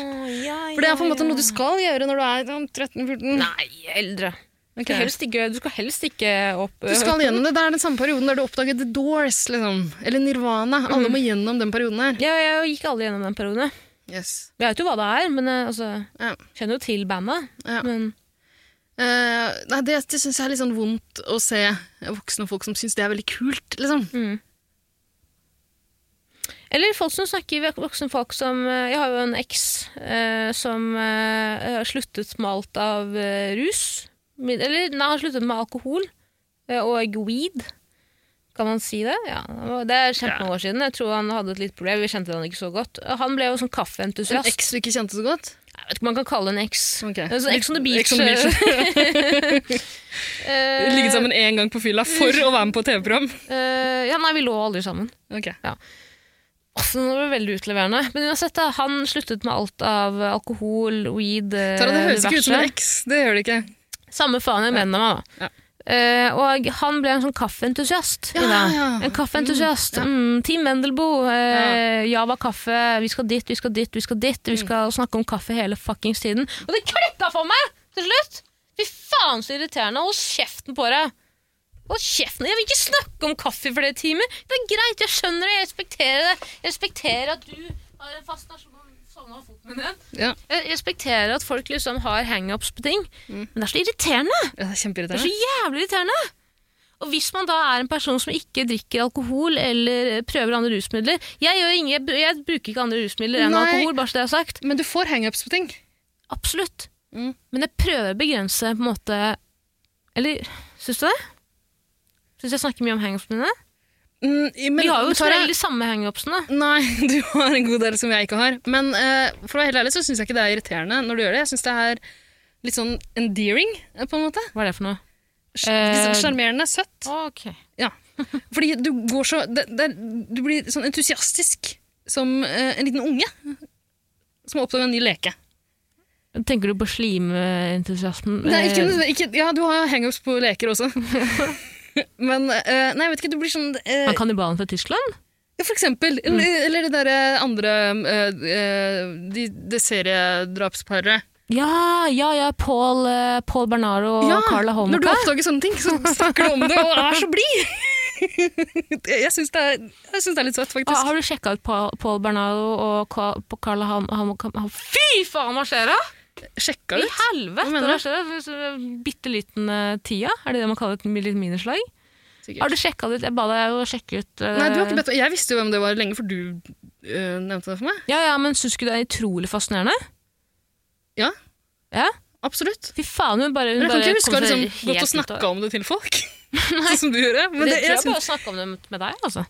Speaker 3: Ja,
Speaker 4: for det er på en
Speaker 3: ja,
Speaker 4: måte noe du
Speaker 3: ja.
Speaker 4: skal gjøre når du er sånn 13-14.
Speaker 3: Nei, eldre. Du
Speaker 4: Ok.
Speaker 3: skal helst ikke, du skal helst ikke opp øh.
Speaker 4: Du skal gjennom det. Det er den samme perioden der du oppdager The Doors, liksom. Eller Nirvana. Alle må gjennom den perioden her.
Speaker 3: Ja, jeg gikk alle gjennom den perioden.
Speaker 4: Yes.
Speaker 3: Jeg vet jo hva det er, men eh, altså,
Speaker 4: Ja.
Speaker 3: kjenner jo til bandet.
Speaker 4: Ja.
Speaker 3: Men
Speaker 4: Eh, nei, det det syns jeg er litt sånn vondt å se voksne folk som syns det er veldig kult, liksom.
Speaker 3: Eller folk som snakker vok- voksne folk som eh, Jeg har jo en eks eh, som eh, har sluttet med alt av eh, rus. Min- Eller nei, han har sluttet med alkohol eh, og weed. Kan man si det? Ja, Det er kjempemange år siden. Jeg tror han hadde et litt problem. Vi kjente han ikke så godt. Han ble jo sånn
Speaker 4: En
Speaker 3: kaffeentusiast.
Speaker 4: eks du ikke kjente så godt.
Speaker 3: Jeg vet ikke om man kan kalle det en eks.
Speaker 4: Ok.
Speaker 3: Det er sånn Ex on the Beach.
Speaker 4: Ex on the beach.
Speaker 3: [LAUGHS] Eh,
Speaker 4: Ligget sammen én gang på fylla for å være med på TV-program.
Speaker 3: eh, ja, nei, vi lå aldri sammen.
Speaker 4: Ok.
Speaker 3: Altså, nå var det veldig utleverende. Men uansett, da, han sluttet med alt av alkohol, weed, eh,
Speaker 4: Tara, det høres ikke ut som en
Speaker 3: diverse.
Speaker 4: eks. Det gjør det ikke.
Speaker 3: Samme faen jeg mener meg, da.
Speaker 4: Ja.
Speaker 3: Eh, og han ble en sånn kaffeentusiast.
Speaker 4: Ja,
Speaker 3: Ida.
Speaker 4: ja.
Speaker 3: En kaffeentusiast.
Speaker 4: Mm, ja.
Speaker 3: Mm, Team Mendelboe, eh, Java kaffe, vi skal dit, vi skal dit, vi skal dit.
Speaker 4: Mm.
Speaker 3: Vi skal snakke om kaffe hele fuckings tiden. Og det klikka for meg til slutt! Fy faen så irriterende. Hold kjeften på deg. Hold kjeften. Jeg vil ikke snakke om kaffe i flere timer. Det er greit, jeg skjønner det, jeg respekterer det. Jeg respekterer at du har en fascinasjon Sovna foten min igjen.
Speaker 4: Ja.
Speaker 3: Jeg respekterer at folk liksom har hangups på ting,
Speaker 4: Mm.
Speaker 3: men det er så irriterende.
Speaker 4: Ja, Det er
Speaker 3: Det er
Speaker 4: kjempeirriterende.
Speaker 3: så jævlig irriterende! Og hvis man da er en person som ikke drikker alkohol eller prøver andre rusmidler Jeg, gjør ingen, jeg, br- jeg bruker ikke andre rusmidler enn
Speaker 4: Nei.
Speaker 3: alkohol, bare så det er sagt.
Speaker 4: Men du får hangups på ting.
Speaker 3: Absolutt.
Speaker 4: Mm.
Speaker 3: Men jeg prøver å begrense på en måte Eller syns du det? Syns jeg snakker mye om hangups mine?
Speaker 4: Mm, men-
Speaker 3: Vi har jo
Speaker 4: Tara-
Speaker 3: så veldig de samme hangupsene.
Speaker 4: Nei, [LAUGHS] du har en god del som jeg ikke har. Men eh, for å være helt ærlig så syns jeg ikke det er irriterende når du gjør det. Jeg syns det er litt sånn endearing, eh, på en måte.
Speaker 3: Hva er det for noe?
Speaker 4: Sj-
Speaker 3: Eh.
Speaker 4: litt sånn Sjarmerende, søtt.
Speaker 3: Ok.
Speaker 4: Fordi du går så det, det, Du blir sånn entusiastisk som eh, en liten unge som har oppdaga en ny leke.
Speaker 3: Tenker du på slimeentusiasten?
Speaker 4: Nei, ikke, ikke, ja, du har hangups på leker også. [LAUGHS] Men eh, nei, jeg vet ikke, du blir sånn eh,
Speaker 3: Han kannibalen fra Tyskland?
Speaker 4: Ja, For eksempel. Eller, eller det derre andre eh, eh, de, Det seriedrapsparet.
Speaker 3: Ja, ja, ja. Paul, eh, Paul Bernardo og Carla
Speaker 4: Når du
Speaker 3: Homoka.
Speaker 4: oppdager sånne ting, så snakker du om det og er så
Speaker 3: [LAUGHS]
Speaker 4: blid! jeg syns det, er- jeg syns det er litt søtt,
Speaker 3: Ah,
Speaker 4: faktisk.
Speaker 3: har du sjekka ut Pa- Paul Bernardo og Ka- på Carla Ham... Ham, Ham, Ham Fy faen, hva skjer da?!
Speaker 4: Sjekka
Speaker 3: I
Speaker 4: ut.
Speaker 3: helvete!
Speaker 4: Hva mener
Speaker 3: Hva
Speaker 4: du?
Speaker 3: skjer da? Bitte liten tia? Er det det man kaller et mi- litt minislag? Har
Speaker 4: Sikkert.
Speaker 3: du sjekka det ut? Jeg ba deg jo sjekke ut eh,
Speaker 4: Nei, du har ikke bedt om Jeg visste jo hvem det var lenge, for du eh, nevnte det for meg.
Speaker 3: Ja, ja, men syns du ikke det er utrolig fascinerende?
Speaker 4: Ja.
Speaker 3: Ja?
Speaker 4: Absolutt.
Speaker 3: Fy faen, hun bare hun
Speaker 4: Men jeg kan
Speaker 3: bare
Speaker 4: ikke huske å
Speaker 3: kom
Speaker 4: ha
Speaker 3: seg
Speaker 4: liksom, gått og
Speaker 3: helt ut av-
Speaker 4: snakka om det til
Speaker 3: [LAUGHS]
Speaker 4: folk, [LAUGHS] sånn som du gjorde. Men
Speaker 3: det,
Speaker 4: det,
Speaker 3: tror
Speaker 4: jeg
Speaker 3: jeg
Speaker 4: syns
Speaker 3: bare snakka om det med deg, altså.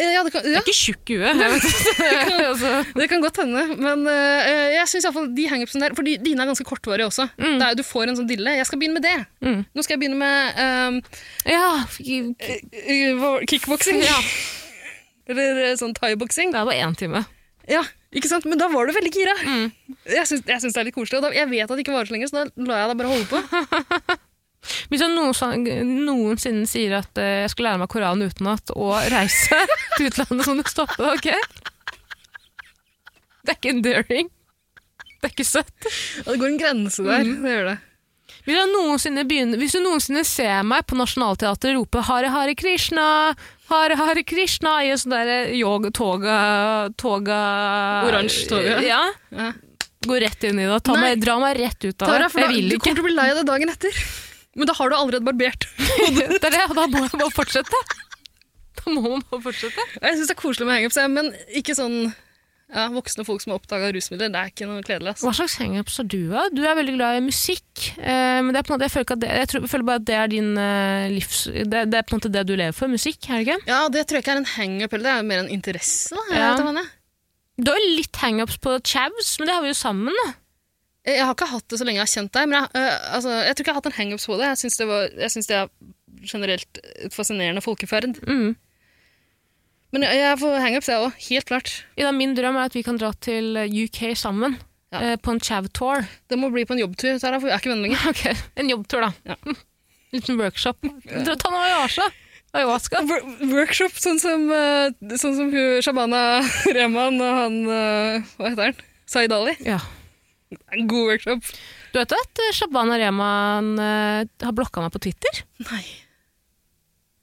Speaker 4: Eh, ja, det kan, ja,
Speaker 3: Ikke tjukk i huet. jeg vet.
Speaker 4: [LAUGHS]
Speaker 3: [LAUGHS] altså.
Speaker 4: det kan godt hende. Men eh, jeg syns iallfall de hangupsene der For de- dine er ganske kortvarige også. Det er, du får en sånn dille. Jeg skal begynne med det.
Speaker 3: Mm.
Speaker 4: Nå skal jeg begynne med eh,
Speaker 3: Ja,
Speaker 4: [LAUGHS]
Speaker 3: det
Speaker 4: eh, hva- kickboksing.
Speaker 3: Ja.
Speaker 4: [LAUGHS] Eller eh, sånn thaiboksing.
Speaker 3: er bare én time.
Speaker 4: Ja, ikke sant? Men da var du veldig gira.
Speaker 3: Mm.
Speaker 4: Jeg syns jeg syns det er litt koselig. Og da, jeg vet at det ikke varer så lenge, så da lar jeg deg bare holde
Speaker 3: [LAUGHS]
Speaker 4: på.
Speaker 3: Hvis jeg noensin- noensinne [LAUGHS] sier at eh, jeg skal lære meg Koranen utenat og reise til utlandet, så må du stoppe, ok? Det er ikke enduring. Det er ikke søtt.
Speaker 4: Ja, det går en grense der.
Speaker 3: Mm.
Speaker 4: Det gjør det.
Speaker 3: Vil jeg noensinne begynne, hvis du noensinne ser meg på Nationaltheatret rope 'Hare Hare Krishna', 'Hare Hare Krishna' i en sånn derre yoga- toga, toga
Speaker 4: Oransje toga.
Speaker 3: Ja.
Speaker 4: Ja.
Speaker 3: Gå rett inn i det. Ta
Speaker 4: Nei.
Speaker 3: meg, dra meg rett ut av
Speaker 4: Tara,
Speaker 3: det.
Speaker 4: for da,
Speaker 3: Jeg vil
Speaker 4: du
Speaker 3: ikke.
Speaker 4: kommer til å bli lei av det dagen etter. Men da har du allerede barbert.
Speaker 3: [LAUGHS] Det er det, og da må jeg bare fortsette. Da må man bare fortsette.
Speaker 4: Jeg syns det er koselig med hangups, jeg, men ikke sånn ja, voksne folk som har oppdaga rusmidler. Det er ikke noe kledelig. altså. ass.
Speaker 3: Hva slags hangups har du? da? Du er veldig glad i musikk. eh, men det er på en måte, jeg, føler ikke at det, jeg, tror, jeg føler bare at det er din eh, livs... Det, det er på en måte det du lever for. Musikk, er det ikke?
Speaker 4: Ja, det tror jeg ikke er en hangup, eller det er jo mer en interesse. Da. Jeg,
Speaker 3: Ja.
Speaker 4: vet ikke hva det er.
Speaker 3: Du har jo litt hangups på Chavs, men det har vi jo sammen. da.
Speaker 4: jeg jeg har ikke hatt det så lenge jeg har kjent deg, men jeg, øh, altså, jeg tror ikke jeg har hatt en hangups på det. Jeg syns det, var- jeg synes det er generelt et fascinerende folkeferd.
Speaker 3: Mm.
Speaker 4: Men jeg, jeg får hangups, jeg òg. Helt klart.
Speaker 3: Ida, min drøm er at vi kan dra til UK sammen.
Speaker 4: Ja.
Speaker 3: eh, På en chav-tour.
Speaker 4: Det må bli på en jobbtur, Tara, for vi er ikke venner lenger.
Speaker 3: [LAUGHS] Ok, En jobbtur, da.
Speaker 4: Ja.
Speaker 3: [LAUGHS] Liten workshop. Dra Ta noe ayahuasca. Ayahuasca.
Speaker 4: Wor- Workshop, sånn som, eh, sånn som hun, Shabana [LAUGHS] Rehman og han eh, Hva heter han? Zaid Ali.
Speaker 3: Ja.
Speaker 4: En god workshop.
Speaker 3: Du vet at eh, Shabana Rehman eh, har blokka meg på Twitter?
Speaker 4: Nei,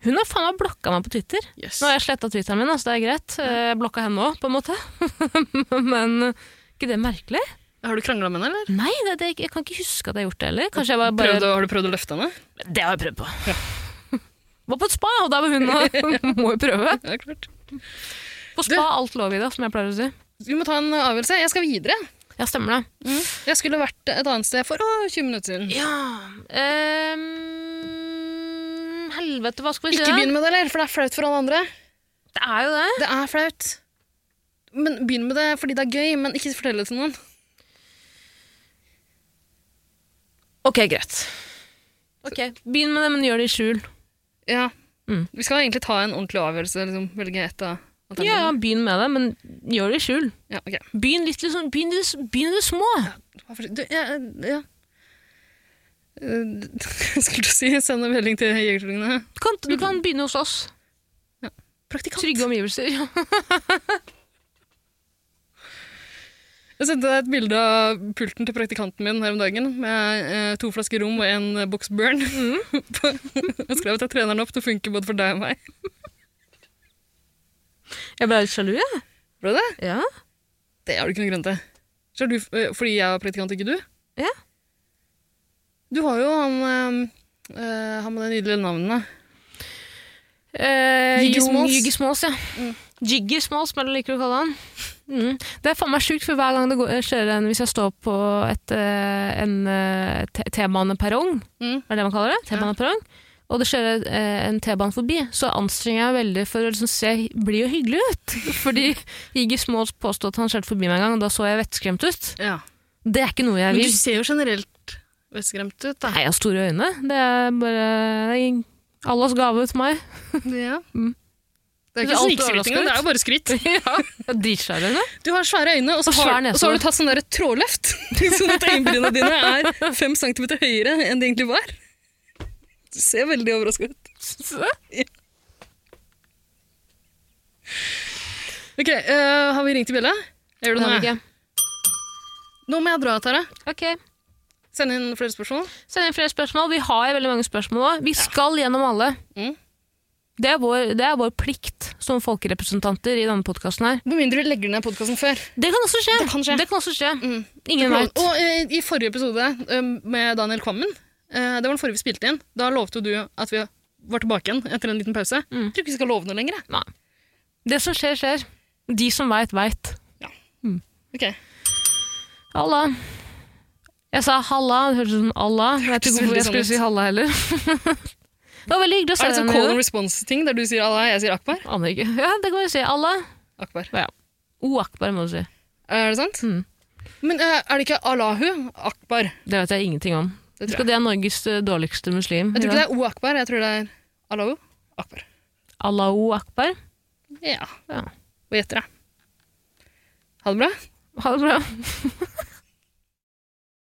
Speaker 3: Hun har faen meg blokka meg på Twitter.
Speaker 4: jøss.
Speaker 3: Nå har jeg sletta Twitteren min, altså det er greit. Eh, Jeg blokka henne òg, på en måte. [LAUGHS] Men eh, ikke det merkelig?
Speaker 4: Har du krangla med henne, eller?
Speaker 3: Nei, det, det, jeg kan ikke huske at jeg har gjort det heller. Kanskje jeg bare, bare
Speaker 4: Prøvd å, har du prøvd å løfte henne?
Speaker 3: Det har jeg prøvd på. [LAUGHS] Var på et spa, og der var [LAUGHS] hun og må jo prøve.
Speaker 4: Ja, klart.
Speaker 3: På spa er alt lov i det, som jeg pleier å si.
Speaker 4: Vi må ta en avgjørelse. Jeg skal videre.
Speaker 3: Ja, stemmer det.
Speaker 4: Jeg skulle vært et annet sted for å, 20 minutter siden.
Speaker 3: Ja ehm, Helvete, hva skal vi si?
Speaker 4: Ikke
Speaker 3: da?
Speaker 4: begynn med det, eller? For det er flaut for alle andre.
Speaker 3: Det er jo det.
Speaker 4: Det er flaut. Men Begynn med det fordi det er gøy, men ikke fortell det til noen.
Speaker 3: Ok, greit. Ok, Begynn med det, men gjør det i skjul.
Speaker 4: Ja.
Speaker 3: Mm.
Speaker 4: Vi skal egentlig ta en ordentlig avgjørelse. Liksom. Velge et av
Speaker 3: Ja,
Speaker 4: alternativene.
Speaker 3: begynn med det, men gjør det i skjul.
Speaker 4: Ja, ok.
Speaker 3: Begynn litt liksom, begynn i det, s- begynn i det små.
Speaker 4: Hva for- Du, ja, ja. Eh, [LAUGHS] Skulle du si send en melding til Jegertvillingene?
Speaker 3: Du kan,
Speaker 4: Mm.
Speaker 3: du kan begynne hos oss.
Speaker 4: Praktikant.
Speaker 3: Trygge omgivelser. Ja.
Speaker 4: Jeg sendte deg et bilde av pulten til praktikanten min her om dagen, med eh, to flasker rom og en eh, boks burn. [LAUGHS] jeg skrev at jeg trener den opp til å funke både for deg og meg.
Speaker 3: Jeg ble litt sjalu, jeg.
Speaker 4: Ble det?
Speaker 3: Ja.
Speaker 4: Det har du ikke noen grunn til. Så er du, eh, fordi jeg er praktikant, ikke du?
Speaker 3: Ja.
Speaker 4: Du har jo han, eh, eh, han med det nydelige navnet.
Speaker 3: Eh,
Speaker 4: Jiggy
Speaker 3: jo,
Speaker 4: Smalls. Mm.
Speaker 3: Jiggy Smalls, ja. Jiggy Smalls, som jeg liker å kalle han. Mm. Det er faen meg sjukt, for hver gang det går, jeg kjører en Hvis jeg står på et, eh, en eh, te- T-baneperrong,
Speaker 4: Mm.
Speaker 3: er det det man kaller det? T-baneperrong. Og det kjører eh, en T-bane forbi, så anstrenger jeg meg veldig for å liksom se blid og hyggelig ut. [LAUGHS] Fordi Jiggy Smalls påstod at han kjørte forbi meg en gang, og da så jeg vettskremt ut.
Speaker 4: Ja.
Speaker 3: Det er ikke noe jeg
Speaker 4: Men
Speaker 3: vil.
Speaker 4: du ser jo generelt vettskremt ut, da.
Speaker 3: Nei, jeg har store øyne. Det er bare det er Allahs gave til
Speaker 4: [LAUGHS]
Speaker 3: meg.
Speaker 4: Ja.
Speaker 3: Mm.
Speaker 4: Det er
Speaker 3: Det
Speaker 4: ikke
Speaker 3: er alltid
Speaker 4: snikskryting,
Speaker 3: overraskende.
Speaker 4: det er jo bare skryt.
Speaker 3: ja, Dritsvære øyne.
Speaker 4: Du har svære øyne, og så,
Speaker 3: Og svær
Speaker 4: har,
Speaker 3: nese.
Speaker 4: og så har du tatt sånn der
Speaker 3: [LAUGHS]
Speaker 4: trådløft. [LAUGHS] sånn at øyenbrynene dine er fem centimeter høyere enn de egentlig var. Du ser veldig overrasket ut. Ok, øh, Har vi ringt til Bjella? Jeg
Speaker 3: Det
Speaker 4: gjør det
Speaker 3: har
Speaker 4: nå.
Speaker 3: vi
Speaker 4: jeg.
Speaker 3: ikke.
Speaker 4: Nå må jeg dra, Tara.
Speaker 3: Ok,
Speaker 4: Send inn flere spørsmål.
Speaker 3: send inn flere spørsmål. Vi har jo veldig mange spørsmål også. Vi skal gjennom alle.
Speaker 4: Mm.
Speaker 3: Det, er vår, det er vår plikt som folkerepresentanter i denne podkasten her.
Speaker 4: Med mindre du legger ned podkasten før.
Speaker 3: Det kan også skje!
Speaker 4: Det kan skje.
Speaker 3: også skje.
Speaker 4: Mm.
Speaker 3: Ingen veit.
Speaker 4: Og øh, i forrige episode øh, med Daniel Kvammen, øh, det var den forrige vi spilte inn, da lovte jo du at vi var tilbake igjen etter en liten pause.
Speaker 3: Mm.
Speaker 4: Jeg tror ikke vi skal love noe lenger. jeg.
Speaker 3: Det som skjer, skjer. De som veit, veit.
Speaker 4: Ok.
Speaker 3: Halla. Jeg sa halla, det hørtes ut som Allah. Jeg vet
Speaker 4: Hørtes
Speaker 3: ikke hvorfor
Speaker 4: veldig
Speaker 3: jeg
Speaker 4: sånn
Speaker 3: skulle
Speaker 4: ut.
Speaker 3: si halla heller. [LAUGHS] det var veldig hyggelig å
Speaker 4: Er
Speaker 3: se
Speaker 4: det sånn
Speaker 3: deg.
Speaker 4: call and
Speaker 3: Nina.
Speaker 4: response-ting, der du sier Allah, jeg sier Akbar?
Speaker 3: Aner ikke. [LAUGHS] Ja, det kan vi si. Allah.
Speaker 4: Akbar.
Speaker 3: O akbar, må du si.
Speaker 4: Er det sant?
Speaker 3: Mm.
Speaker 4: Men eh, er det ikke Allahu Akbar?
Speaker 3: Det vet jeg ingenting om.
Speaker 4: Det
Speaker 3: Jeg
Speaker 4: tror jeg.
Speaker 3: tror det er Norges eh, dårligste muslim.
Speaker 4: jeg
Speaker 3: i
Speaker 4: tror ikke
Speaker 3: dag.
Speaker 4: det er O Akbar, jeg tror det er Allahu Akbar.
Speaker 3: Allahu akbar.
Speaker 4: Ja.
Speaker 3: Ja.
Speaker 4: Hva gjetter jeg? Ha det bra.
Speaker 3: Ha det bra.